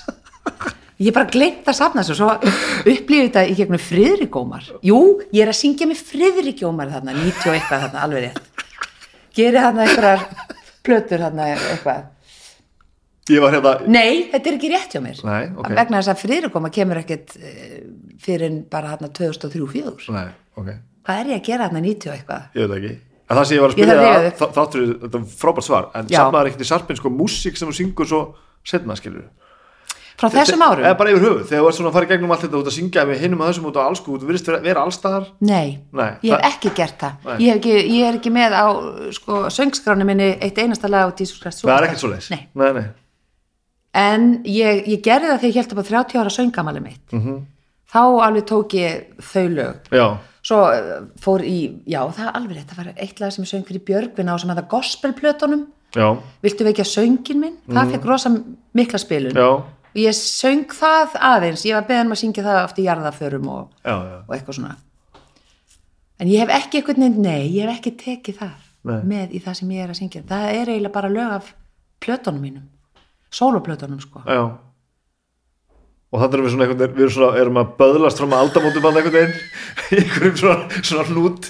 Speaker 2: ég er bara gleymt að safna þessu og svo upplifið þetta í gegnum friðrikómar jú, ég er að syngja með friðrikómar þarna, 90 og eitthvað þarna, alveg rétt geri þarna einhverjar plötur þarna eitthvað
Speaker 1: Ég var hérna,
Speaker 2: Nei, þetta er ekki rétt hjá mér
Speaker 1: Nei, ok.
Speaker 2: vegna þess að friðrikoma kemur ekkert eh, fyrir en bara hérna 2003-4
Speaker 1: nei, ok,
Speaker 2: Hvað er ég að gera hérna 90 og eitthvað?
Speaker 1: ég veit það ekki. En það sem ég var að
Speaker 2: Ég
Speaker 1: spila
Speaker 2: þarf
Speaker 1: það,
Speaker 2: rifjaðu.
Speaker 1: þá- þáttur við- þetta er frábært svar, en
Speaker 2: Já.
Speaker 1: safnar ekkert í sarpinn sko músík sem þú syngur svo setna, skilur.
Speaker 2: Frá þessum árum?
Speaker 1: Eða bara yfir höfuð, þegar þú ert svona að fara í gegnum allt þetta út að syngja með hinum að þessum út á alls, sko, þú virðist vera, vera allstaðar.
Speaker 2: Nei,
Speaker 1: Nei,
Speaker 2: ég hef
Speaker 1: það-
Speaker 2: ekki gert það
Speaker 1: Nei.
Speaker 2: ég, hef ekki, ég er ekki með á sko, söngskráni minni eitt einasta lag á Jesus Christ
Speaker 1: Það er
Speaker 2: Superstar.
Speaker 1: ekkert svo leis.
Speaker 2: Nei.
Speaker 1: Nei, nei.
Speaker 2: En ég, ég gerði það þegar ég held upp á 30 ára söngamali mitt -hmm.
Speaker 1: Mhm.
Speaker 2: Þá alveg tók ég þau lög
Speaker 1: Já,
Speaker 2: Svo eh, fór í, já það er alveg rétt það var eitt lag sem ég söng fyrir Björgvin á sem hefða gospelplötunum
Speaker 1: já,
Speaker 2: viltu vekja söngin minn það fekk rosa mikla spilun
Speaker 1: Mhm. já,
Speaker 2: og ég söng það aðeins ég var beðin um að syngja það eftir jarðaförum og,
Speaker 1: já, já.
Speaker 2: og eitthvað svona en ég hef ekki eitthvað neitt nei, ég hef ekki tekið það
Speaker 1: Nei.
Speaker 2: með í það sem ég er að syngja það er eiginlega bara lög af plötunum mínum sóloplötunum sko
Speaker 1: Já. Og þannig erum við svona einhvern veginn, við erum svona, erum að böðlast frá maður aldamótum að einhvern veginn, í einhverjum svona, svona hnút.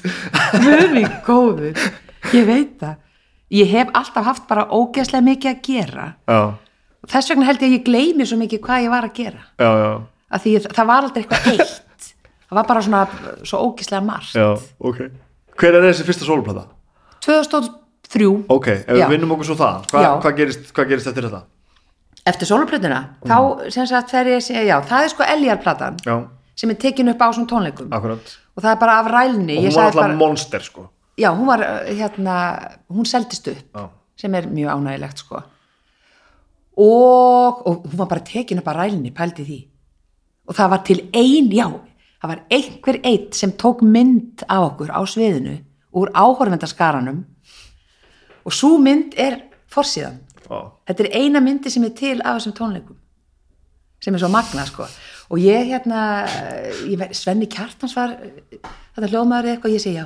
Speaker 2: Guðmi góður, ég veit það ég hef alltaf haft bara ógeðslega mikið að gera
Speaker 1: Já,
Speaker 2: þess vegna held ég að ég gleymi svo mikið hvað ég var að gera
Speaker 1: já, já,
Speaker 2: að því ég, það var aldrei eitthvað eitt það var bara svona svo ógislega margt
Speaker 1: já, ok. Hver er þessi fyrsta sólplata?
Speaker 2: 2003
Speaker 1: Ok, ef
Speaker 2: Já.
Speaker 1: við vinnum okkur svo það, hva,
Speaker 2: Já.
Speaker 1: hvað gerist, hva gerist eftir þetta?
Speaker 2: eftir sóluplötuna þá sem sagt fer ég að segja já það er sko Eljarplatan
Speaker 1: Mm. Já,
Speaker 2: sem er tekin upp á svona tónleikum
Speaker 1: akkurat.
Speaker 2: og það er bara af rælni
Speaker 1: Og
Speaker 2: Ég
Speaker 1: hún var
Speaker 2: sagði
Speaker 1: alltaf
Speaker 2: bara-
Speaker 1: monster, sko.
Speaker 2: já hún var uh, hérna hún seldist upp
Speaker 1: Já.
Speaker 2: sem er mjög ánægilegt sko og, og hún var bara tekin upp að rælni, pældi því og það var til ein, já það var einhver eitt sem tók mynd af okkur á sviðinu úr áhorfendaskaranum og svo mynd er forsíðan
Speaker 1: Já,
Speaker 2: þetta er eina myndi sem er til af þessum tónleikum sem er svo magna sko og ég hérna eh, ég, ver- Svenni Kjartans var eh, þetta hljómaður eða eitthvað, ég segi já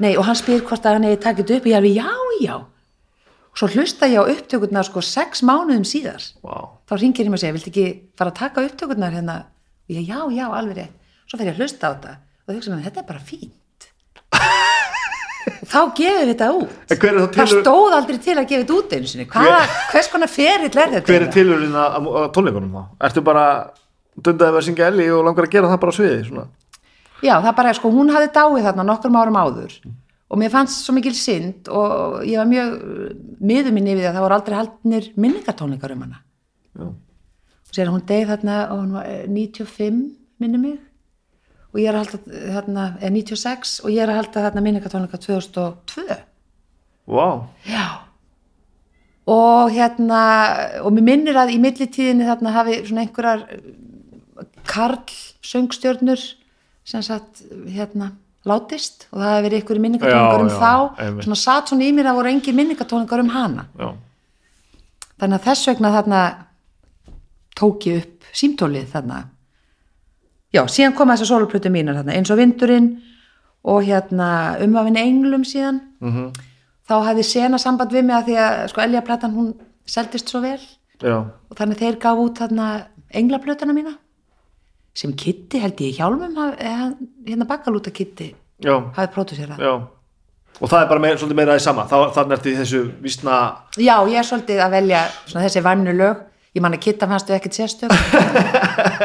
Speaker 2: nei, og hann spyr hvort að hann eigi takit upp og ég alveg já, já og svo hlusta ég á upptökurnar sko sex mánuðum síðar
Speaker 1: vá.
Speaker 2: þá ringir ég mig og segja, viltu ekki fara að taka upptökurnar hérna og ég, já, já, alveg rétt svo fer ég að hlusta á þetta og þau hugsa með, þetta er bara fínt og þá gefum við þetta út
Speaker 1: En hver er þá
Speaker 2: það
Speaker 1: tilur-
Speaker 2: stóð aldrei til að gefa þetta út einu sinni Hva, hvers konar ferill er þetta
Speaker 1: Hver er tilurinn að, að- að tónleikunum þá? Ertu bara, dundaði við að syngja Ellie og langar að gera það bara á sviði, svona?
Speaker 2: já, það bara er sko, hún hafði dáið þarna nokkrum árum áður og mér fannst svo mikil synd og ég var mjög eh, miður minni yfir því að það voru aldrei haldnir minningartónleikar um hana
Speaker 1: Já.
Speaker 2: og sér að hún degi þarna og hún var eh, 95 minni mig og ég er að halda þarna eh, 96 og ég er að halda þarna minningatónleika 2002
Speaker 1: Vá,
Speaker 2: já og hérna og mér minnir að í millitíðinni þarna hafi svona einhverjar eh, karl söngstjörnur sem sagt hérna látist og það hafi verið einhverjir minningatónleikar
Speaker 1: Já,
Speaker 2: um
Speaker 1: já,
Speaker 2: þá
Speaker 1: einmitt.
Speaker 2: svona satt svona í mér að voru engir minningatónleikar um hana
Speaker 1: já.
Speaker 2: þannig að þess vegna þarna tók ég upp símtólið þarna já, síðan koma þessar sóluplötu mínar þarna, eins og vindurinn og hérna umvafin englum síðan
Speaker 1: Mhm.
Speaker 2: þá hafði sena samband við mig að því að sko Elja platan hún seldist svo vel
Speaker 1: já,
Speaker 2: og þannig þeir gaf út þarna englaplötuna mína sem Kitty held ég í hjálmum haf- eh, hann- hérna bakalúta Kitty
Speaker 1: já,
Speaker 2: hafði pródusérað.
Speaker 1: já og það er bara meir, svolítið meira í sama Þá, þannig ertu í þessu vísna
Speaker 2: Já, ég er svolítið að velja svona þessi væmnu lög. Ég man að Kitta fannst þau ekkert sérstök.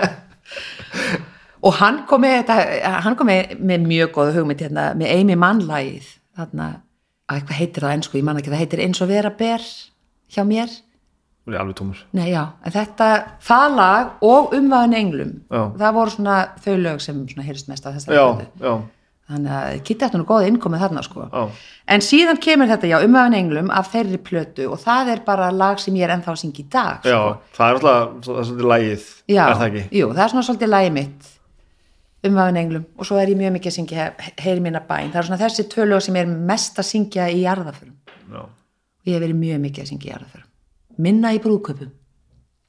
Speaker 2: og hann kom með þetta, hann kom með, með mjög góða hugmynd hérna, með Amy Mann-lægið, þarna, að eitthvað heitir það ennsku, ég man ekki, það heitir eins og vera ber hjá mér.
Speaker 1: Hún er alveg tómur
Speaker 2: Nei, já, en þetta, það lag og umvæðin englum,
Speaker 1: Já.
Speaker 2: það voru svona þau lög sem svona heyrst mest af þessari
Speaker 1: já,
Speaker 2: plötu.
Speaker 1: já,
Speaker 2: Þannig að Kitty ætti nú góða innkomið þarna sko.
Speaker 1: Já.
Speaker 2: En síðan kemur þetta, já, umöfn englum af þeirri plötu og það er bara lag sem ég er ennþá að syngja í dag. sko.
Speaker 1: já það er alltaf það er svolítið lægið
Speaker 2: já
Speaker 1: er það ekki?
Speaker 2: Jú, það er svona svolítið lagið mitt, umöfn englum og svo er ég mjög mikið að syngja He- heyri minna bæn. Það er svona þessi tvö lög sem ég er mest að syngja í jarðaförum
Speaker 1: já,
Speaker 2: og ég hef verið mjög mikið að syngja í jarðaförum. Minna í brúköpum,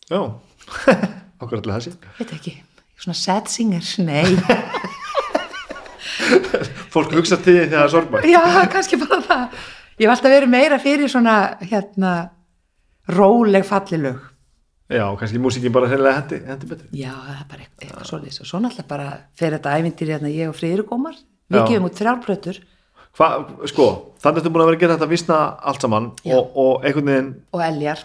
Speaker 1: já. okkur allir þessi
Speaker 2: veit ekki, svona sad singer, nei.
Speaker 1: fólk hugsa til því þegar það er sorgmætt
Speaker 2: Já, kannski bara það. Ég hef alltaf verið meira fyrir svona, hérna, róleg fallilög.
Speaker 1: já, kannski músikin bara hreinlega hendi, hendi betri
Speaker 2: Já, það er bara eitthvað, eitthvað svoleiðis og svo náttúrulega bara fer þetta ævintýri hérna ég og Friðrik Ómar,
Speaker 1: Já.
Speaker 2: við gefum út þrjárplötur
Speaker 1: Hva, sko, þannig ertu búin að vera að gera þetta vísna allt saman
Speaker 2: Já.
Speaker 1: og, og einhvern veginn
Speaker 2: og eljar,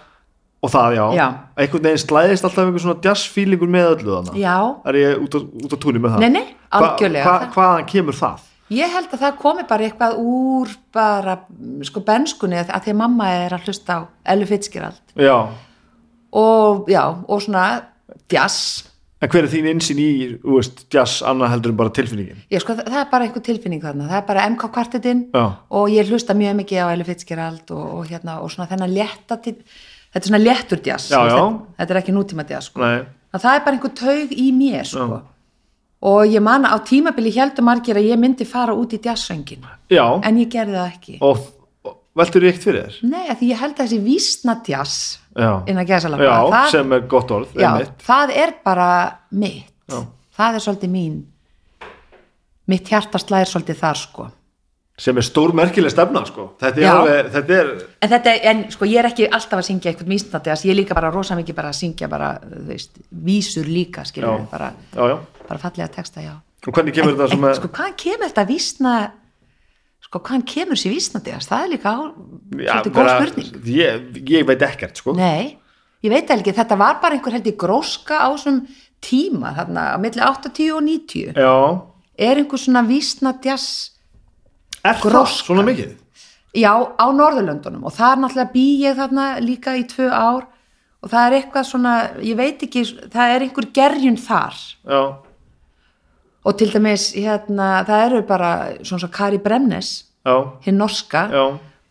Speaker 1: og það já,
Speaker 2: Já.
Speaker 1: einhvern veginn slæðist alltaf einhver svona jazzfílingur með öllu þannig
Speaker 2: já,
Speaker 1: er ég út á, út á túnum með það
Speaker 2: Nei, nei, algjörlega.
Speaker 1: hva, hva, hvaðan kemur það
Speaker 2: ég held að það komi bara eitthvað úr bara, mm, sko, benskunni að að því að mamma er að hlusta á Ellu Fitzgerald
Speaker 1: já,
Speaker 2: og já, og svona djass,
Speaker 1: en hver er þín einsinn í þú veist, jazz annað heldur en bara tilfinningin
Speaker 2: ég sko, það það er bara einhver tilfinning þarna, það er bara MK kvartetinn
Speaker 1: já,
Speaker 2: og ég hlusta mjög mikið á Ellu Fitzgerald og, og hérna, og svona þennan létta til, þetta er svona léttur djass,
Speaker 1: Já,
Speaker 2: þú veist,
Speaker 1: já.
Speaker 2: þetta, þetta er ekki nútíma djass, sko.
Speaker 1: nei,
Speaker 2: að það er bara einhver taug í mér sko.
Speaker 1: Já.
Speaker 2: og ég man að á tímabili heldur margir að ég myndi fara út í djassöngin
Speaker 1: já
Speaker 2: en ég gerði það ekki
Speaker 1: og, og veltur ég eitt fyrir þér
Speaker 2: nei, af því ég held að þessi vísna djass
Speaker 1: já,
Speaker 2: innan gæðsalapa
Speaker 1: já
Speaker 2: það,
Speaker 1: sem er gott orð
Speaker 2: já,
Speaker 1: Eh, einmitt.
Speaker 2: það er bara mitt
Speaker 1: Já.
Speaker 2: það er svolítið mín mitt hjarta slæðir svolítið þar sko
Speaker 1: sem er stór merkileg stefna sko. þetta er,
Speaker 2: Já.
Speaker 1: alveg, þetta er
Speaker 2: En þetta, en sko, ég er ekki alltaf að syngja eitthvað mísnandi, ég er líka bara rosa mikið bara að syngja bara, þú veist, vísur líka, skilur
Speaker 1: Já.
Speaker 2: bara,
Speaker 1: já, já.
Speaker 2: bara fallega texta, já.
Speaker 1: og hvernig kemur þetta
Speaker 2: en,
Speaker 1: sem
Speaker 2: sko, hvaðan kemur þetta vísna sko, hvaðan kemur sér vísnandi það er líka á, svolítið góð
Speaker 1: bara-
Speaker 2: spurning
Speaker 1: ég, ég veit ekkert sko.
Speaker 2: nei, ég veit það ekki, þetta var bara einhver held í gróska á þessum tíma þarna, á milli 80 og 90
Speaker 1: já,
Speaker 2: er einhver svona vísnadjas
Speaker 1: er
Speaker 2: Gróska.
Speaker 1: það svona mikið
Speaker 2: já, á Norðurlöndunum og það er náttúrulega bý ég þarna líka í tvö ár og það er eitthvað svona, ég veit ekki það er einhver gerjun þar
Speaker 1: já,
Speaker 2: og til dæmis, hérna, það eru bara svona svo Kari Bremnes
Speaker 1: já,
Speaker 2: hinn norska
Speaker 1: já,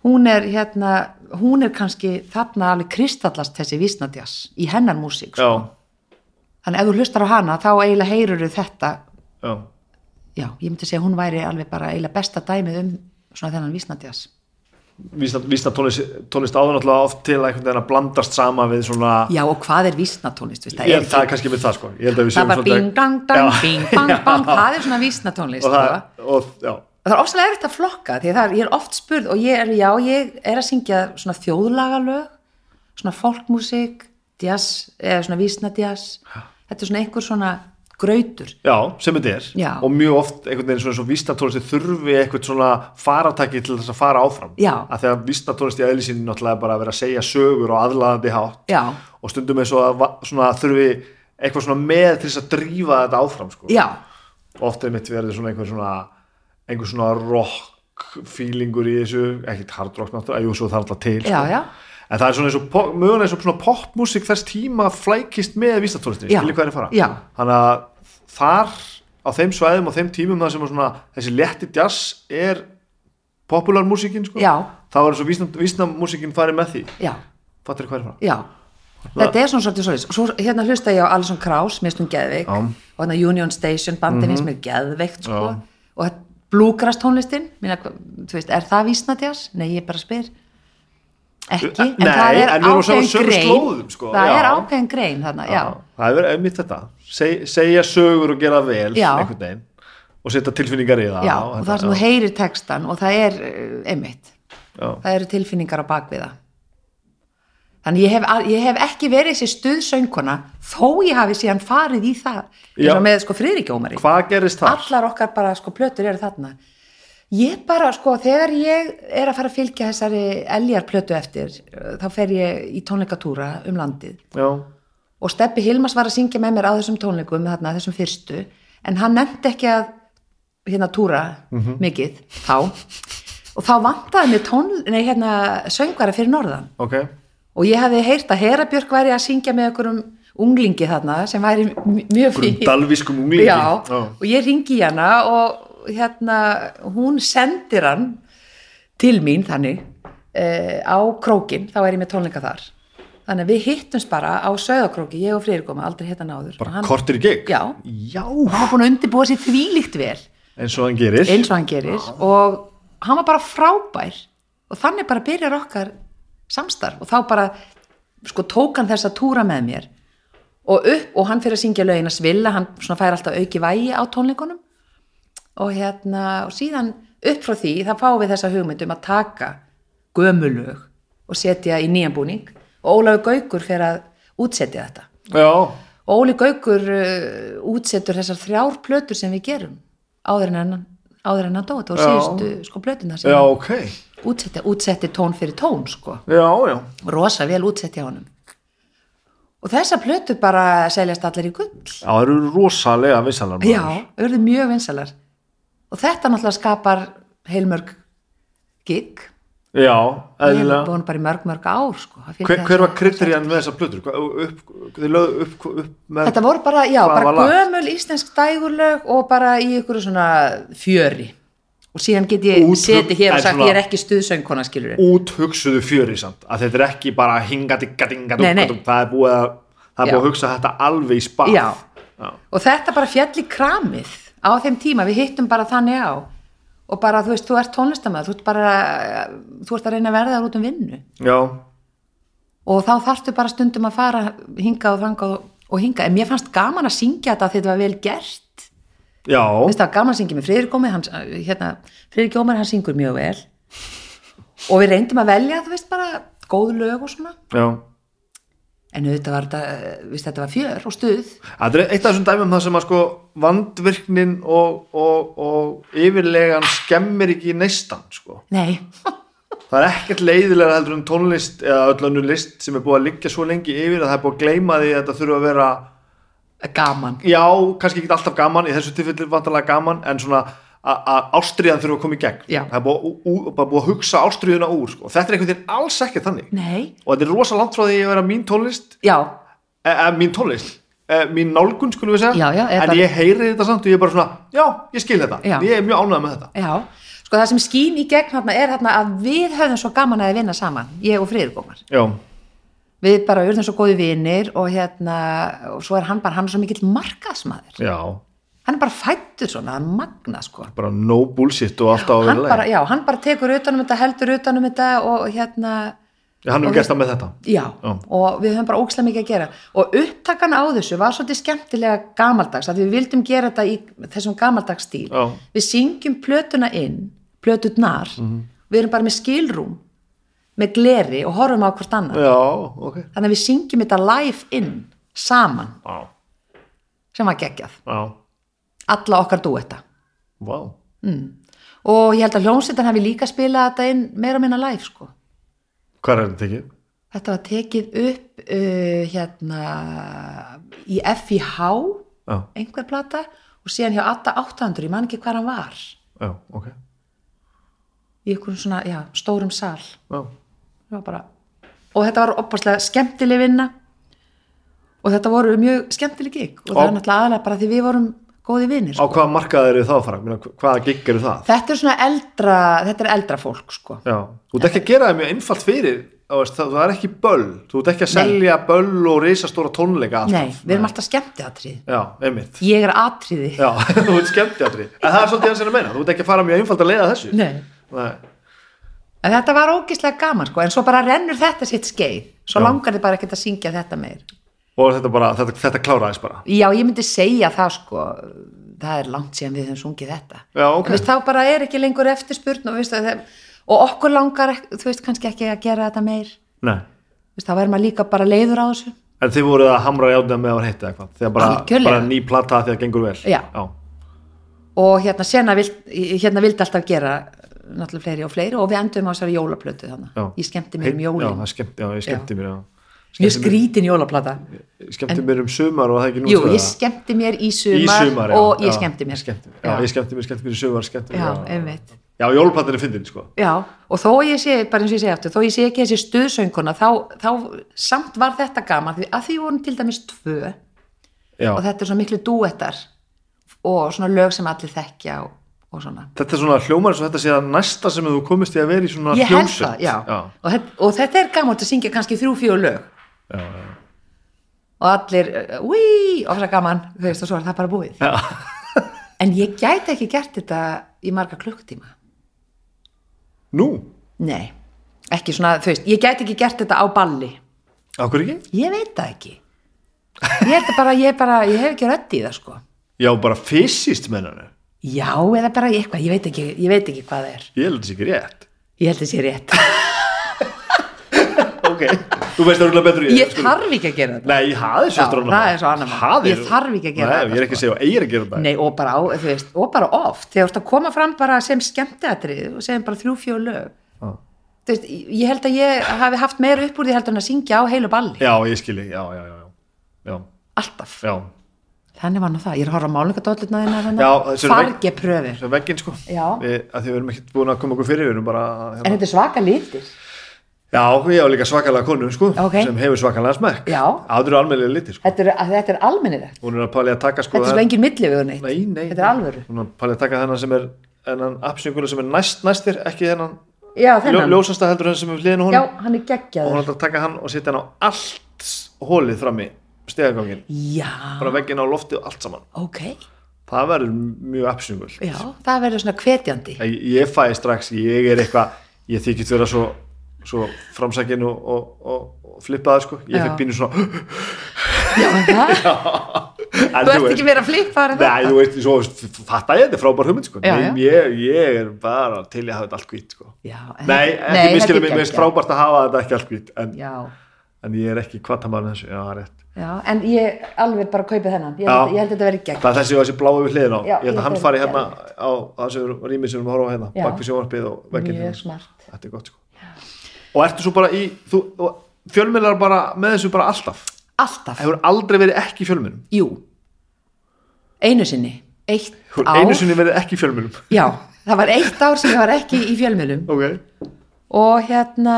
Speaker 2: hún er hérna hún er kannski þarna alveg kristallast þessi vísnadjas í hennar músík sko.
Speaker 1: já,
Speaker 2: þannig ef þú hlustar á hana þá eiginlega heyrur þetta
Speaker 1: já.
Speaker 2: já, ég myndi segja að hún væri alveg bara eiginlega besta dæmið um svona þennan vísnadjas
Speaker 1: Vísna, vísna tónlist, tónlist áður náttúrulega oft til einhvern veginn að blandast sama við svona
Speaker 2: já og hvað er vísnatónlist veist,
Speaker 1: ég held það
Speaker 2: það,
Speaker 1: er kannski með það sko ég held að við
Speaker 2: það
Speaker 1: séum
Speaker 2: er bara bing, dang, dang, bing, bang, bang það er svona vísnatónlist sko.
Speaker 1: og það, og, já,
Speaker 2: það er ofsalega erfitt að flokka því það er, ég er oft spurð og ég er, já, ég er að syngja svona þjóðlagalög svona folkmúsík, jazz eða svona vísnadjazz þetta er svona einhver svona grautur
Speaker 1: já, sem þetta er
Speaker 2: Já.
Speaker 1: og mjög oft einhvern veginn svona svo vísna tónlist þurfi eitthvað svona farataki til þess að fara áfram
Speaker 2: Já.
Speaker 1: að þegar vísna tónlist í eðlisinn náttúrulega er bara að vera að segja sögur og aðlaðandi hátt
Speaker 2: já,
Speaker 1: og stundum eins og að va- svona þurfi eitthvað svona með til þess að drífa þetta áfram sko.
Speaker 2: já,
Speaker 1: ofta er mitt verður svona einhver svona einhver svona rock feelingur í þessu, ekkert hard rock náttúrulega, jú svo það er alltaf til sko.
Speaker 2: Já, já.
Speaker 1: en það er svona eins og pop- mögulega eins og svona popmusik þess tíma flækist með vísnatólistinni,
Speaker 2: Já.
Speaker 1: skilji hvað er að fara
Speaker 2: Já.
Speaker 1: þannig að þar á þeim svæðum og þeim tímum það sem er svona þessi letti jazz er popularmusikin sko
Speaker 2: Já.
Speaker 1: þá er eins og vísna- vísnamusikin farið með því
Speaker 2: já,
Speaker 1: fattir hvað er að fara
Speaker 2: já þetta er svona svolítið svolítið svo hérna hlusta ég á Alison Krauss, mér stund Geðvik
Speaker 1: Já. Mhm.
Speaker 2: og hérna Union Station bandin finnst mér Geðveikt sko.
Speaker 1: Já.
Speaker 2: og þetta blúgrast tónlistin minna, þú veist, er það vísnadjazz? nei, ég bara spyr ekki, en
Speaker 1: Nei,
Speaker 2: það er
Speaker 1: en við erum á sama
Speaker 2: ákveðin
Speaker 1: sömu
Speaker 2: grein
Speaker 1: slóðum, sko,
Speaker 2: það
Speaker 1: já.
Speaker 2: er ákveðin grein þarna, já,
Speaker 1: það hefur einmitt þetta Seg, segja sögur og gera vel
Speaker 2: Já.
Speaker 1: einhvern veginn og setja tilfinningar í
Speaker 2: já,
Speaker 1: það
Speaker 2: og það sem þú heyrir textan og það er eh, einmitt
Speaker 1: heim
Speaker 2: það eru tilfinningar á bakviða þannig ég hef, al- ég hef ekki verið þessi stuðsönguna þó ég hafi síðan farið í það eins
Speaker 1: Já.
Speaker 2: og með sko friðrikjómari
Speaker 1: hvað gerist þar?
Speaker 2: allar okkar bara sko plötur eru þarna ég bara sko þegar ég er að fara að fylgja þessari eljar plötu eftir eh, þá fer ég í tónleikatúra um landið
Speaker 1: já,
Speaker 2: og Steppi Hilmas var að syngja með mér á þessum tónleikum þarna, þessum fyrstu, en hann nefndi ekki að hérna túra mikið þá og þá vantaði mér tón, nei, hérna, söngvara fyrir norðan
Speaker 1: ok
Speaker 2: og ég hafði heyrt að Hera Björk væri að syngja með einhverjum unglingi þarna sem væri m- mjög fín
Speaker 1: grundalviskum unglingi
Speaker 2: Já, og ég ringi í hana og hérna, hún sendir hann til mín þannig eh, á krókin, þá er ég með tónleika þar. Þannig að við hittumst bara á söðakróki, ég og Freyri koma, aldrei hitt hann áður. Og
Speaker 1: bara
Speaker 2: hann,
Speaker 1: kortir í gig
Speaker 2: Já.
Speaker 1: Já,
Speaker 2: hann var búin að undirbúa sér þvílíkt vel
Speaker 1: eins og hann gerir
Speaker 2: eins og hann gerir og hann var bara frábær og þannig bara byrjar okkar samstarf og þá bara sko tók hann þessa túra með mér og upp og hann fyrir að syngja lögin að svilla, hann svona fær alltaf auki vægi á tónleikunum og hérna og síðan upp frá því þá fáum við þessa hugmyndum að taka gömulög og setja í nýjan búning og Ólafur Gaukur fyrir að útsetja þetta
Speaker 1: já,
Speaker 2: og Óli Gaukur uh, útsetur þessar þrjár plötur sem við gerum áður en hann, áður en hann dó þetta voru
Speaker 1: Já.
Speaker 2: síðustu sko plötuna sem
Speaker 1: já,
Speaker 2: hann
Speaker 1: ok já,
Speaker 2: útsetti, útsetti tón fyrir tón sko
Speaker 1: já,
Speaker 2: rosa vel útsetti á honum og þessar plötur bara seljast allar í gull
Speaker 1: já það eru rosalega vissalar
Speaker 2: já, urðu mjög vinsalar og þetta náttúrulega skapar heilmörg gig
Speaker 1: já,
Speaker 2: við erum
Speaker 1: eðlilega
Speaker 2: búin bara í mörg mörg ár sko að fylgja
Speaker 1: hver, hver var
Speaker 2: þessu-
Speaker 1: kriterjan með þessa plötur? Hvað- Upp, þið lögðu upp, upp með
Speaker 2: Þetta voru bara, já,
Speaker 1: Hvað
Speaker 2: bara
Speaker 1: var lagt?
Speaker 2: gömul íslensk dægurlög og bara í ykkur svona fjöri og síðan get ég
Speaker 1: Útflug-
Speaker 2: setið hér
Speaker 1: en
Speaker 2: og sagt
Speaker 1: svona-
Speaker 2: ég er ekki stuðsöngkona skilur
Speaker 1: úthugsuðu fjöri samt að þetta er ekki bara hinga digga dinga
Speaker 2: Nei, nei.
Speaker 1: dúkadúk. það er búið að það er
Speaker 2: Já.
Speaker 1: búið að hugsa þetta alveg í spað
Speaker 2: Já.
Speaker 1: Já.
Speaker 2: og þetta bara fjall í kramið á þeim tíma, við hittum bara þannig á og bara þú veist, þú ert tónlistamæð þú ert bara, þú ert að reyna að verða þar út um vinnu
Speaker 1: Já.
Speaker 2: og þá þarftu bara stundum að fara hinga og þanga og, og hinga en mér fannst gaman að syngja þetta af því þetta var vel gert
Speaker 1: Já.
Speaker 2: Mér finnst það gaman að syngja með Friðrik Ómar hann, hérna, Friðrik Ómar hann syngur mjög vel og við reyndum að velja þú veist bara góð lög og svona
Speaker 1: Já.
Speaker 2: en auðvitað var þetta, viðst, þetta var fjör og stuð
Speaker 1: Þetta er eitt af þessum dæmum það sem að sko vandvirknin og, og, og yfirlegan skemmir ekki neistan sko.
Speaker 2: nei,
Speaker 1: Það er ekkert leiðilega heldur en tónlist eða öll önnur list sem er búið að liggja svo lengi yfir að það er búið að gleyma því að þetta þurfa að vera
Speaker 2: gaman
Speaker 1: já, kannski ekki alltaf gaman í þessu tilfelli vantarlega gaman en svona a- að ástriðan þurfa að koma í gegn
Speaker 2: Já.
Speaker 1: það er búið, að ú- ú- bara búið að hugsa ástriðuna úr sko. þetta er einhvern veginn alls ekki þannig
Speaker 2: nei,
Speaker 1: og þetta er rosa langt frá því að vera mín tónlist
Speaker 2: já,
Speaker 1: e, e, mín tónlist e, mín nálgun skulum við segja
Speaker 2: Já, já, eða
Speaker 1: en
Speaker 2: bara-
Speaker 1: ég heyri þetta samt og ég er bara svona já, ég skil þetta,
Speaker 2: Já.
Speaker 1: ég er mjög ánægð með þetta
Speaker 2: já sko það sem skín í gegn hérna er hérna að við höfðum svo gaman að vinna saman ég og Friðrik Ómar
Speaker 1: já,
Speaker 2: við bara urðum svo góði vinir og hérna, og svo er hann bara hann er svo mikill markaðsmaður
Speaker 1: já,
Speaker 2: hann er bara fættur svona, hann magna sko
Speaker 1: bara no bullshit og alltaf að
Speaker 2: hann
Speaker 1: vera
Speaker 2: bara,
Speaker 1: leið
Speaker 2: já, hann bara tekur utanum þetta, heldur utanum þetta og hérna,
Speaker 1: hann hefur gert það með þetta
Speaker 2: já,
Speaker 1: Já.
Speaker 2: og við höfum bara ókslega mikið að gera og upptakan á þessu var svolítið skemmtilega gamaldags að við vildum gera þetta í þessum gamaldags stíl
Speaker 1: Já.
Speaker 2: við syngjum plötuna inn plöturnar,
Speaker 1: Mhm.
Speaker 2: við erum bara með skilrúm með gleri og horfum á hvort annað
Speaker 1: já, ok
Speaker 2: þannig að við syngjum þetta live inn saman,
Speaker 1: já,
Speaker 2: sem var geggjað
Speaker 1: já,
Speaker 2: alla okkar duetta
Speaker 1: vá
Speaker 2: og ég held að hljómsveitan hafi líka spilað þetta inn meira og minna live sko
Speaker 1: hvað er þetta ekki?
Speaker 2: Þetta var tekið upp uh, hérna í FIH,
Speaker 1: já,
Speaker 2: einhver plata og síðan hjá Atta 800, ég man ekki hvað hann var
Speaker 1: já, ok
Speaker 2: í einhverjum svona, já, stórum sal
Speaker 1: já,
Speaker 2: Það var bara... og þetta var opaslega skemmtileg vinna og þetta voru mjög skemmtileg gig og það
Speaker 1: Á-
Speaker 2: er náttúrulega aðlega bara því við vorum góði vinir
Speaker 1: á
Speaker 2: sko.
Speaker 1: hvaða markað eru þá að fara Meina, hvaða gig eru það
Speaker 2: Þetta er svona eldra, þetta er eldra fólk sko.
Speaker 1: já. þú ert ekki að gera það mjög einfalt fyrir þú veist, það, það er ekki böll þú ert ekki að
Speaker 2: Nei.
Speaker 1: selja böll og risastóra tónleika
Speaker 2: Nei,
Speaker 1: alltaf
Speaker 2: við erum alltaf skemmtiatrið
Speaker 1: já, einmitt
Speaker 2: Ég er atriði
Speaker 1: já, þú ert skemmt játri en það er svolítið hans er að meina, þú ert ekki að fara mjög einfalt að leiða þessu
Speaker 2: Nei
Speaker 1: Nei.
Speaker 2: en þetta var ógislega gaman sko en svo bara rennur þetta sitt skeið svo
Speaker 1: Já.
Speaker 2: langar þið bara ekkert að syngja þetta meir
Speaker 1: og þetta bara, þetta, þetta kláraðist bara
Speaker 2: já ég myndi segja það sko það er langt síðan við höfum sungið þetta
Speaker 1: Já, ok.
Speaker 2: En veist, þá bara er ekki lengur eftirspurn og, veist, að það, og okkur langar ek- þú veist kannski ekki að gera þetta meir
Speaker 1: Nei.
Speaker 2: Þú veist, þá verður maður líka bara leiður á þessu
Speaker 1: en þið voruð að hamra játna með að var heitt eða hvað þegar bara,
Speaker 2: Algjörlega.
Speaker 1: bara ný plata þegar gengur vel
Speaker 2: Já. og hérna sena vild, hérna vildi alltaf gera náttúrulega fleiri og fleiri og við endum á þessari jólaplötu þannig
Speaker 1: Já.
Speaker 2: ég skemmti mér um
Speaker 1: Heitt- já,
Speaker 2: jólin
Speaker 1: það skemmt, já, ég skemmti mér já.
Speaker 2: mjög
Speaker 1: Skemmti mér-
Speaker 2: skrítin jólaplata
Speaker 1: skemmti mér um sumar og það ekki nú
Speaker 2: jú, ég skemmti mér í sumar,
Speaker 1: í sumar já,
Speaker 2: og ég
Speaker 1: já,
Speaker 2: skemmti mér
Speaker 1: skemmti, já,
Speaker 2: já,
Speaker 1: ég skemmti mér, skemmti mér í sumar skemmti mér,
Speaker 2: Já, einmitt.
Speaker 1: já, jólplattin er fyndin sko
Speaker 2: já, og þó ég sé, bara eins og ég segi aftur þó ég sé ekki þessi stuðsönguna þá, þá samt var þetta gaman því, að því voru til dæmis tvö
Speaker 1: já.
Speaker 2: og þetta er svona miklu duettar og svona lög sem allir þekkja og, og svona
Speaker 1: þetta er svona hljómar eins og þetta sé að næsta sem þú komist í að vera í svona
Speaker 2: ég held
Speaker 1: hljómsveit
Speaker 2: það, já, Og, þetta, og þetta er gaman að syngja kannski þrjú, fjóðu lög
Speaker 1: Já, já.
Speaker 2: og allir, úi, og það er gaman þú veist, og svo er það bara búið
Speaker 1: Já.
Speaker 2: en ég gæti ekki gert þetta í marga klukkutíma
Speaker 1: nú,
Speaker 2: nei, ekki svona, þú veist, ég gæti ekki gert þetta á balli
Speaker 1: okkur ekki?
Speaker 2: ég veit það ekki ég er þetta bara, ég er bara, ég hef ekki rödd í það sko
Speaker 1: já, bara fysiskt mennanu
Speaker 2: já, eða bara í eitthvað, ég veit ekki, ég veit ekki hvað það er
Speaker 1: ég held þessi ekki rétt
Speaker 2: ég held þessi rétt,
Speaker 1: ok, þú veist það rúlega betur en
Speaker 2: ég
Speaker 1: sko.
Speaker 2: þarf ekki að gera þetta
Speaker 1: Nei, það er svo
Speaker 2: Já,
Speaker 1: eftir annar
Speaker 2: það
Speaker 1: mál.
Speaker 2: er svo annar mál.
Speaker 1: Það
Speaker 2: Ég þarf ekki að gera
Speaker 1: Nei,
Speaker 2: þetta, sko.
Speaker 1: Ég er ekki að segja að eigir að gera það
Speaker 2: Nei, og bara, á, þú veist, og bara oft þegar þú ert að koma fram bara sem skemmteatrið og segjum bara þrjú, fjóðu lög
Speaker 1: Já.
Speaker 2: þú veist, ég held að ég hafi haft meira upp úr því heldur en að syngja á heilu balli
Speaker 1: Já, ég skilji, já, já, já, já, já,
Speaker 2: alltaf,
Speaker 1: já.
Speaker 2: þannig var nú það ég er að horfa á hérna. málingadóllutna
Speaker 1: Já,
Speaker 2: þína
Speaker 1: þessu er
Speaker 2: farge pröfir,
Speaker 1: Svo vegginn sko,
Speaker 2: Já.
Speaker 1: við, að því við erum ekkert búin að koma okkur fyrir, við erum bara, hérna
Speaker 2: en þetta er svaka litir
Speaker 1: já, ég á líka svakalega konu sko,
Speaker 2: Ok.
Speaker 1: sem hefur svakalega smekk,
Speaker 2: Já.
Speaker 1: það eru almennlega liti sko,
Speaker 2: þetta er, að þetta er almennilegt,
Speaker 1: hún er að palja að taka sko,
Speaker 2: þetta er
Speaker 1: það-
Speaker 2: svo engin milli við hún eitt,
Speaker 1: nei, nei,
Speaker 2: þetta er alvöru
Speaker 1: hún er að palja að taka þennan sem er, þennan absyngulega sem er næst, næstir, ekki þennan,
Speaker 2: já,
Speaker 1: ljó,
Speaker 2: þennan,
Speaker 1: ljósasta heldur en sem er hliðinu
Speaker 2: já,
Speaker 1: hún,
Speaker 2: hann er
Speaker 1: og hún
Speaker 2: geggjaður
Speaker 1: er að taka hann og setja hann á allt hólið fram í stegagangin,
Speaker 2: já,
Speaker 1: bara vegginn á loftið og allt saman.
Speaker 2: ok
Speaker 1: Það verður mjög absengul.
Speaker 2: já, það verður svona hvetjandi
Speaker 1: Ég, ég fæði strax, ég er eitthvað, ég þykist vera svo, svo framsækin og, og, og, og flippaði sko. Ég
Speaker 2: Já.
Speaker 1: fekk bínu svona,
Speaker 2: já, en það,
Speaker 1: en
Speaker 2: þú ert ekki meira flippar en
Speaker 1: Nei,
Speaker 2: þetta
Speaker 1: þú veist, svo fatta ég þetta er frábær hugmynd sko.
Speaker 2: Já,
Speaker 1: Nei,
Speaker 2: já.
Speaker 1: Ég, ég er bara til í að hafa þetta allt hvít sko.
Speaker 2: Já, en
Speaker 1: Nei,
Speaker 2: þetta-
Speaker 1: ekki miskilum,
Speaker 2: þetta er
Speaker 1: mér finnst
Speaker 2: geggjað.
Speaker 1: frábært að hafa þetta ekki allt hvít en,
Speaker 2: já,
Speaker 1: en ég er ekki hvata maður þessu, já, það er rétt.
Speaker 2: já, en ég alveg bara kaupi þennan ég,
Speaker 1: Já.
Speaker 2: held- ég held þetta verið gegn
Speaker 1: Það er þessi og þessi bláu við hliðin á.
Speaker 2: Já,
Speaker 1: ég held
Speaker 2: ég
Speaker 1: að hann
Speaker 2: held
Speaker 1: fari
Speaker 2: þetta,
Speaker 1: hérna á, á þessu rými sem við horfum á hérna,
Speaker 2: Já.
Speaker 1: bak við sjónvarpið og vegginn.
Speaker 2: mjög
Speaker 1: hérna.
Speaker 2: smart
Speaker 1: Þetta er gott sko. Og ertu svo bara í, þú, og fjölmiðlar bara með þessu bara alltaf.
Speaker 2: alltaf,
Speaker 1: Það hefur aldrei verið ekki í fjölmiðlum.
Speaker 2: jú einu sinni, eitt
Speaker 1: Hefur
Speaker 2: ár
Speaker 1: einu sinni verið ekki í fjölmiðlum.
Speaker 2: já, það var eitt ár sem ég var ekki í fjölmjölum
Speaker 1: Ok.
Speaker 2: og hérna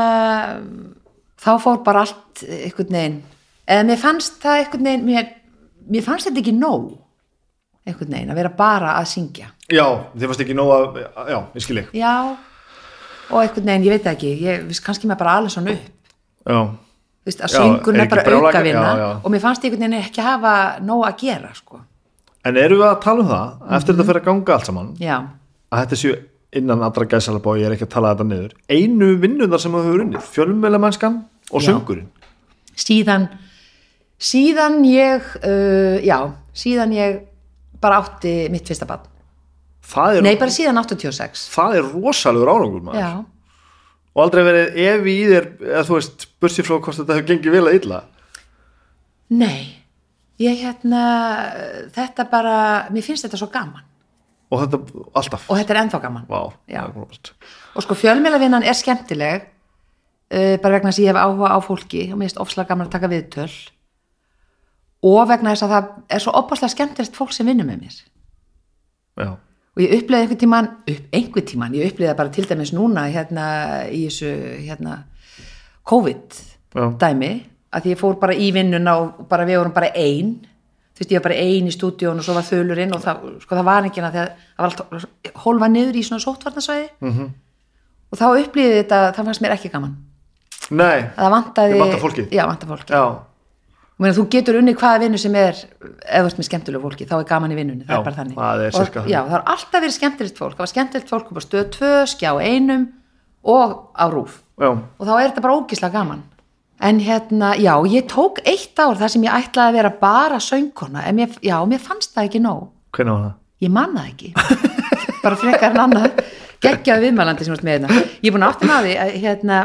Speaker 2: þá fór bara allt einhvern veginn eða mér fannst það einhvern veginn mér, mér fannst þetta ekki nóg einhvern veginn að vera bara að syngja
Speaker 1: Já, þið fannst ekki nóg að, já, ég skil ég.
Speaker 2: já, og einhvern veginn, ég veit það ekki ég, viðst, kannski maður bara alveg svona upp
Speaker 1: Já.
Speaker 2: Þú veist, að
Speaker 1: Já,
Speaker 2: syngun
Speaker 1: er
Speaker 2: er
Speaker 1: ekki
Speaker 2: bara
Speaker 1: brjálæði-
Speaker 2: auka vinna
Speaker 1: já, já.
Speaker 2: og mér fannst ég einhvern veginn ekki hafa nóg að gera sko.
Speaker 1: En erum við að tala um það, eftir
Speaker 2: Mhm.
Speaker 1: þetta fyrir að ganga allt saman,
Speaker 2: já,
Speaker 1: að þetta séu innan allra gæsalabá, ég er ekki að tala þetta niður, einu vinnundar sem þú hefur unnið, fjölmiðlamennskan og
Speaker 2: Já.
Speaker 1: söngurinn.
Speaker 2: síðan síðan ég uh, já, síðan ég bara átti mitt fyrsta barn
Speaker 1: Það er,
Speaker 2: nei, bara síðan 86
Speaker 1: það er rosalegur árangur maður.
Speaker 2: já,
Speaker 1: Og aldrei verið evi í þér, eða þú veist, bursið frá hvort þetta hefur gengið vel að illa.
Speaker 2: nei ég hérna, þetta bara mér finnst þetta svo gaman
Speaker 1: og þetta alltaf
Speaker 2: og þetta er ennþá gaman
Speaker 1: Vá,
Speaker 2: Já.
Speaker 1: það er grófast.
Speaker 2: og sko fjölmiðlavinnan er skemmtileg uh, bara vegna þess að ég hef áhuga á fólki og mér finnst ofslega gaman að taka viðtöl og vegna þess að það er svo opaslega skemmtilegt fólk sem vinnur með mér
Speaker 1: Já.
Speaker 2: og ég upplýði einhvern tíman upp, einhvern tíman, ég upplýði það bara til dæmis núna hérna í þessu hérna COVID
Speaker 1: Já.
Speaker 2: dæmi, að því ég fór bara í vinnuna og bara við vorum bara ein þú veist ég var bara ein í stúdíón og svo var þölurinn og það, sko, það var ekki hana þegar það var allt hólfa niður í svona sóttvarnasvæði -hmm.
Speaker 1: Mhm.
Speaker 2: og þá upplýði þetta, það fannst mér ekki gaman
Speaker 1: Nei,
Speaker 2: að það vantaði,
Speaker 1: Þið vantar fólkið?
Speaker 2: já, vantar fólki
Speaker 1: já,
Speaker 2: Ég meina, þú getur unni hvaða vinnu sem er ef þú ert með skemmtilegu fólki, þá er gaman í vinnunni það
Speaker 1: Já,
Speaker 2: er bara þannig
Speaker 1: það er
Speaker 2: og,
Speaker 1: sirka þannig.
Speaker 2: já, það er alltaf verið skemmtilegt fólk, það var skemmtilegt fólk upp á stöð 2, skjá einum og á rúf
Speaker 1: já,
Speaker 2: og þá er þetta bara ógislega gaman en hérna, já, ég tók eitt ár þar sem ég ætlaði að vera bara söngkona en mér, já, mér fannst það ekki nóg
Speaker 1: hvernig var það?
Speaker 2: ég man það ekki bara frekar en annað geggjaði viðmælandi sem varst með hérna ég er búin að átta mig á því að hérna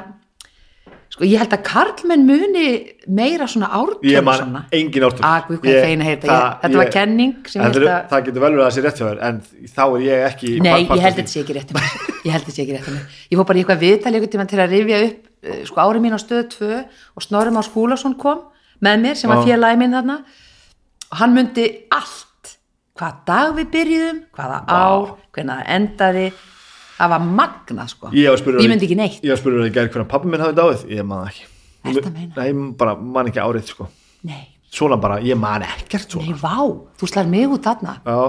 Speaker 2: sko ég held að karlmenn muni meira svona
Speaker 1: Ég
Speaker 2: ártölu
Speaker 1: man
Speaker 2: svona
Speaker 1: engin ártöl
Speaker 2: Að, guð, hvað ég feina að heyra þetta. Ég- þetta var kenning sem ég
Speaker 1: ég
Speaker 2: held að-
Speaker 1: Það getur vel verið að það sé rétt hjá þér en þá er ég ekki
Speaker 2: nei,
Speaker 1: part-
Speaker 2: ég held
Speaker 1: partur
Speaker 2: þetta sé ekki rétt um mig ég held þetta sé ekki rétt um mig ég fór bara í eitthvað viðtal einhvern tímann til að rifja upp eh, sko ári mín á stöð 2 og Snorri Már Skúlason kom með mér sem var
Speaker 1: Já.
Speaker 2: félagi minn þarna og hann myndi allt hvaða dag við byrjuðum, hvaða ár hvernig það endaði það var magnað sko,
Speaker 1: Ég var spurður-
Speaker 2: myndi ekki neitt
Speaker 1: Ég var spurður að ég gæri hvernig pappi minn hafði dáið Ég man það ekki
Speaker 2: Ertu að meina?
Speaker 1: Nei, ég bara man ekki árið sko
Speaker 2: nei,
Speaker 1: Svona bara, ég man ekkert svona
Speaker 2: nei, vá, þú slær mig út þarna
Speaker 1: Já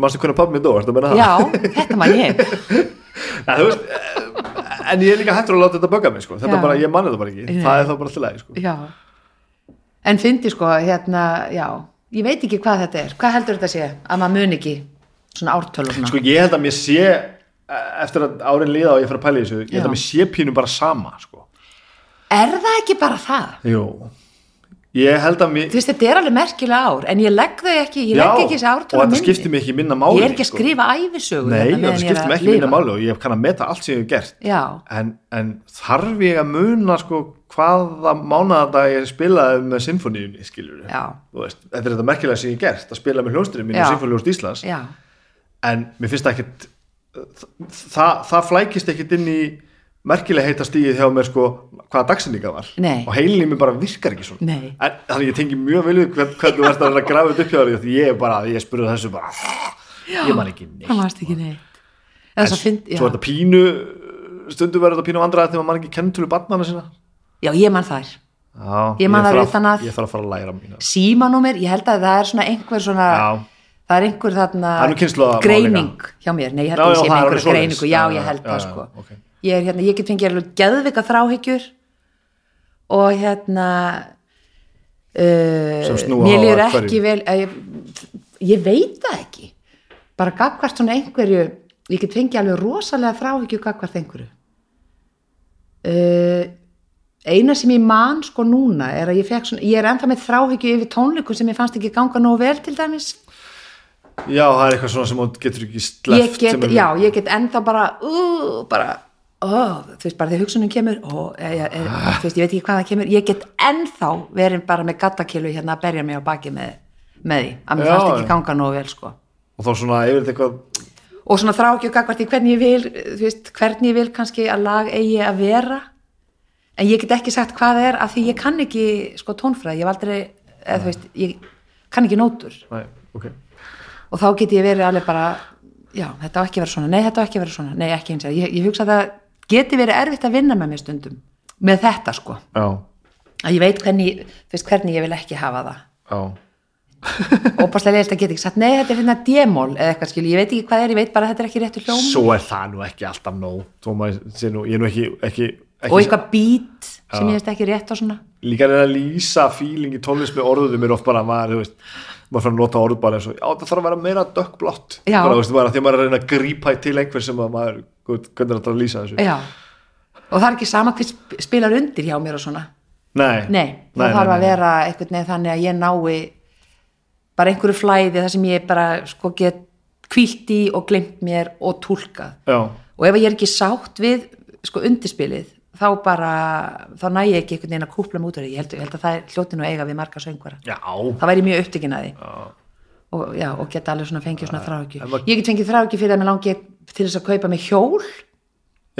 Speaker 1: Manstu hvernig pappi minn dó, ertu að menna það?
Speaker 2: já, þetta man ég
Speaker 1: En, þú veist, eh, en ég er líka hættur að láta þetta bögga mig sko Þetta
Speaker 2: Já.
Speaker 1: bara, ég man þetta bara ekki
Speaker 2: Nei.
Speaker 1: Það er þá bara til aðeins sko
Speaker 2: já en fyndi sko hérna, já, ég veit ekki hvað þetta er hvað heldur þetta sé, að maður mun ekki svona ártölu svona,
Speaker 1: Sko ég held að mér sé eh, Eftir að árin líða og ég fyrir að pæla í þessu Ég held
Speaker 2: Já.
Speaker 1: að mér sé pínum bara sama sko
Speaker 2: er það ekki bara það?
Speaker 1: Jú Ég held að mér
Speaker 2: þú veist, þetta er alveg merkilega ár en ég legg þau ekki, ég legg ekki þessi
Speaker 1: og
Speaker 2: ártölu
Speaker 1: þetta skiptir mig ekki minna máli
Speaker 2: ég er ekki að
Speaker 1: sko.
Speaker 2: skrifa æfisögu
Speaker 1: Nei,
Speaker 2: hérna,
Speaker 1: þetta
Speaker 2: meðan ég er
Speaker 1: skiptir
Speaker 2: að
Speaker 1: mig ekki
Speaker 2: lifa.
Speaker 1: minna máli og ég kann að meta allt sem ég hef gert
Speaker 2: já,
Speaker 1: en, en þarf ég að muna sko, hvaða mánadag ég spilaði með sinfoníunni, skilur
Speaker 2: Já.
Speaker 1: veist, Þetta er þetta merkilega sem ég hef gert að spila með hljónsturinn mín
Speaker 2: Já.
Speaker 1: og sinfoníust Íslands
Speaker 2: já,
Speaker 1: en mér finnst það ekkit það, það flækist ekkit inn í merkilega heita stíði hjá mér sko hvaða dagsinninga var
Speaker 2: Nei.
Speaker 1: og heilinni mér bara virkar ekki svona
Speaker 2: Nei.
Speaker 1: en, þannig ég tengi mjög vel við hvern, hvernig þú verðst að reyna að grafa þetta upp hjá þér því ég er bara, ég spurði þessu bara ég man ekki neitt
Speaker 2: það varst ekki neitt eða svo fynd,
Speaker 1: svo er
Speaker 2: já.
Speaker 1: þetta pínu stundum verður þetta pínu vandræði þegar maður ekki kennitölu barnana sína
Speaker 2: já, ég man þær
Speaker 1: Já,
Speaker 2: Ég man það
Speaker 1: þarf
Speaker 2: utan að-
Speaker 1: ég þarf að fara að læra mína
Speaker 2: símanúmer, ég held að það er svona einhver svona
Speaker 1: Já.
Speaker 2: það er einhver þarna
Speaker 1: Það er nú kynslóðamál
Speaker 2: greining hjá mér, nei ég held
Speaker 1: Já,
Speaker 2: að ég
Speaker 1: já,
Speaker 2: sé
Speaker 1: það er
Speaker 2: með einhverja
Speaker 1: alveg svoleiðis.
Speaker 2: greiningu, já
Speaker 1: Já,
Speaker 2: ég held
Speaker 1: já,
Speaker 2: það
Speaker 1: já,
Speaker 2: sko
Speaker 1: ok.
Speaker 2: ég, er, hérna, ég get fengið alveg geðvika þráhyggjur og hérna
Speaker 1: Sem
Speaker 2: uh,
Speaker 1: snúa á
Speaker 2: mér líður
Speaker 1: að hverju?
Speaker 2: ekki vel að ég, ég veit það ekki bara gagvart svona einhverju ég get fengið alveg rosalega þráhyggju gagvart einhverju uh, eina sem ég man sko núna er að ég fekk svona, ég er ennþá með þráhyggju yfir tónleikum sem ég fannst ekki ganga nógu vel til dæmis
Speaker 1: já, það er eitthvað svona sem þú getur ekki
Speaker 2: ég
Speaker 1: sleft
Speaker 2: get, já, ég get ennþá bara uh, bara Oh, þú veist bara þegar hugsunum kemur oh, er, er, þú veist ég veit ekki hvað það kemur ég get ennþá verið bara með gattakilu hérna að berja mig á baki með, með því að mér
Speaker 1: Já,
Speaker 2: fannst ekki
Speaker 1: já.
Speaker 2: ganga nógu vel sko
Speaker 1: og þá svona yfir þetta eitthvað
Speaker 2: og svona þrákjög gagvart í hvernig ég vil þú veist, hvernig ég vil kannski að lag eigi að vera en ég get ekki sagt hvað það er af því ég kann ekki sko tónfræði, ég hef aldrei eða, þú veist, ég kann ekki nótur
Speaker 1: Nei, okay.
Speaker 2: og þá get ég verið alveg bara já, þetta á ekki að vera svona, nei þetta á ekki að vera svona nei ekki eins og, ég, ég hugsa að það geti verið erfitt að vinna með mér stundum með þetta sko,
Speaker 1: já,
Speaker 2: að ég veit hvernig þú veist, hvernig ég vil ekki hafa það
Speaker 1: já,
Speaker 2: óbærslega leilt að geta ekki sagt, nei þetta er hérna demól eða eitthvað skil, ég veit ekki hvað er, ég veit bara að þetta er ekki réttu hljóm
Speaker 1: svo er það nú ekki alltaf nóg þó maður sé nú, ég er nú ekki, ekki, ekki
Speaker 2: og eitthvað bít sem ég veist ekki rétt á svona
Speaker 1: líka að reyna að lýsa fíling í tónlist með orðum er oft bara maður, þú veist maður fyrir að nota orð bara eins og, já það þarf að vera meira dökkblott,
Speaker 2: Já.
Speaker 1: bara þú veist, bara því að maður er að reyna að grípa til einhver sem að maður hvernig er þetta að lýsa þessu
Speaker 2: já. og það er ekki sama hver sp- spilar undir hjá mér og svona
Speaker 1: nei,
Speaker 2: nei, það þarf að vera einhvern veginn þannig að ég nái bara einhverju flæði þar sem ég bara sko get kvílt í og glemt mér og tólkað
Speaker 1: já,
Speaker 2: og ef ég er ekki sátt við sko undirspilið þá bara, þá næ ég ekki einhvern veginn að kúpla mig út af því, ég held, ég held að það er hljótin og eiga við marga söngvara
Speaker 1: já
Speaker 2: það væri mjög upptekinn að því og, já, og geta alveg svona fengið svona þráhyggju
Speaker 1: en maður-
Speaker 2: ég get fengið þráhyggju fyrir að mér langi til þess að kaupa mig hjól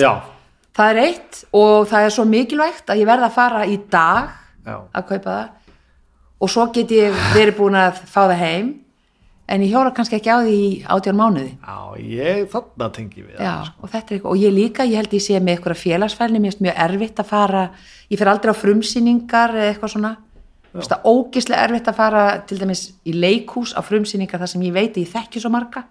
Speaker 1: Já,
Speaker 2: það er eitt og það er svo mikilvægt að ég verða að fara í dag
Speaker 1: Já.
Speaker 2: að kaupa það og svo get ég verið búin að fá það heim en ég hjóla kannski ekki á því í átján mánuði
Speaker 1: já ég þarna tengi við það.
Speaker 2: Já, og þetta er eitthvað, og ég líka, ég held ég sé með eitthvað félagsfælni, mér finnst mjög erfitt að fara ég fer aldrei á frumsýningar eða eitthvað svona, Mér finnst það ógislega erfitt að fara til dæmis í leikhús á frumsýningar þar sem ég veit að ég þekki svo marga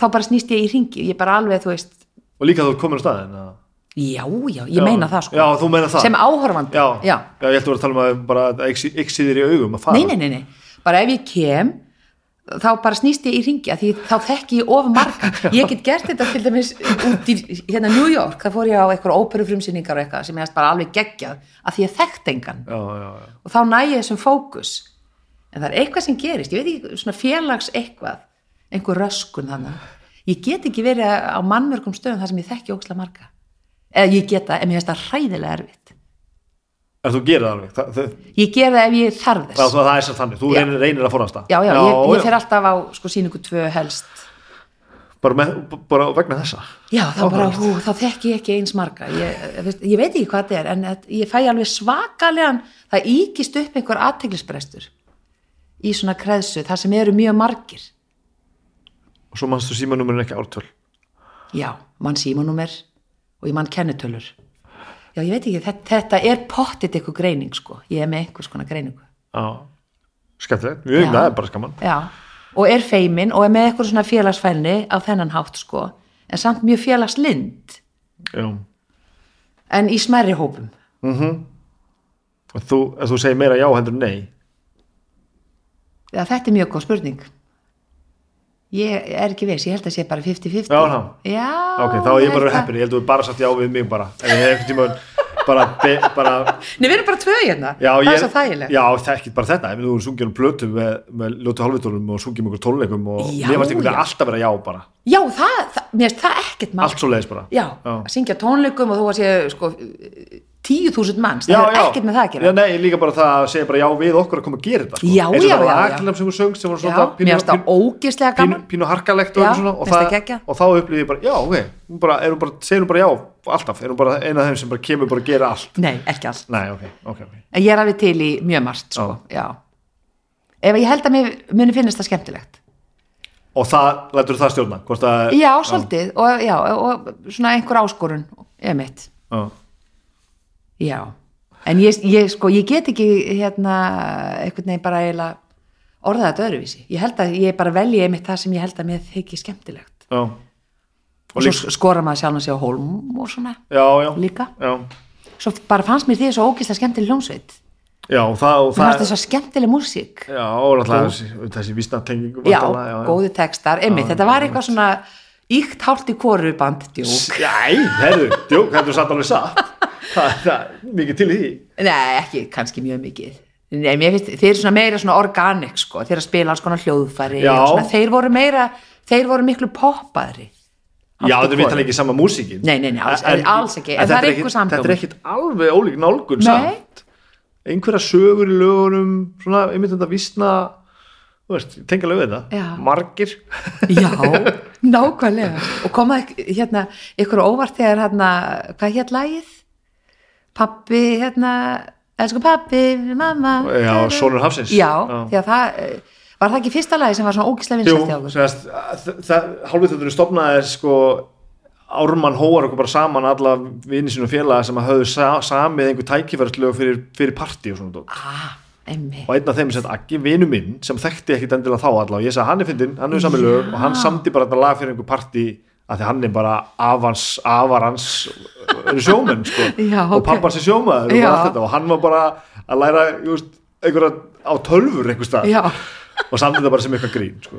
Speaker 2: þá bara snýst ég í ringi, ég bara alveg, þú veist
Speaker 1: Og líka þú ert komin á staðin að...
Speaker 2: já, já, ég meina það sko
Speaker 1: Já, þú meina það
Speaker 2: sem áhorfandi,
Speaker 1: já. já, ég ætti að vera að tala um að bara yksiðir í augum að fara
Speaker 2: nei, nei, nei, nei, bara ef ég kem þá bara snýst ég í ringja því þá þekki ég of marga ég get gert þetta til dæmis út í hérna New York, þá fór ég á eitthvað óperufrumsýningar og eitthvað sem ég hefst bara alveg geggjað af því ég þekkt engan
Speaker 1: já, já, já.
Speaker 2: og þá næ ég þessum fókus en það er eitthvað sem gerist, ég veit ekki svona félags eitthvað, einhver röskun þannig ég get ekki verið á mannmörgum stöðum þar sem ég þekki óksla marga eða ég get það, en mér finnst það hræðilega erfitt
Speaker 1: En þú gerir það alveg, það, það,
Speaker 2: ég ger það ef ég þarf
Speaker 1: það,
Speaker 2: þess
Speaker 1: það er sem þannig, þú
Speaker 2: Já.
Speaker 1: reynir, reynir að forðast það
Speaker 2: já, já, ég, ég fer alltaf á sko síningu tvö helst
Speaker 1: bara, með, bara vegna þessa
Speaker 2: Já, þá bara,
Speaker 1: Áhugavert.
Speaker 2: hú, þá þekki ég ekki eins marga. Ég, eh, veist, ég veit ekki hvað þetta er, en þetta- ég fæ alveg svakalegan, það íkist upp einhver aðteglisbrestur í svona kreðsu, þar sem eru mjög margir.
Speaker 1: og svo mannstu símanúmerin ekki ártöl
Speaker 2: Já, mann símanúmer og ég mann kennitölur. Já, ég veit ekki, þetta, þetta er pottit einhver greining, sko. Ég er með einhvers konar greiningu.
Speaker 1: já, skemmtilegt, mjög
Speaker 2: Já.
Speaker 1: það er bara skaman
Speaker 2: Já, og er feimin og er með eitthvað svona félagsfælni á þennan hátt, sko. En samt mjög félagslind,
Speaker 1: já.
Speaker 2: en í smærri hópum.
Speaker 1: En þú, en þú segir meira já hendur nei
Speaker 2: Já, þetta er mjög góð spurning. Ég er ekki veist, ég held að sé bara 50-50.
Speaker 1: Já, ná.
Speaker 2: Já.
Speaker 1: ok, þá er ég bara
Speaker 2: held að-
Speaker 1: heppin, ég held að þú bara sagt já við mig bara, en ég hef einhvern tímann bara, be, bara
Speaker 2: Nei, við erum bara tvö hérna.
Speaker 1: já,
Speaker 2: það
Speaker 1: ég,
Speaker 2: er svo þægilegt.
Speaker 1: já, það er ekki bara þetta ef þú sungir um plötu með, með ljótu halvvitólum og sungir um ykkur tónleikum og
Speaker 2: Já,
Speaker 1: mér varst einhvern veginn
Speaker 2: já.
Speaker 1: alltaf vera já bara,
Speaker 2: Já, það, það, mér finnst það ekkert mál.
Speaker 1: allt svo leiðis bara
Speaker 2: Já, að syngja tónleikum og þú að sé, sko, 10.000 manns,
Speaker 1: Já,
Speaker 2: það er
Speaker 1: já.
Speaker 2: ekkert með það að gera.
Speaker 1: já, nei, líka bara það að segja bara já við okkur að koma að gera þetta sko.
Speaker 2: Já,
Speaker 1: eins og
Speaker 2: já,
Speaker 1: það var
Speaker 2: já, já.
Speaker 1: aðlum sem hún söng sem var
Speaker 2: Já,
Speaker 1: svona
Speaker 2: mér finnst það ógeðslega
Speaker 1: pínu,
Speaker 2: gaman.
Speaker 1: pínu harkalegt og,
Speaker 2: Já,
Speaker 1: eitthvað svona, og,
Speaker 2: mér finnst það
Speaker 1: það,
Speaker 2: geggjað.
Speaker 1: og þá upplýði ég bara já, ok, hún bara, er hún bara, segir hún bara já alltaf, er hún bara eina af þeim sem bara kemur bara að gera allt
Speaker 2: Nei, ekki allt.
Speaker 1: nei, ok, ok, ok
Speaker 2: En ég er alveg til í mjög margt, sko, já. Ef ég held að mér muni finnast það skemmtilegt.
Speaker 1: og það, lætur það stjórna hvort að
Speaker 2: Já, svolítið, og já, og svona einhver áskorun, eða mitt.
Speaker 1: já,
Speaker 2: Já, en ég, ég, sko, ég get ekki hérna einhvern veginn bara eiginlega orða þetta öðruvísi. Ég held að ég bara velji einmitt það sem ég held að mér þykir skemmtilegt.
Speaker 1: já.
Speaker 2: Og,
Speaker 1: og líka
Speaker 2: svo skora maður sjálf að sé á hólm og svona
Speaker 1: já, já,
Speaker 2: líka.
Speaker 1: já,
Speaker 2: Svo bara fannst mér því svo ógislega skemmtileg hljómsveit.
Speaker 1: já, og það, og
Speaker 2: Mér fannst
Speaker 1: það
Speaker 2: þess að skemmtileg músík.
Speaker 1: já, og alltaf þessi, þessi vísnatenging
Speaker 2: Já,
Speaker 1: væntanlega, já, já.
Speaker 2: góði textar, einmitt. Þetta var eitthvað svona íkt hálft í kóru band, djú.
Speaker 1: Nei, herðu, djók, þetta er satt alveg satt það, það er mikið til í því
Speaker 2: Nei, ekki kannski mjög mikið. Nei, mér finnst, þeir eru svona meira svona organik sko, þeir eru að spila alls konar hljóðfæri
Speaker 1: Já.
Speaker 2: og svona, þeir voru meira, þeir voru miklu poppaðri.
Speaker 1: Já,
Speaker 2: Allt í
Speaker 1: þetta er
Speaker 2: hvoru.
Speaker 1: vital ekki sama músíkin
Speaker 2: Nei, nei, nei, alls- alls ekki, en það
Speaker 1: þetta
Speaker 2: er einhver samhljómur.
Speaker 1: Þetta er ekkit alveg ólík nálgun
Speaker 2: Nei.
Speaker 1: samt einhverja sögur í lögunum svona, einmitt þetta vísna þú veist, tengja lögu þetta
Speaker 2: Já.
Speaker 1: margir
Speaker 2: Já, nákvæmlega. Og koma ek- hérna, ykkur á óvart þegar hérna, hvað hétt lagið? Pappi, hérna, elsku pappi, mamma.
Speaker 1: Já, Sonur hafsins.
Speaker 2: Já,
Speaker 1: Já.
Speaker 2: því að það, eh, var það ekki fyrsta lagið sem var svona ógislega
Speaker 1: Jú,
Speaker 2: vinsælt hjá okkur?
Speaker 1: segast, það, það, hálfið þetta er stofnaði sko Ármann hóar okkur bara saman alla vini sín og félaga sem að höfðu sa, samið einhver tækifærstlög fyrir, fyrir partí og svona dót.
Speaker 2: Ah, emmi.
Speaker 1: og einn af þeim sem Aggi, vinu minn sem þekkti ekkit endilega þá alla og ég sagði hann er fyndinn, hann hefur samið lög og hann samdi bara þetta lag fyrir einhver partí að því hann er bara afans, afarans eru sjómenn sko
Speaker 2: Já,
Speaker 1: og
Speaker 2: ok.
Speaker 1: pappans er sjómaður og,
Speaker 2: Já.
Speaker 1: bara allt þetta, og hann var bara að læra just, einhverja á tölfur einhver stað
Speaker 2: Já.
Speaker 1: og samdi þetta bara sem eitthvað grín sko.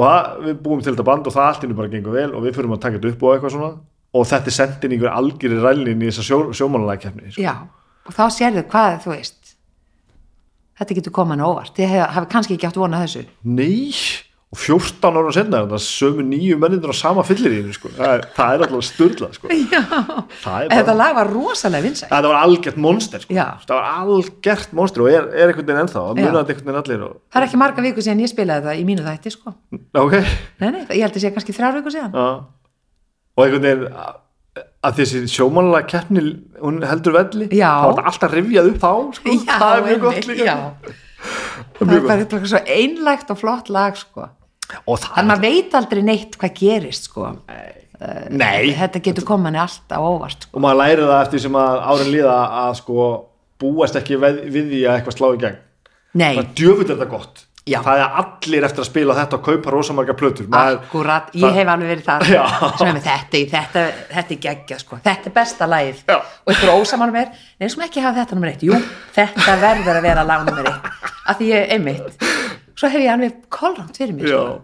Speaker 1: og það, við búum til þetta band og það allt innu bara gengur vel og við fyrir að taka þetta upp og eitthvað svona og þetta er sendin einhver algjörði rælin í þessa sjó, sjómanlægkefni sko.
Speaker 2: Já, og þá sérðu hvað þú veist. Þetta getur koman á óvart. Þið hef- hafi kannski ekki átt vona þessu.
Speaker 1: Nei, og 14 ára senna það sömu nýju mennindur á sama fyllir í sko. það, er- það er alltaf styrla sko.
Speaker 2: Já.
Speaker 1: það er
Speaker 2: Þetta
Speaker 1: bara,
Speaker 2: lag var rosalega vinsælt.
Speaker 1: þetta var algjört monster sko.
Speaker 2: Já.
Speaker 1: það var algjört monster og er, er einhvern veginn ennþá, það
Speaker 2: Já.
Speaker 1: munaði einhvern veginn allir og,
Speaker 2: Það er ekki marga viku síðan ég spilaði það í mínu þætti, sko.
Speaker 1: ok,
Speaker 2: Nei, nei, ég held að sé kannski þrjár viku síðan.
Speaker 1: já og einhvern veginn að- að þessi sjómanlega keppni hún heldur velli, það
Speaker 2: Já.
Speaker 1: var þetta alltaf rifjað upp þá, sko. það er mjög gott
Speaker 2: einmitt,
Speaker 1: líka
Speaker 2: já.
Speaker 1: Það er
Speaker 2: Það
Speaker 1: mjög
Speaker 2: er bara eitthvað svo einlægt og flott lag, sko.
Speaker 1: og það,
Speaker 2: En maður veit aldrei neitt hvað gerist, sko.
Speaker 1: nei
Speaker 2: Þetta getur koma henni alltaf óvart, sko.
Speaker 1: og maður læri það eftir sem að árin líða að sko búast ekki við, við því að eitthvað slá í gegn
Speaker 2: Nei,
Speaker 1: það djöfull er þetta gott
Speaker 2: Já.
Speaker 1: það er allir eftir að spila þetta og kaupa rosamarga plötur Maður-
Speaker 2: akkurat, ég
Speaker 1: það-
Speaker 2: hef alveg verið það.
Speaker 1: Já.
Speaker 2: Svona með þetta, þetta, þetta er geggja, sko. Þetta er besta lagið.
Speaker 1: Já.
Speaker 2: Og ykkur ósamanum er, neins sem ekki hafa þetta nummer eitt. Jú, þetta verður að vera lag nummer eitt. Af því ég, einmitt, svo hef ég alveg kolrangt fyrir mér sko.
Speaker 1: Já.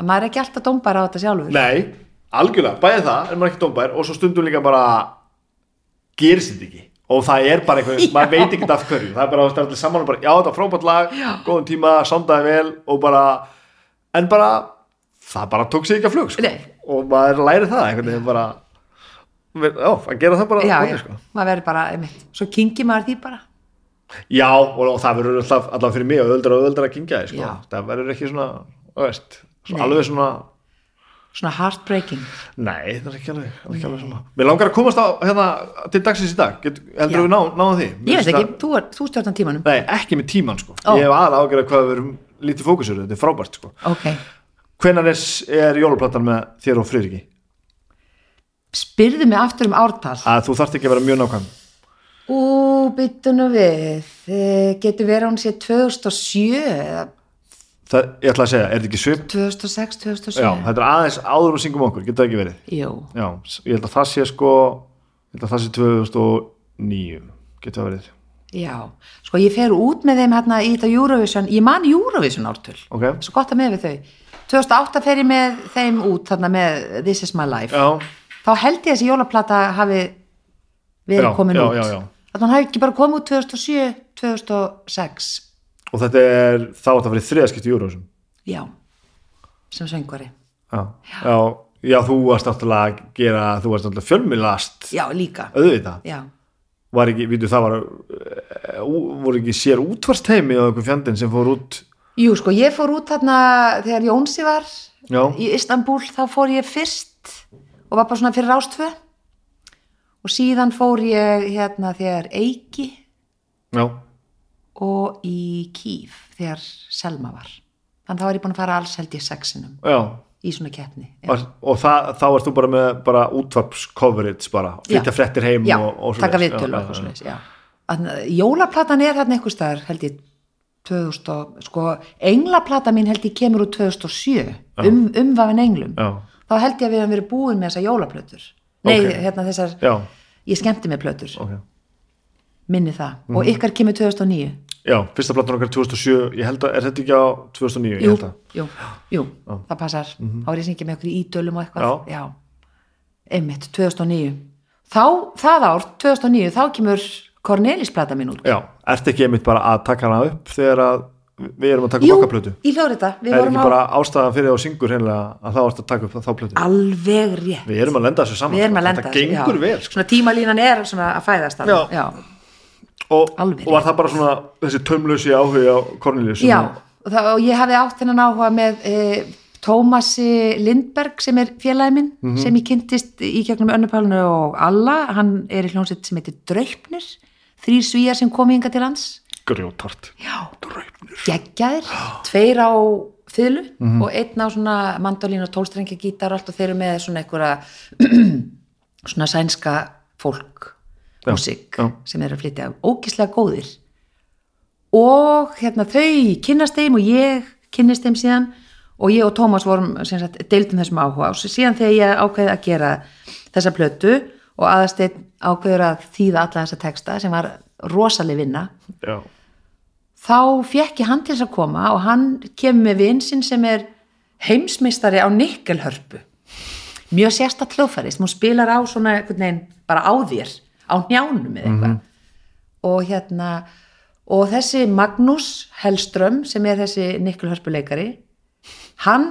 Speaker 2: að maður er ekki alltaf dómbar á þetta sjálfur
Speaker 1: Nei, algjörlega, bæði það er maður ekki dómbær og svo stundum líka bara gerist þetta ekki og það er bara eitthvað,
Speaker 2: Já.
Speaker 1: maður veit ekki af hverju það er bara, það er allir saman og bara, já þetta er frábært lag
Speaker 2: Já.
Speaker 1: góðan tíma, samdaði vel og bara, en bara það bara tók sig ekki að flug sko.
Speaker 2: Nei.
Speaker 1: og maður læri það einhvern veginn bara já, að gera það bara
Speaker 2: já,
Speaker 1: þannig,
Speaker 2: já,
Speaker 1: sko.
Speaker 2: maður verður bara einmitt, svo kingi maður því bara
Speaker 1: já og, og það verður alltaf, alltaf fyrir mig og öldra og öldra að kingja því, sko.
Speaker 2: Já.
Speaker 1: það verður ekki svona, þú veist,
Speaker 2: Nei.
Speaker 1: svona alveg svona
Speaker 2: svona heartbreaking
Speaker 1: Nei, það er ekki alveg, það er ekki alveg svona Mér langar að komast á, hérna, til dagsins í dag Get, Heldur
Speaker 2: Já.
Speaker 1: við ná, náðum því? Mér
Speaker 2: ég veist
Speaker 1: finnst
Speaker 2: ekki, þú, er, þú stjórnar tímanum
Speaker 1: Nei, ekki með tíman, sko
Speaker 2: Ó.
Speaker 1: Ég hef aðra ágjörða hvað við erum lítið fókusur Þetta er frábært, sko
Speaker 2: ok,
Speaker 1: Hvenær er, er jóluplattan með þér og Friðriki?
Speaker 2: spyrðu mig aftur um ártal
Speaker 1: Að þú þarft ekki að vera mjög nákvæm
Speaker 2: ú, byttunum við Eh, getur verið að hún sé 2007 eða
Speaker 1: það, Ég ætla að segja, er þetta ekki svip?
Speaker 2: 2006,
Speaker 1: Já,
Speaker 2: 2007
Speaker 1: þetta er aðeins áður og syngum okkur, getur það ekki verið
Speaker 2: jú,
Speaker 1: Já, s- ég held að það sé sko Ég held að það sé 2009 Getur það verið,
Speaker 2: já sko ég fer út með þeim hérna í þetta Eurovision ég man Eurovision ártöl
Speaker 1: ok?
Speaker 2: svo gott að með við þau 2008 fer ég með þeim út þarna með This is my life
Speaker 1: Já,
Speaker 2: þá held ég þessi jólaplata hafi verið
Speaker 1: Já,
Speaker 2: komin
Speaker 1: já,
Speaker 2: út
Speaker 1: já, já.
Speaker 2: að hann hafi ekki bara komið út 2007 2006,
Speaker 1: og þetta er þá að það verið þriðaskipt í Eurovision
Speaker 2: já sem söngvari,
Speaker 1: já, já, já þú varst náttúrulega að gera, þú varst náttúrulega fjölmilast
Speaker 2: já líka
Speaker 1: auðvitað,
Speaker 2: já,
Speaker 1: var ekki, vítu það var eh, ú- voru ekki sér útvarst heimi á einhver fjandinn sem fór út
Speaker 2: jú sko ég fór út þarna þegar Jónsi var
Speaker 1: já,
Speaker 2: í Istanbul þá fór ég fyrst og var bara svona fyrir ástfö og síðan fór ég hérna þegar Eiki
Speaker 1: já,
Speaker 2: og í Kíf þegar Selma var þannig þá var ég búin að fara alls held ég sexinum
Speaker 1: já
Speaker 2: í svona keppni já.
Speaker 1: Var, og það, þá varst þú bara með bara útvarps coverage bara, flytja
Speaker 2: Já.
Speaker 1: fréttir heim
Speaker 2: já,
Speaker 1: og, og
Speaker 2: taka
Speaker 1: svoleiðis.
Speaker 2: viðtölu
Speaker 1: Já,
Speaker 2: og eitthvað svoleiðis, já. Þannig að Jólaplatan er þarna einhvers staðar held ég 2000 og, sko, englaplata mín held ég kemur úr 2007 um, umvafin englum
Speaker 1: já,
Speaker 2: þá held ég að við hefum verið búin með þessar jólaplötur nei,
Speaker 1: Ok.
Speaker 2: hérna þessar
Speaker 1: já,
Speaker 2: ég skemmti mig plötur,
Speaker 1: ok Mhm.
Speaker 2: minni það og ykkar kemur 2009
Speaker 1: já, fyrsta platan okkar 2007 ég held að, er þetta ekki á 2009 ég
Speaker 2: jú,
Speaker 1: held að, Mhm.
Speaker 2: jú, jú, það passar þá er ég syngið með okkur í ídölum og eitthvað já. einmitt, 2009 þá, það ár, 2009 þá kemur Cornelis plata mín út
Speaker 1: já, ertu ekki einmitt bara að taka hana upp þegar að við erum að taka
Speaker 2: Jú,
Speaker 1: upp okkarplötu
Speaker 2: í hljóðrita, við
Speaker 1: er
Speaker 2: vorum
Speaker 1: ekki
Speaker 2: á
Speaker 1: bara ástæðan fyrir þá syngur hreinlega að það varst að taka upp þá plötu
Speaker 2: alveg rétt,
Speaker 1: við erum að lenda þessu saman
Speaker 2: við erum
Speaker 1: sko.
Speaker 2: að lenda
Speaker 1: þetta gengur
Speaker 2: já.
Speaker 1: vel sko.
Speaker 2: svona tímalínan er svona að fæðast þarna,
Speaker 1: Já. og,
Speaker 2: Alveg
Speaker 1: og var það bara svona þessi taumlösi áhugi á Cornelius
Speaker 2: já, já. Og, það, og ég hafi átt hennan áhuga með e, Tómasi Lindberg sem er félagi minn, sem ég kynntist í gegnum önnupálunu og alla hann er í hljónsett sem heitir Draupnir þrýr svíjar sem komi hinga til hans
Speaker 1: grjótart
Speaker 2: já,
Speaker 1: draupnir
Speaker 2: geggjaðir, tveir á fylgu
Speaker 1: Mhm.
Speaker 2: og einn á svona mandolín og tólstrengja gítar og allt og þeir eru með svona einhverja svona sænska fólk
Speaker 1: Já,
Speaker 2: músík
Speaker 1: já.
Speaker 2: sem eru að flytja ógislega góðir og hérna þau kynnast þeim og ég kynnist þeim síðan og ég og Tómas vorum sem sagt deildum þessum áhuga og síðan þegar ég ákveði að gera þessa plötu og aðasteinn ákveður að þýða alla þessa texta sem var rosaleg vinna
Speaker 1: já,
Speaker 2: þá fekk ég hann til þess að koma og hann kemur með vinn sinn sem er heimsmeistari á nikkelhörpu mjög sérstatt hljóðfæri sem hún spilar á svona einhvern veginn bara á þér á njánum eða eitthvað og hérna og þessi Magnús Hellström sem er þessi nikkelhörpuleikari hann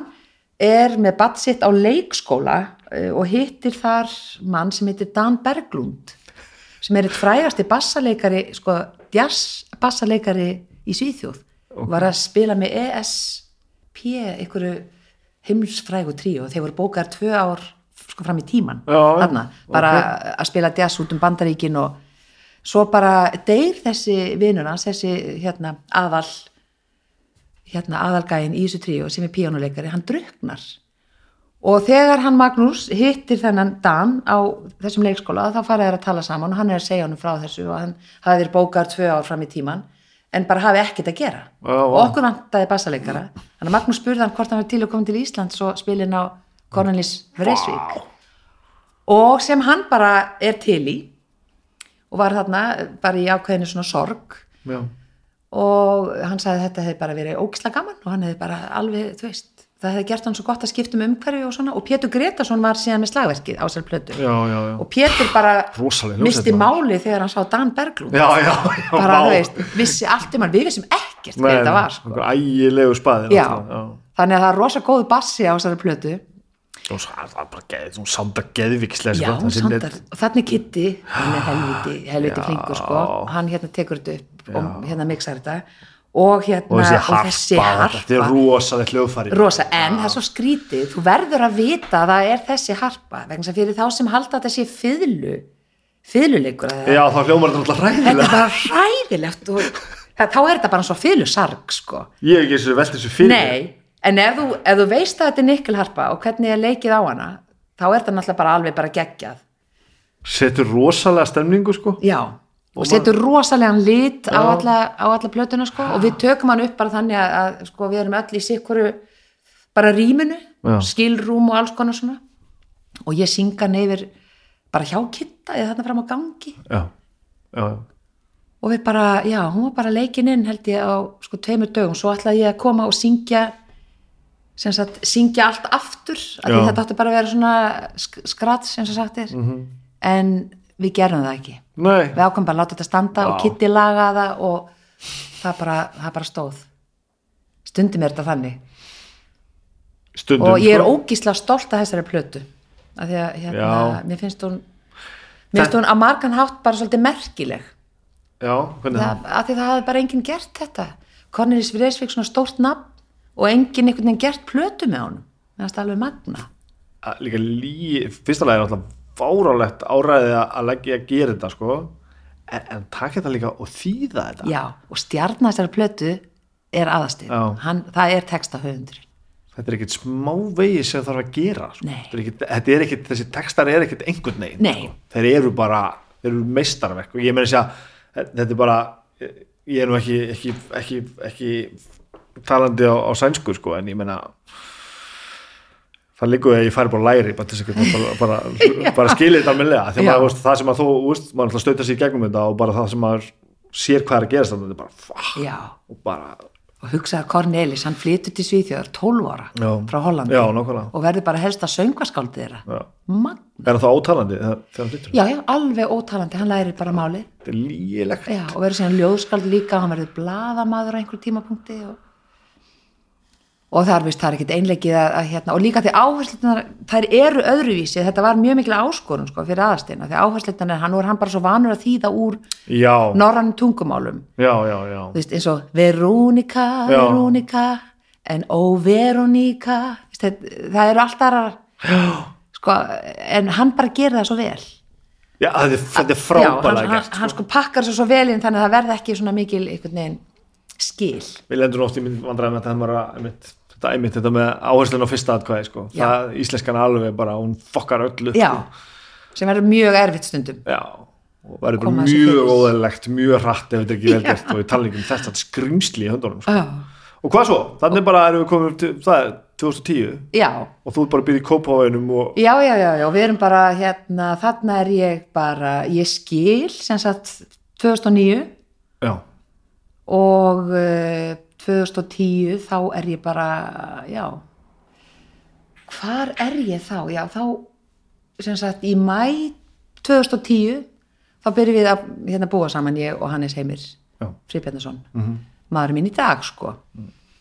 Speaker 2: er með batt sitt á leikskóla eh, og hittir þar mann sem heitir Dan Berglund sem er eitt frægasti bassaleikari sko, jazz bassaleikari í Svíþjóð var að spila með ESP einhverju heimsfrægu tríu og þeir voru bókar tvö ár sko fram í tíman
Speaker 1: Já, já,
Speaker 2: þarna, bara að spila jazz út um bandaríkin og svo bara deyr þessi vinur hans, þessi hérna aðal hérna aðalgæin í þessu tríu sem er píónuleikari, hann druknar og þegar hann Magnús hittir þennan Dan á þessum leikskóla þá fara þeir að tala saman og hann er að segja honum frá þessu og hann hafi þeir bókar tvö ár fram í tíman en bara hafi ekkert að gera
Speaker 1: Vá, vá.
Speaker 2: og okkur vantaði bassaleikara þannig að Magnús spurði hann hvort hann var til að koma til Íslands og spilin á Cornelis Vreisvík og sem hann bara er til í og var þarna bara í ákveðinu svona sorg
Speaker 1: já,
Speaker 2: og hann sagði að þetta hefði bara verið ógisla gaman og hann hefði bara alveg, þú veist það hefði gert hann svo gott að skipta um umhverfi og svona og Pétur Gretason var síðan með slagverkið á sér plötu
Speaker 1: já, já, já.
Speaker 2: og Pétur bara
Speaker 1: Rosaleg
Speaker 2: misti
Speaker 1: hljómsveit, maður.
Speaker 2: máli þegar hann sá Dan Berglund
Speaker 1: Já, já, já,
Speaker 2: bara,
Speaker 1: vá.
Speaker 2: þú veist, vissi allt um hann við vissum ekkert
Speaker 1: Nei,
Speaker 2: hvað þetta var sko.
Speaker 1: einhver ægilegu spaði
Speaker 2: já.
Speaker 1: náttúrulega,
Speaker 2: þannig að það er rosa góð bassi á þessari plötu
Speaker 1: já. og svo það er bara geð, hún sandar geðvikslega
Speaker 2: já, hún sandar, og þannig Kitty hann er helviti, helviti
Speaker 1: Já.
Speaker 2: flinkur sko hann hérna tekur þetta upp og hérna mixar þetta og hérna
Speaker 1: og þessi harpa,
Speaker 2: þessi
Speaker 1: þetta er
Speaker 2: harpa
Speaker 1: rosaleg hljóðfæri
Speaker 2: rosa, eh. en það er svo skrítið þú verður að vita að það er þessi harpa vegna þess að fyrir þá sem halda að þetta sé fiðlu fiðluleikur að það
Speaker 1: já, þá hljómar þetta alltaf
Speaker 2: þetta er
Speaker 1: ræðilega
Speaker 2: bara hræðilegt og það, þá er þetta bara eins og fylusarg sko.
Speaker 1: ég hef ekki þessu velt þessu fyrir mér.
Speaker 2: nei, en ef þú, ef þú veist að þetta er nikkelharpa og hvernig er leikið á hana þá er þetta náttúrulega bara alveg bara geggjað
Speaker 1: setur rosalega stemningu sko
Speaker 2: já, og, setur rosalega lit á alla, á alla plötuna sko, og við tökum hann upp bara þannig að, að sko, við erum öll í sikkuru bara rýminu,
Speaker 1: Já.
Speaker 2: skilrúm og alls konar svona og ég synga hann yfir bara hjá kitta eða þarna fram á gangi
Speaker 1: já, já, já.
Speaker 2: og við bara, já, hún var bara leikin inn held ég á sko tveimur dögum svo ætlaði ég að koma og syngja sem sagt, syngja allt aftur af
Speaker 1: Já.
Speaker 2: því
Speaker 1: Mhm.
Speaker 2: þetta átti bara að vera svona sk- skrats eins og sagt er en við gerum það ekki
Speaker 1: nei,
Speaker 2: við ákvæmum bara að láta þetta standa og
Speaker 1: Vá.
Speaker 2: Kitty laga það og það bara, það bara stóð stundum er þetta þannig
Speaker 1: stundum
Speaker 2: og ég er
Speaker 1: sko.
Speaker 2: ógísla stolt af þessari plötu af því að hérna,
Speaker 1: Já.
Speaker 2: mér finnst hún mér finnst hún að margan hátt bara svolítið merkileg
Speaker 1: já, hvernig það
Speaker 2: það, að því það hafði bara enginn gert þetta Cornelis Vreisvík svona stórt nafn og enginn einhvern veginn gert plötu með honum meðan það alveg magna
Speaker 1: að- líka lí, fyrsta lagi er alltaf fárálegt áræðið að að leggja að gera þetta sko en, en taka þetta líka og þýða þetta
Speaker 2: já, og stjarnar þessari plötu er aðastig,
Speaker 1: Já.
Speaker 2: það er textahöfundur
Speaker 1: þetta er ekkit smávegi sem þarf að gera sko.
Speaker 2: Nei.
Speaker 1: þetta er ekkit, þetta er ekkit, þessi textar er ekkit einhvern veginn
Speaker 2: Nei.
Speaker 1: sko. þeir eru bara, þeir eru meistarverk og ég meina þess að þetta er bara ég er nú ekki ekki, ekki, ekki talandi á, á sænsku sko, en ég meina það liggur að ég færi bara á læri bara, til þess að geta bara, bara, bara skilja þetta almennilega þegar maður,
Speaker 2: Já.
Speaker 1: þú veist, það sem að þú, þú veist, maður alltaf stöta sig í gegnum þetta og bara það sem maður sér hvað er að gerast þannig að þetta er bara, fuck,
Speaker 2: já,
Speaker 1: og bara
Speaker 2: og hugsaði að Cornelis hann flytur til Svíþjóðar 12 ára
Speaker 1: Já.
Speaker 2: frá Hollandi
Speaker 1: Já, nákvæmlega.
Speaker 2: og verður bara helst að söngvaskáldið þeirra
Speaker 1: já.
Speaker 2: Magn,
Speaker 1: er það ótalandi þegar þegar hann flyttur
Speaker 2: já, já, alveg ótalandi hann lærir bara máli
Speaker 1: þetta er lýjilegt
Speaker 2: já, og verður síðan ljóðskald líka hann verður blaðamaður á einhver tímapunkti og, og það er vist það er ekkit einleikið að, að hérna og líka því áherslunar, þær eru öðruvísi þetta var mjög mikil áskorun sko fyrir aðastina því áherslunar, hann nú er hann bara svo vanur að þýða úr
Speaker 1: já,
Speaker 2: norrannum tungumálum
Speaker 1: já, já, já
Speaker 2: þú veist eins og Verónika,
Speaker 1: Já.
Speaker 2: Verónika en ó Verónika Þú veist, þetta- það eru alltaf aðrar sko, en hann bara gerir það svo vel
Speaker 1: já þetta er- þetta er
Speaker 2: Já,
Speaker 1: frábælega
Speaker 2: hann,
Speaker 1: gert
Speaker 2: hann, hann sko pakkar svo svo vel inn þannig að það verði ekki svona mikil einhvern veginn skil
Speaker 1: við lendum oft í mynd vandræðum með þetta þegar maður er að- einmitt, þetta, einmitt, þetta með áherslun á fyrsta atkvæði sko.
Speaker 2: Já.
Speaker 1: það íslenskan alveg bara, hún fokkar öllu
Speaker 2: já,
Speaker 1: sko.
Speaker 2: sem verður mjög erfitt stundum
Speaker 1: já og verður bara
Speaker 2: Koma þessu
Speaker 1: mjög
Speaker 2: fyrir.
Speaker 1: óðalegt, mjög hratt ef þetta er ekki vel
Speaker 2: Já.
Speaker 1: gert og við tala ekki um þetta skrimsli í höndunum sko.
Speaker 2: já,
Speaker 1: og hvað svo, þannig bara erum við komin til, það er 2010
Speaker 2: já,
Speaker 1: og þú er bara að byrja í kópavæðinum og
Speaker 2: já, já, já, já við erum bara hérna, þarna er ég bara ég skil sem sagt 2009
Speaker 1: já,
Speaker 2: og uh, 2010 þá er ég bara já hvar er ég þá? Já, þá sem sagt í mæ 2010 þá byrjum við að hérna búa saman ég og Hannes Heimir
Speaker 1: já, Mhm. Mm.
Speaker 2: Friðbjarnason maður minn í dag sko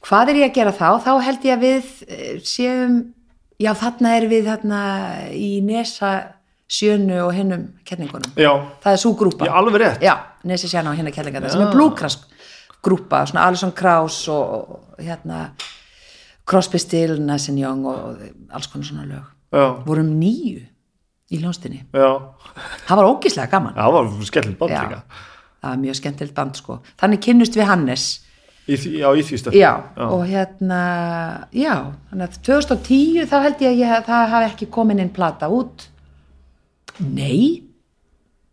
Speaker 2: hvað er ég að gera þá? þá held ég að við eh, séum já þarna er við þarna í Nesa sjönu og hinnum kellingunum
Speaker 1: já,
Speaker 2: það er svo grúpa
Speaker 1: ég alveg rétt
Speaker 2: já, Nesi sjönu og hinna kellingarna sem er blúkrask grúpa, svona Alison Krauss og, og hérna Crosby Still, Nessin Young og, og alls konar svona lög
Speaker 1: já,
Speaker 2: vorum nýju í hljónstinni
Speaker 1: já,
Speaker 2: það var ógislega gaman
Speaker 1: það var skellin band
Speaker 2: Já.
Speaker 1: líka
Speaker 2: það var mjög skemmtilegt band sko þannig kynnust við Hannes
Speaker 1: í, því- já, í því stöfn
Speaker 2: já, og hérna já, þannig að 2010 þá held ég að ég, það hafi ekki komin inn plata út nei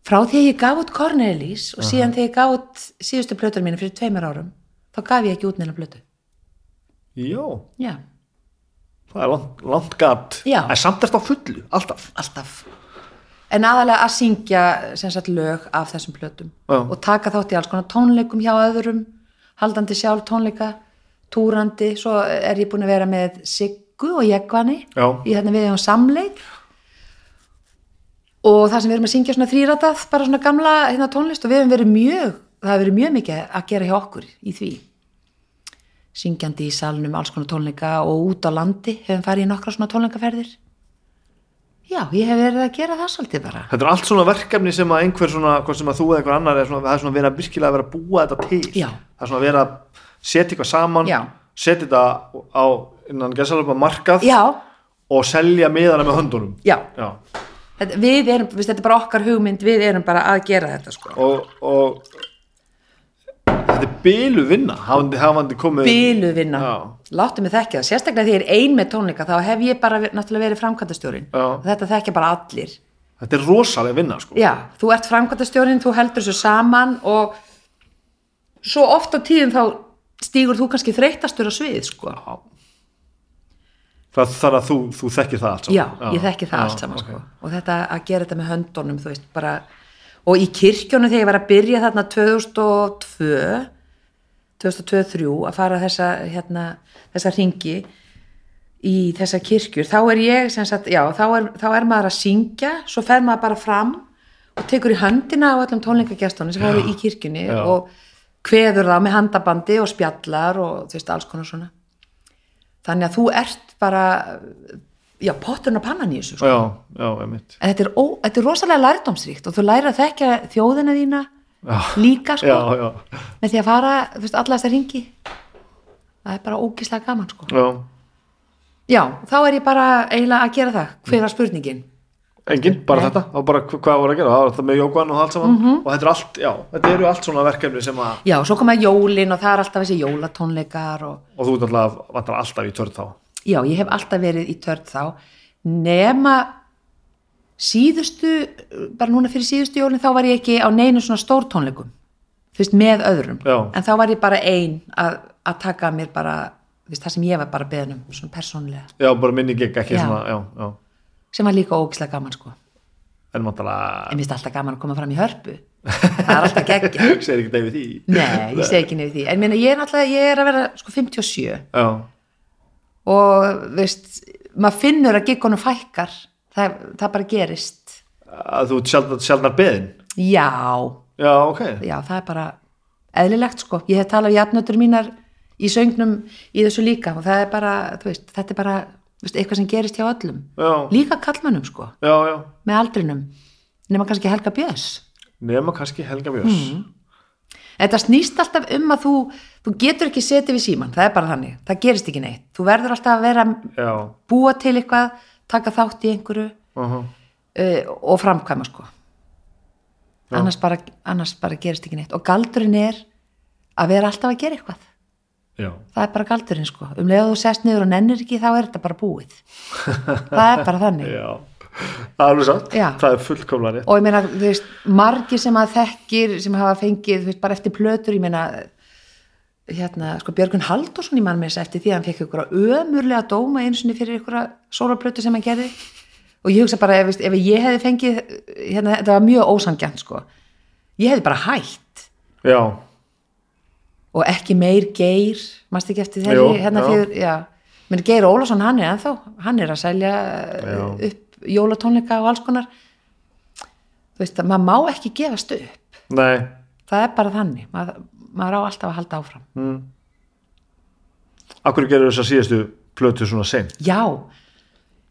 Speaker 2: frá því að ég gaf út Cornelis og síðan þegar ég gaf út síðustu plötur mínu fyrir tveimur árum þá gaf ég ekki út neina plötu
Speaker 1: já,
Speaker 2: já,
Speaker 1: það er langt, langt gat
Speaker 2: Já.
Speaker 1: en samt er þetta á fullu, alltaf
Speaker 2: alltaf en aðalega að syngja sem sagt lög af þessum plötum
Speaker 1: Já.
Speaker 2: og taka þátt í alls konar tónleikum hjá öðrum haldandi sjálf tónleika, túrandi, svo er ég búin að vera með Siggu og Jekvani
Speaker 1: Já.
Speaker 2: í þarna við um samleik og það sem við erum að syngja svona þrýratað, bara svona gamla hérna, tónlist og við hefum verið mjög, það hefur verið mjög mikið að gera hjá okkur í því syngjandi í salnum alls konar tónleika og út á landi hefum farið í nokkra svona tónleikaferðir já, ég hef verið að gera það svolítið bara
Speaker 1: Þetta er allt svona verkefni sem að einhver svona, hvort sem að þú eða einhver annar er svona, það er svona verið að virkilega vera að búa þetta til.
Speaker 2: Já.
Speaker 1: Það er svona verið að setja eitthvað saman,
Speaker 2: Já.
Speaker 1: setja þetta á innan gæsalöpa markað
Speaker 2: já,
Speaker 1: og selja miðana með höndunum.
Speaker 2: já,
Speaker 1: Já.
Speaker 2: þetta, við erum viðst, þetta er bara okkar hugmynd, við erum bara að gera þetta sko.
Speaker 1: Og, og þetta er bylu vinna, hafandi, hafandi komið.
Speaker 2: bílu vinna,
Speaker 1: Já.
Speaker 2: láttu mig þekkja það sérstaklega því ég er ein með tónleika, þá hef ég bara ver- náttúrulega verið framkvæmtastjórin
Speaker 1: Já.
Speaker 2: og þetta þekkja bara allir
Speaker 1: Þetta er rosalega vinna, sko.
Speaker 2: Já, þú ert framkvæmtastjórin, þú heldur þessu saman og svo oft á tíðum þá stígur þú kannski þreytastur á svið, sko.
Speaker 1: Já. Það þarf að þú, þú þekkir það allt
Speaker 2: Já,
Speaker 1: saman.
Speaker 2: ég þekki það
Speaker 1: Já,
Speaker 2: allt saman,
Speaker 1: ok.
Speaker 2: sko. Og þetta að gera þetta með höndunum, þú veist, bara... Og í kirkjónu þegar ég var að byrja þarna 2002, 2002-3, að fara þessa, hérna, þessa ringi í þessa kirkjur, þá er ég, sem sagt, já, þá er, þá er maður að syngja, svo fer maður bara fram og tekur í höndina á öllum tónleikagestunum sem voru í kirkjunni
Speaker 1: já.
Speaker 2: og kveður þá með handabandi og spjallar og þú veist, alls konar svona. Þannig að þú ert bara, já, potturinn og pannan í þessu, sko.
Speaker 1: Já, já, ég mitt.
Speaker 2: En þetta er, ó, þetta er rosalega lærdómsríkt og þú lærir að þekkja þjóðina þína
Speaker 1: Já.
Speaker 2: líka, sko,
Speaker 1: Já, já,
Speaker 2: með því að fara, þú veist, alla þessar ringi. Það er bara ógislega gaman, sko.
Speaker 1: já.
Speaker 2: Já, þá er ég bara eiginlega að gera það. Hver var spurningin?
Speaker 1: Engin, bara
Speaker 2: Nei.
Speaker 1: þetta, það var bara hva- hvað voru að gera, það var þetta með jókvæðan og allt saman
Speaker 2: Mhm.
Speaker 1: og þetta er allt, já, þetta eru allt svona verkefni sem að,
Speaker 2: Já, svo koma jólin og það er alltaf þessi jólatónleikar og
Speaker 1: og þú náttúrulega vantar alltaf í törn þá.
Speaker 2: já, ég hef alltaf verið í törn þá nema síðustu, bara núna fyrir síðustu jólin þá var ég ekki á neinu svona stórtónleikum þú veist, með öðrum
Speaker 1: Já.
Speaker 2: en þá var ég bara ein að, að taka að mér bara, þú veist, það sem ég var bara beðnum, svona persónlega
Speaker 1: Já, bara minni gig, ekki
Speaker 2: Já.
Speaker 1: svona, já, já,
Speaker 2: sem var líka ógislega gaman sko en
Speaker 1: en náttúrulega,
Speaker 2: mér finnst alltaf gaman að koma fram í hörpu það er alltaf geggja
Speaker 1: segir ekki David í.
Speaker 2: nei, ég segi ekki nefnir því en meina, ég er náttúrulega, ég er að vera sko 57
Speaker 1: Já,
Speaker 2: og veist, maður finnur að giggunum fækkar það, það bara gerist
Speaker 1: að þú ert sjaldnar, sjaldnar beðin.
Speaker 2: já,
Speaker 1: Já, ok,
Speaker 2: já, það er bara eðlilegt sko, ég hef talað við jafnötur mínar í söngnum í þessu líka og það er bara, þú veist, þetta er bara þú veist, eitthvað sem gerist hjá öllum
Speaker 1: já,
Speaker 2: líka kallmönnum sko,
Speaker 1: já, já,
Speaker 2: með aldrinum nema kannski Helga Björns
Speaker 1: nema kannski Helga Björns.
Speaker 2: Mhm. þetta snýst alltaf um að þú þú getur ekki setið við síman, það er bara þannig það gerist ekki neitt, þú verður alltaf að vera
Speaker 1: Já,
Speaker 2: búa til eitthvað, taka þátt í einhverju
Speaker 1: uh
Speaker 2: uh, og framkvæma sko annars bara, annars bara gerist ekki neitt og galdurinn er að vera alltaf að gera eitthvað
Speaker 1: já,
Speaker 2: það er bara galdurinn sko um leið og þú sest niður og nennir ekki þá er þetta bara búið það er bara þannig
Speaker 1: já, það er alveg satt,
Speaker 2: Já.
Speaker 1: það er fullkomlega rétt.
Speaker 2: og ég meina, þú veist, margir sem að þekkir sem hafa fengið, þú veist, bara eftir plötur ég meina, hérna sko Björgun Halldórsson í mann með þess eftir því að hann fekk ykkur að ömurlega dóma eins og fyrir ykkur að sólarplötu sem hann gerði og ég hugsa bara, ef, veist, ef ég hefði fengið hérna, þetta var mjög ósangjant sko ég hefði bara hætt
Speaker 1: Já,
Speaker 2: og ekki meir geir mást ekki eftir þeirri,
Speaker 1: Jú,
Speaker 2: hérna
Speaker 1: já.
Speaker 2: fyrir já, menn Geir Ólafsson hann er ennþá hann er að selja eh,
Speaker 1: Já.
Speaker 2: upp jólatónleika og alls konar þú veist að maður má ekki gefast upp
Speaker 1: nei,
Speaker 2: það er bara þannig, maður, maður á alltaf að halda áfram
Speaker 1: akkur gerur þess að síðastu plötu svona seint?
Speaker 2: já,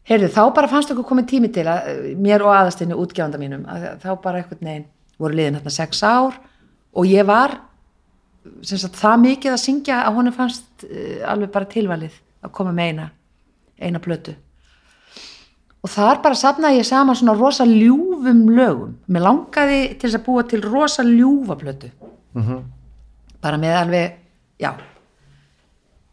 Speaker 2: heyrðu þá bara fannst okkur komið tími til að eh, mér og aðastinni útgefanda mínum að, þá bara einhvern veginn voru liðin hérna sex ár og ég var sem sagt það mikið að syngja að honum fannst uh, alveg bara tilvalið að koma með eina eina plötu og þar bara safnaði ég saman svona rosa ljúfum lögum mér langaði til þess að búa til rosa ljúfa plötu
Speaker 1: Mhm.
Speaker 2: bara með alveg já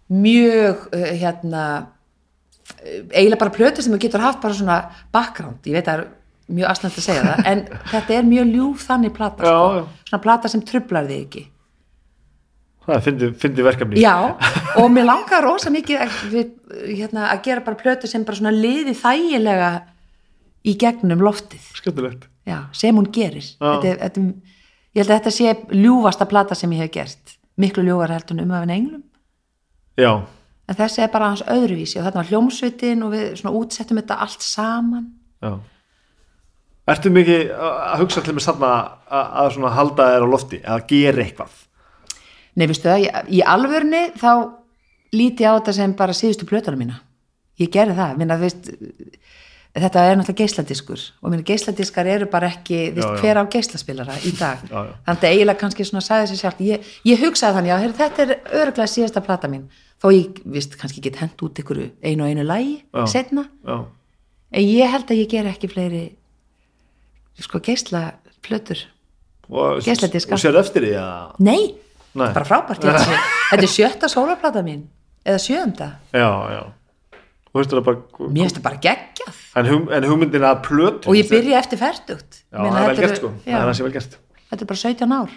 Speaker 2: mjög uh, hérna uh, eiginlega bara plötu sem þú getur haft bara svona background, ég veit að það er mjög asnæmt að segja það, en þetta er mjög ljúf þannig plata,
Speaker 1: Já,
Speaker 2: sko.
Speaker 1: já.
Speaker 2: svona plata sem trublar þig ekki
Speaker 1: Það er fyndið- fyndið verkefni.
Speaker 2: Já, og mér langar rosa mikið að, við- hérna, að gera bara plötu sem bara svona liði þægilega í gegnum loftið,
Speaker 1: Skemmtilegt.
Speaker 2: já, sem hún gerir.
Speaker 1: Já.
Speaker 2: Þetta, er- þetta, er- ég held að þetta sé ljúfasta plata sem ég hef gert, miklu ljóðar heldur en um að vinna englum
Speaker 1: já,
Speaker 2: en þessi er bara hans öðruvísi og þarna var hljómsveitin og við svona útsettum þetta allt saman
Speaker 1: já Ertu mikið að að hugsa til mér sann að svona halda þér á lofti eða gera eitthvað?
Speaker 2: Nei, veistu það, ég, í alvörni þá líti ég á þetta sem bara síðustu plötunum mína. Ég gerði það, minna, veist, þetta er náttúrulega geisladiskur og minna geisladiskar eru bara ekki, veist,
Speaker 1: Já, já.
Speaker 2: hver á geislaspilara í dag.
Speaker 1: Já, já.
Speaker 2: Þannig að eiginlega kannski svona sagði sér sjálf, ég, ég hugsaði þannig, já, heyrðu, þetta er örglega síðasta plata mín. Þó ég, veist, kannski get hent út ykkur einu og einu lægi,
Speaker 1: Já.
Speaker 2: setna.
Speaker 1: Já,
Speaker 2: En ég held að ég ger ekki fleiri, sko, geislaplötur.
Speaker 1: og,
Speaker 2: Geisladiska.
Speaker 1: og sér eftir því að
Speaker 2: Nei,
Speaker 1: Nei.
Speaker 2: bara frábært ég, þessi, þetta er sjötta sólarplata mín eða sjöunda,
Speaker 1: Já, já Þú veist það bara
Speaker 2: mér finnst þetta bara geggjað
Speaker 1: En, hug, en hugmyndin að plötu
Speaker 2: og ég byrja eftir ferdugt
Speaker 1: Já, það er vel gert sko, það er hansi vel gert
Speaker 2: þetta er bara 17 ár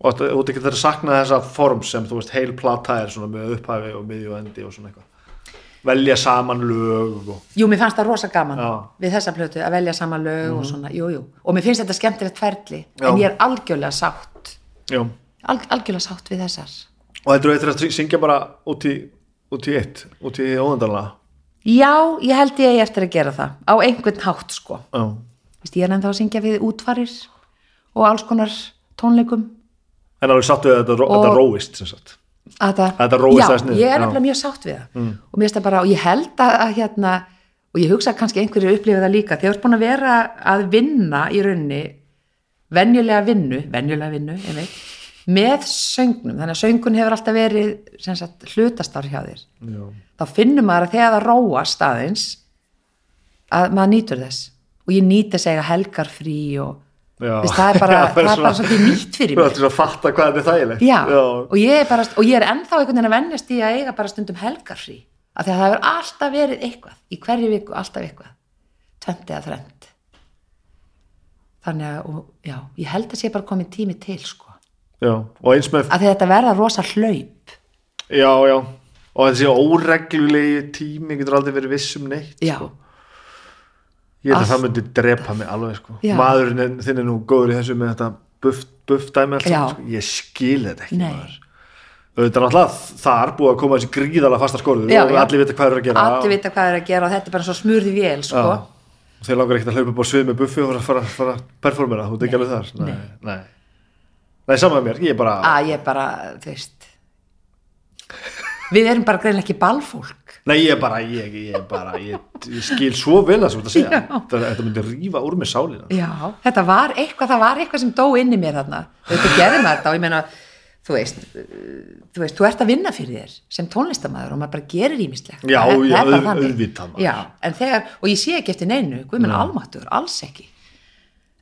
Speaker 1: Og þetta- þú ert ekki þetta að sakna þessa form sem þú veist heil plata er svona með upphafi og miðju og endi og svona eitthvað Velja saman lög og
Speaker 2: jú, mér fannst það rosa gaman
Speaker 1: Já. Mhm.
Speaker 2: við þessa plötu að velja sama lög og svona jú, jú. og mér finnst þetta skemmtilegt ferli
Speaker 1: Já.
Speaker 2: en ég er algjörlega sátt
Speaker 1: Já Og
Speaker 2: alg, algjörlega sátt við þessar
Speaker 1: þetta er eftir að syngja bara út í, út í eitt, út í óðandarlega
Speaker 2: já, ég held ég eigi eftir að gera það á einhvern hátt sko
Speaker 1: Já,
Speaker 2: Vist, ég er ennþá að syngja við útfarir og alls konar tónleikum
Speaker 1: en alveg sattu að þetta, ró-
Speaker 2: Og-
Speaker 1: þetta róist sem sagt
Speaker 2: að það,
Speaker 1: Að þetta róist
Speaker 2: já,
Speaker 1: aðeins niður,
Speaker 2: ég er
Speaker 1: já. Mm.
Speaker 2: nefnilega mjög sátt við það og mér finnst það bara, og ég held að, að hérna, og ég hugsa að kannski einhverju upplifið það líka, þegar þú ert búin að vera að vinna í raunni venjulega vinnu, venjulega vinnu einmitt, með söngnum þannig að söngun hefur alltaf verið sem sagt, hlutastar hjá þér
Speaker 1: Já,
Speaker 2: þá finnur maður að þegar það róast aðeins að maður nýtur þess og ég nýt þess að eiga helgar frí og
Speaker 1: Já.
Speaker 2: Veist, það er bara,
Speaker 1: Já,
Speaker 2: það er bara svolítið nýtt fyrir
Speaker 1: Þú
Speaker 2: mig
Speaker 1: ert svona að fatta hvað þetta er þægilegt
Speaker 2: Já, Og, ég er bara, og ég er ennþá einhvern veginn að vennjast í að eiga bara stundum helgarfrí af því að það hefur alltaf verið eitthvað í hverju viku alltaf eitthvað tvönd eða þrönd þannig að, og, já, ég held að sé bara komið tími til, sko af
Speaker 1: já, og eins með
Speaker 2: því að þetta verða rosa hlaup
Speaker 1: Já, já, og þessi óreglulegi tími getur aldrei verið viss um neitt
Speaker 2: já,
Speaker 1: Ég held að
Speaker 2: Allt-
Speaker 1: það myndi drepa mig alveg sko.
Speaker 2: Já.
Speaker 1: Maðurinn er- þinn er nú góður í þessu með þetta buff, buff dæmi alltaf,
Speaker 2: Já.
Speaker 1: sko. Ég skil þetta ekki
Speaker 2: Nei.
Speaker 1: maður Þetta er náttúrulega þar búið að koma þessi gríðalega fastar skorður
Speaker 2: Já,
Speaker 1: og
Speaker 2: já.
Speaker 1: allir vita hvað eru að gera
Speaker 2: allir vita hvað er að gera og þetta er bara svo smurði vél, sko
Speaker 1: Já. Og Þeir langar ekkert að hlaupa upp á svið með buffi og fara, fara, fara að performera, þú ert ekki alveg þar Nei, nei Nei, saman með mér, ég er bara
Speaker 2: að ég bara, þú veist við erum bara greinlega ekki balfólk
Speaker 1: Nei, ég er bara, ég, ég er bara, ég, ég skil svo vel það sem þú ert að segja. Þetta, þetta myndi rífa úr mig sálina.
Speaker 2: Já, þetta var eitthvað, það var eitthvað sem dó inn í mér þarna. Þetta gerði maður þetta og ég meina, þú veist, uh, þú veist, þú ert að vinna fyrir þér sem tónlistamæður og maður bara gerir ímislegt.
Speaker 1: Já,
Speaker 2: það,
Speaker 1: já,
Speaker 2: það er bara
Speaker 1: auð-
Speaker 2: þannig.
Speaker 1: auðvitað maður.
Speaker 2: Já, en þegar, og ég sé ekki eftir neinu, guð minn almáttur, alls ekki.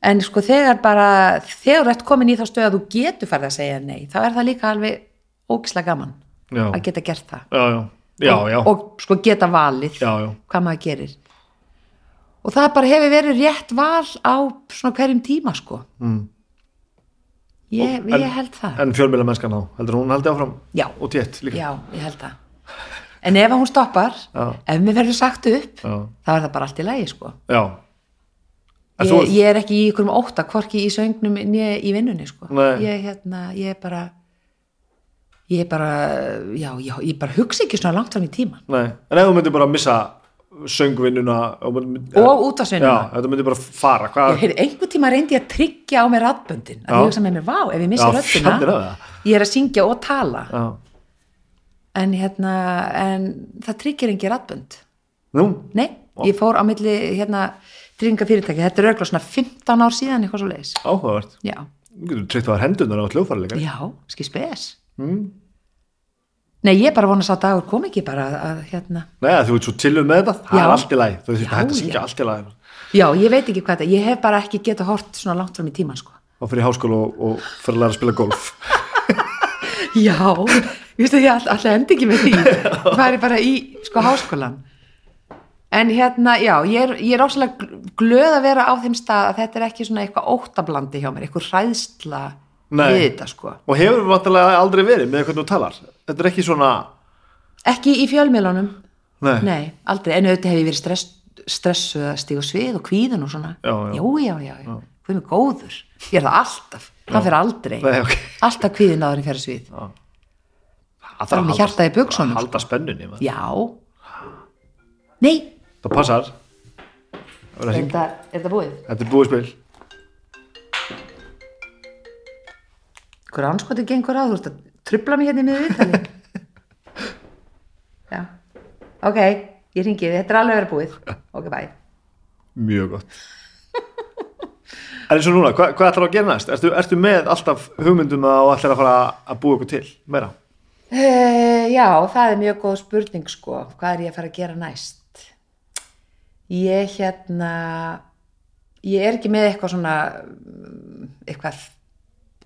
Speaker 2: En sko þegar bara, þegar þú ert komin í þá stöð að þú getur farið að segja nei, þá er það líka alveg ógislega gaman
Speaker 1: Já,
Speaker 2: að geta gert það
Speaker 1: já, já, já, já,
Speaker 2: og, og sko geta valið
Speaker 1: Já, já.
Speaker 2: hvað maður gerir og það bara hefur verið rétt val á svona hverjum tíma sko mm. ég,
Speaker 1: En-
Speaker 2: ég held það
Speaker 1: En fjölmjöla mennskan á, heldur hún haldi áfram?
Speaker 2: Já.
Speaker 1: Og tétt líka?
Speaker 2: já, ég held það en ef að hún stoppar,
Speaker 1: Já.
Speaker 2: ef mér verður sagt upp
Speaker 1: Já.
Speaker 2: þá er það bara allt í lagi sko
Speaker 1: Já. En
Speaker 2: ég,
Speaker 1: þú,
Speaker 2: ég er ekki í ykkurum óta hvorki í söngnum né í vinnunni sko
Speaker 1: Nei.
Speaker 2: ég, hérna, ég er bara ég er bara já, ég, ég bara hugsa ekki svona langt fram í tíman
Speaker 1: Nei, en ef þú myndir bara missa söngvinnuna og, mynd-
Speaker 2: Og
Speaker 1: Já,
Speaker 2: útvarpsvinnuna.
Speaker 1: þetta myndir bara fara,
Speaker 2: Ég
Speaker 1: hvað?
Speaker 2: heyrði, einhver tíma reyndi ég að tryggja á mér raddböndin að
Speaker 1: Já.
Speaker 2: ég hugsa með mér, vá, ef ég missi
Speaker 1: Já, þannig
Speaker 2: röddina
Speaker 1: er það.
Speaker 2: ég er að syngja og tala
Speaker 1: Já.
Speaker 2: en hérna, en það tryggir engi raddbönd,
Speaker 1: Nú?
Speaker 2: nei ég fór á milli, hérna, trygginga fyrirtæki þetta er örgla svona 15 ár síðan eitthvað svo leiðis,
Speaker 1: Áhugavert.
Speaker 2: já,
Speaker 1: Þú getur tryggt á þær hendunar á hljófari líka.
Speaker 2: já, skil spes
Speaker 1: Hmm.
Speaker 2: nei, ég bara vona sá dagur kom ekki bara að, að hérna,
Speaker 1: Nei, þú ert svo tilum með þetta, það
Speaker 2: Já.
Speaker 1: er allt í lagi. Þú veist,
Speaker 2: Já,
Speaker 1: þetta
Speaker 2: já.
Speaker 1: syngja allt í lagi.
Speaker 2: já, ég veit ekki hvað þetta ég hef bara ekki getað hort svona langt fram í tíman sko.
Speaker 1: og fyrir háskóla og, og fyrir að læra að spila golf
Speaker 2: já, ég veist að ég all- alltaf endi ekki með því hvað er ég bara í sko háskólan en hérna, já, ég er, ég er óslega gl- glöð að vera á þeim stað að þetta er ekki svona eitthvað óttablandi hjá mér eitthvað hræðsla
Speaker 1: Nei.
Speaker 2: við þetta sko
Speaker 1: og hefur vantarlega aldrei verið með hvernig þú talar þetta er ekki svona
Speaker 2: ekki í fjölmiðlunum,
Speaker 1: nei,
Speaker 2: nei, aldrei en auðvitað hef ég verið stress, stressuð að stíga á svið og kvíðun og svona
Speaker 1: Já, já.
Speaker 2: já, já, já, já. hvað er mér góður ég er það alltaf, það fyrir aldrei
Speaker 1: Nei, ok.
Speaker 2: alltaf kvíðin áður en fyrir svið
Speaker 1: Já. Það
Speaker 2: var með
Speaker 1: halda-
Speaker 2: hjartað í buxunum, sko.
Speaker 1: að Halda spennunni maður.
Speaker 2: Já Nei,
Speaker 1: Það passar Það var að
Speaker 2: er
Speaker 1: hringja.
Speaker 2: þetta, er þetta búið?
Speaker 1: Þetta er búið spil
Speaker 2: Hver anskotin gengur að, þú ert að trubla mig hérna í miður viðtali Já Ok, ég ringi, þetta er alveg að vera búið Ok, bye
Speaker 1: Mjög gott En eins og núna, hva, hvað ætlar að gera næst? Ertu, ertu með alltaf hugmynduna og ætlar að fara að búa ykkur til? Meira?
Speaker 2: Uh, já, það er mjög góð spurning sko, hvað er ég að fara að gera næst? Ég hérna, ég er ekki með eitthvað svona, mm, eitthvað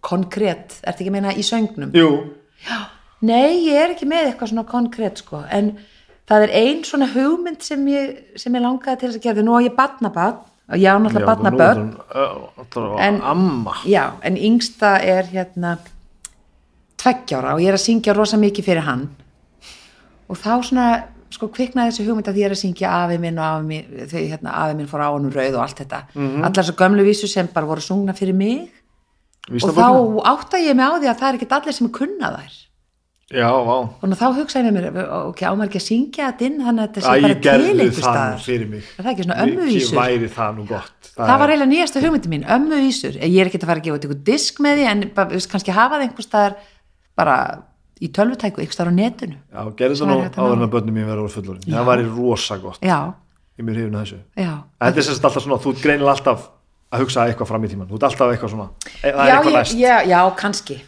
Speaker 2: konkrétt, ertu ekki að meina í söngnum?
Speaker 1: Jú,
Speaker 2: Nei, ég er ekki með eitthvað svona konkrétt sko, en það er ein svona hugmynd sem ég, sem ég langaði til þess að gera, því nú á ég batnabatn, og já, náttúrulega batnabötn, En-
Speaker 1: En Amma
Speaker 2: já, en yngsta er hérna tveggjára og ég er að syngja rosa mikið fyrir hann og þá svona sko kviknaði þessi hugmynd að ég er að syngja afi minn og afi minn, þau hérna afi minn fór á honum rauð og allt þetta, allar þessar gömlu vísu sem bara voru sungna fyrir mig og þá
Speaker 1: Vísnabókina?
Speaker 2: átta ég mig á því að það er ekkert allir sem kunna þær
Speaker 1: Já, vá
Speaker 2: og þá hugsaði ég með mér, ok, ámar ekki að syngja þetta inn þannig að þetta
Speaker 1: Æ,
Speaker 2: sé bara
Speaker 1: ég
Speaker 2: til
Speaker 1: gerði
Speaker 2: einhver
Speaker 1: það nú
Speaker 2: staðar
Speaker 1: fyrir mig
Speaker 2: Er það ekki svona ömmuvísur?
Speaker 1: Mikið væri það nú gott
Speaker 2: Það var eiginlega nýjasta hugmyndi mín, ömmu vísur. Ég er ekkert að fara að gefa út ykkur disk með því, en bara, þú veist, kannski hafa það einhvers staðar bara í tölvutæku, einhvers staðar á netinu.
Speaker 1: Já, gerði það nú
Speaker 2: Það er hægt að
Speaker 1: áður en
Speaker 2: ná.
Speaker 1: að börnum mín verður fullorinn Það væri rosa gott,
Speaker 2: Já,
Speaker 1: ég mér hefna þessu
Speaker 2: já.
Speaker 1: Þetta er sem sagt alltaf svona, þú ert greinilega alltaf að hugsa eitthvað fram í tíman, þú ert alltaf eitthvað svona e- það er
Speaker 2: já,
Speaker 1: eitthvað
Speaker 2: ég-
Speaker 1: næst
Speaker 2: Já, já, kannski.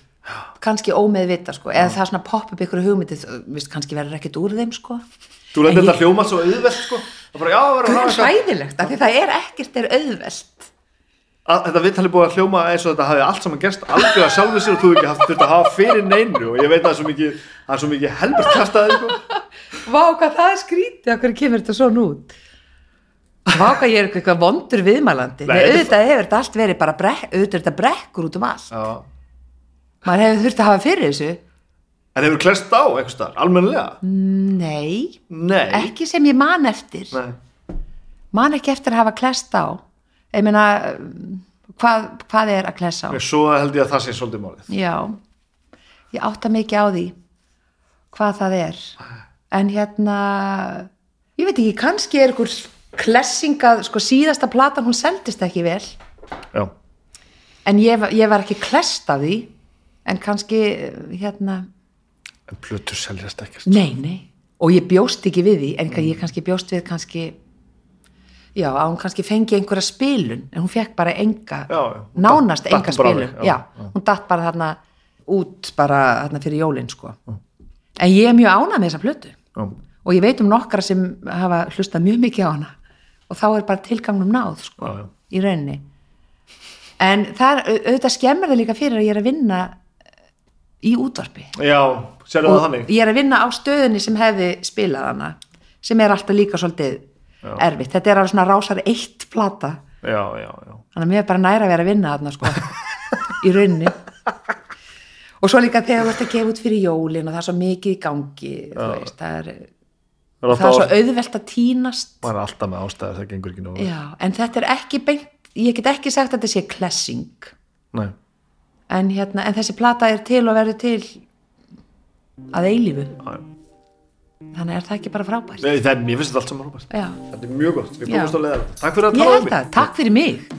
Speaker 2: Kannski ómeðvita, sko. Eða það er svona popp upp ykkur hugmyndi, þú veist, kannski verður ekkert úr þeim, sko.
Speaker 1: Þú lætur
Speaker 2: En
Speaker 1: þetta hljóma svo auðvelt sko Það bara, já, verður að
Speaker 2: Það
Speaker 1: hafa
Speaker 2: er
Speaker 1: eitthvað
Speaker 2: svæðilegt, af því það er ekkert er auðvelt.
Speaker 1: að, Þetta viðtalið búið að hljóma eins og þetta hafi allt saman gerst algjörlega sjálfur sér og þú ekki haft þurft að hafa fyrir neinu og ég veit að það er svo mikið það er svo mikið helbert kæftaði sko
Speaker 2: Vá, hvað það er skrítið, af hverju kemur þetta svona út? Vá, hvað ég er eitthvað vondur viðmælandi.
Speaker 1: Nei,
Speaker 2: Nei,
Speaker 1: þetta-
Speaker 2: auðvitað hefur þetta allt verið bara brek, auðvitað er þetta brekkur út um allt.
Speaker 1: já.
Speaker 2: maður hefur þurft að hafa fyrir þessu
Speaker 1: En hefur klest á eitthvað starf, almennilega?
Speaker 2: nei,
Speaker 1: Nei,
Speaker 2: ekki sem ég man eftir
Speaker 1: Nei.
Speaker 2: man ekki eftir að hafa klest á ég meina um, hvað, hvað er að klessa á
Speaker 1: Nei, Svo held ég að það sé svolítið málið
Speaker 2: já, ég átta mikið á því hvað það er en hérna ég veit ekki, kannski er ykkur klessingað, sko síðasta platan hún seldist ekki vel,
Speaker 1: Já,
Speaker 2: en ég, var- ég var ekki klest af því, en kannski hérna,
Speaker 1: en plötur seljast ekkert
Speaker 2: Nei, nei, og ég bjóst ekki við því en mm. ég kannski bjóst við kannski já, að hún kannski fengi einhverja spilun, en hún fekk bara enga
Speaker 1: Já, já, hún
Speaker 2: nánast
Speaker 1: datt- datt
Speaker 2: enga
Speaker 1: hún bara
Speaker 2: spilun
Speaker 1: alveg,
Speaker 2: já,
Speaker 1: já,
Speaker 2: hún datt bara þarna út bara þarna fyrir jólin sko en ég er mjög ánað með þessa plötu
Speaker 1: Já,
Speaker 2: og ég veit um nokkra sem hafa hlustað mjög mikið á hana og þá er bara tilgangnum náð sko,
Speaker 1: Já, já.
Speaker 2: í rauninni en það er, auðvitað skemmir það líka fyrir að ég er að vinna í útvarpi
Speaker 1: já sérðu það þannig?
Speaker 2: ég er að vinna á stöðunni sem hefði spilað hana sem er alltaf líka svolítið erfitt þetta er alveg svona rásar eitt plata
Speaker 1: Já, já, já
Speaker 2: þannig að mér er bara næra að vera að vinna þarna sko, í rauninni og svo líka þegar þú ert að gefa út fyrir jólin og það er svo mikið í gangi þú veist, það, er,
Speaker 1: Það er
Speaker 2: það er
Speaker 1: alltaf,
Speaker 2: svo
Speaker 1: ást-
Speaker 2: auðvelt að tínast
Speaker 1: maður er alltaf með ástæður, það gengur ekki nógu vel.
Speaker 2: já, en þetta er ekki beint ég get ekki sagt að þetta sé klessing
Speaker 1: Nei.
Speaker 2: en, hérna, en þessi plata er til og verður til að eilífu
Speaker 1: Já, já.
Speaker 2: þannig er það ekki bara frábært
Speaker 1: Nei, það er, ég finnst þetta allt saman hópast
Speaker 2: já
Speaker 1: Þetta er mjög gott, við
Speaker 2: Já.
Speaker 1: komumst á leiðar Takk fyrir að
Speaker 2: Ég
Speaker 1: tala
Speaker 2: held það, takk fyrir mig.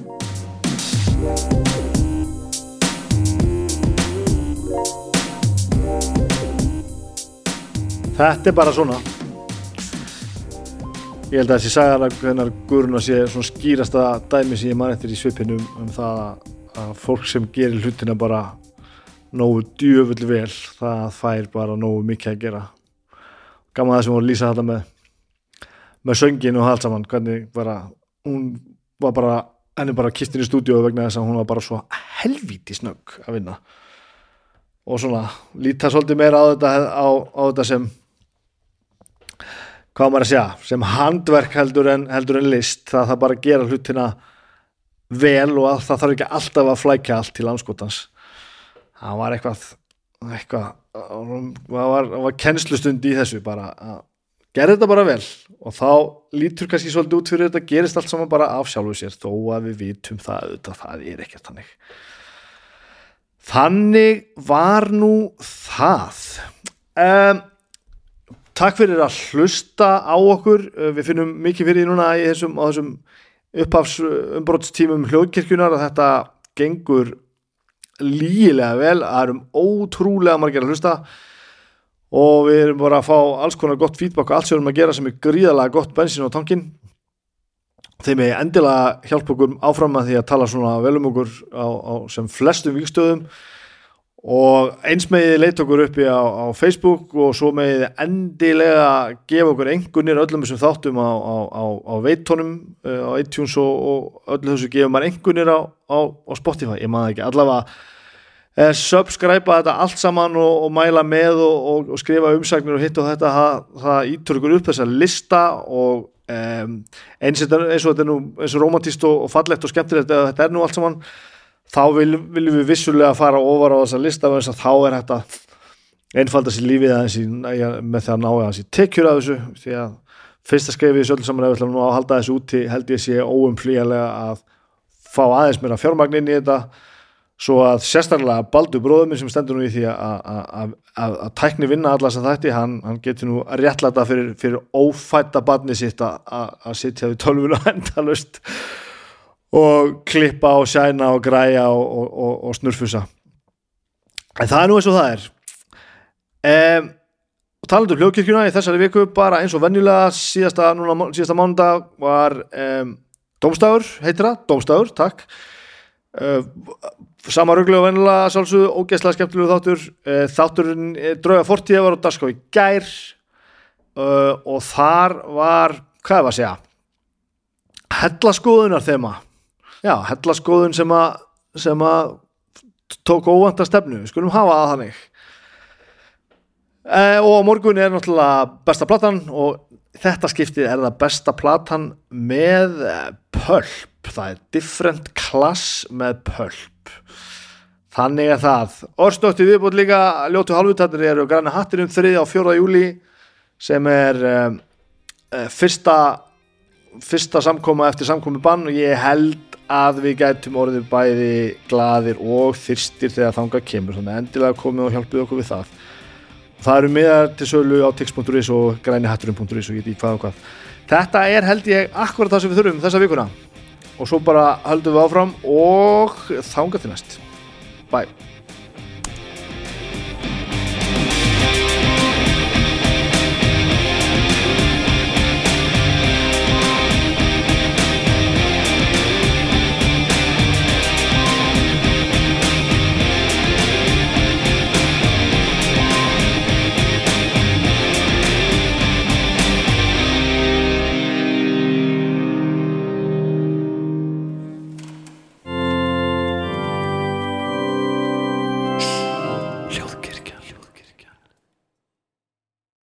Speaker 1: Þetta er bara svona Ég held að þessi sagar hennar guruna sé svona skýrasta dæmi sem ég man eftir í svipinu um, um það að fólk sem gerir hlutina bara nógu djöfull vel það fær bara nógu mikið að gera gaman að það sem voru að lýsa þetta með með söngin og allt saman hvernig bara, hún var bara henni bara kistin í stúdíu vegna þess að hún var bara svo helvíti snögg að vinna og svona líta svolítið meira á þetta, á, á þetta sem hvað á maður að segja sem handverk heldur en, heldur en list það það bara að gera hlutina vel og að, það þarf ekki alltaf að flækja allt til anskotans það var eitthvað eitthvað það var, það var kennslustund í þessu bara að gera þetta bara vel og þá lítur kannski svolítið út fyrir þetta gerist allt saman bara af sjálfu sér þó að við vitum það auðvitað það er ekkert þannig Þannig var nú það. um, Takk fyrir að hlusta á okkur Eh, Við finnum mikið fyrir því núna í þessum, á þessum upphafsumbrotstímum hljóðkirkjunar að þetta gengur lígilega vel það erum ótrúlega margir að hlusta og við erum bara að fá alls konar gott feedback og allt sem við erum að gera sem er gríðalega gott bensin á tankin þeim er endilega hjálpa okkur áfram að því að tala svona vel um okkur á, á sem flestum vikstöðum og eins meðið leita okkur uppi á, á Facebook og svo meðið endilega gefa okkur engunir öllum þessum þáttum á, á, á, á veitónum eh, á iTunes og, og öllu þessu gefa maður engunir á, á, á Spotify ég maður ekki, allavega eh, subscribe þetta allt saman og, og mæla með og, og, og skrifa umsagnir og hitt og þetta það, það ítur ykkur upp þessa lista og um, eins, þetta- eins og þetta er nú eins og romantist og, og fallegt og skemmtilegt eða þetta er nú allt saman þá vil, viljum við vissulega fara ofar á þessa lista vegna þess að þá er þetta einfalda sér lífið aðeins í, með því að ná aðeins í tekjur af þessu því að fyrsta skrefið í þessu öllu saman ef við ætlum nú að halda þessu úti held ég sé óumflýjanlega að fá aðeins meira fjármagn inn í þetta svo að sérstaklega Baldur bróðuminn sem stendur nú í því að- að að- að- að tækni vinna allar sem þætti hann, hann getur nú réttlæta fyrir, fyrir ófætta barni sitt að- að að sitja við tölvuna endalaust og klippa og sæna og græja og, og, og, og snurfusa en það er nú eins og það er um, og talandi um hljóðkirkjuna í þessari viku bara eins og venjulega síðasta, núna, síðasta mánudag var um, Dómstafur heitir það, Dómstafur, takk um, sama ruglega og venjulega sjálfsögðu, ógeðslega skemmtilegu þáttur uh, þátturinn uh, drauga fortíða var á Daskó í gær uh, og þar var hvað var að segja hellaskoðunar þema já, hellaskoðun sem að sem að tók óvænta stefnu, við skulum hafa það þannig e, og á morgun er náttúrulega besta platan og þetta skiptið er það besta platan með eh, pulp það er different class með pulp þannig er það orðstótti viðbútt líka, ljótu halvutattir eru græna hattinum 3. og 4. júli sem er um, fyrsta fyrsta samkoma eftir samkomi bann og ég held að við gætum orðið bæði glaðir og þyrstir þegar þangað kemur þannig að endilega komið og hjálpið okkur við það það eru miðar til sölu á tix.is og grænihatturum.is og ég veit hvað og hvað þetta er held ég akkurat það sem við þurfum þessa vikuna og svo bara höldum við áfram og þangað til næst bye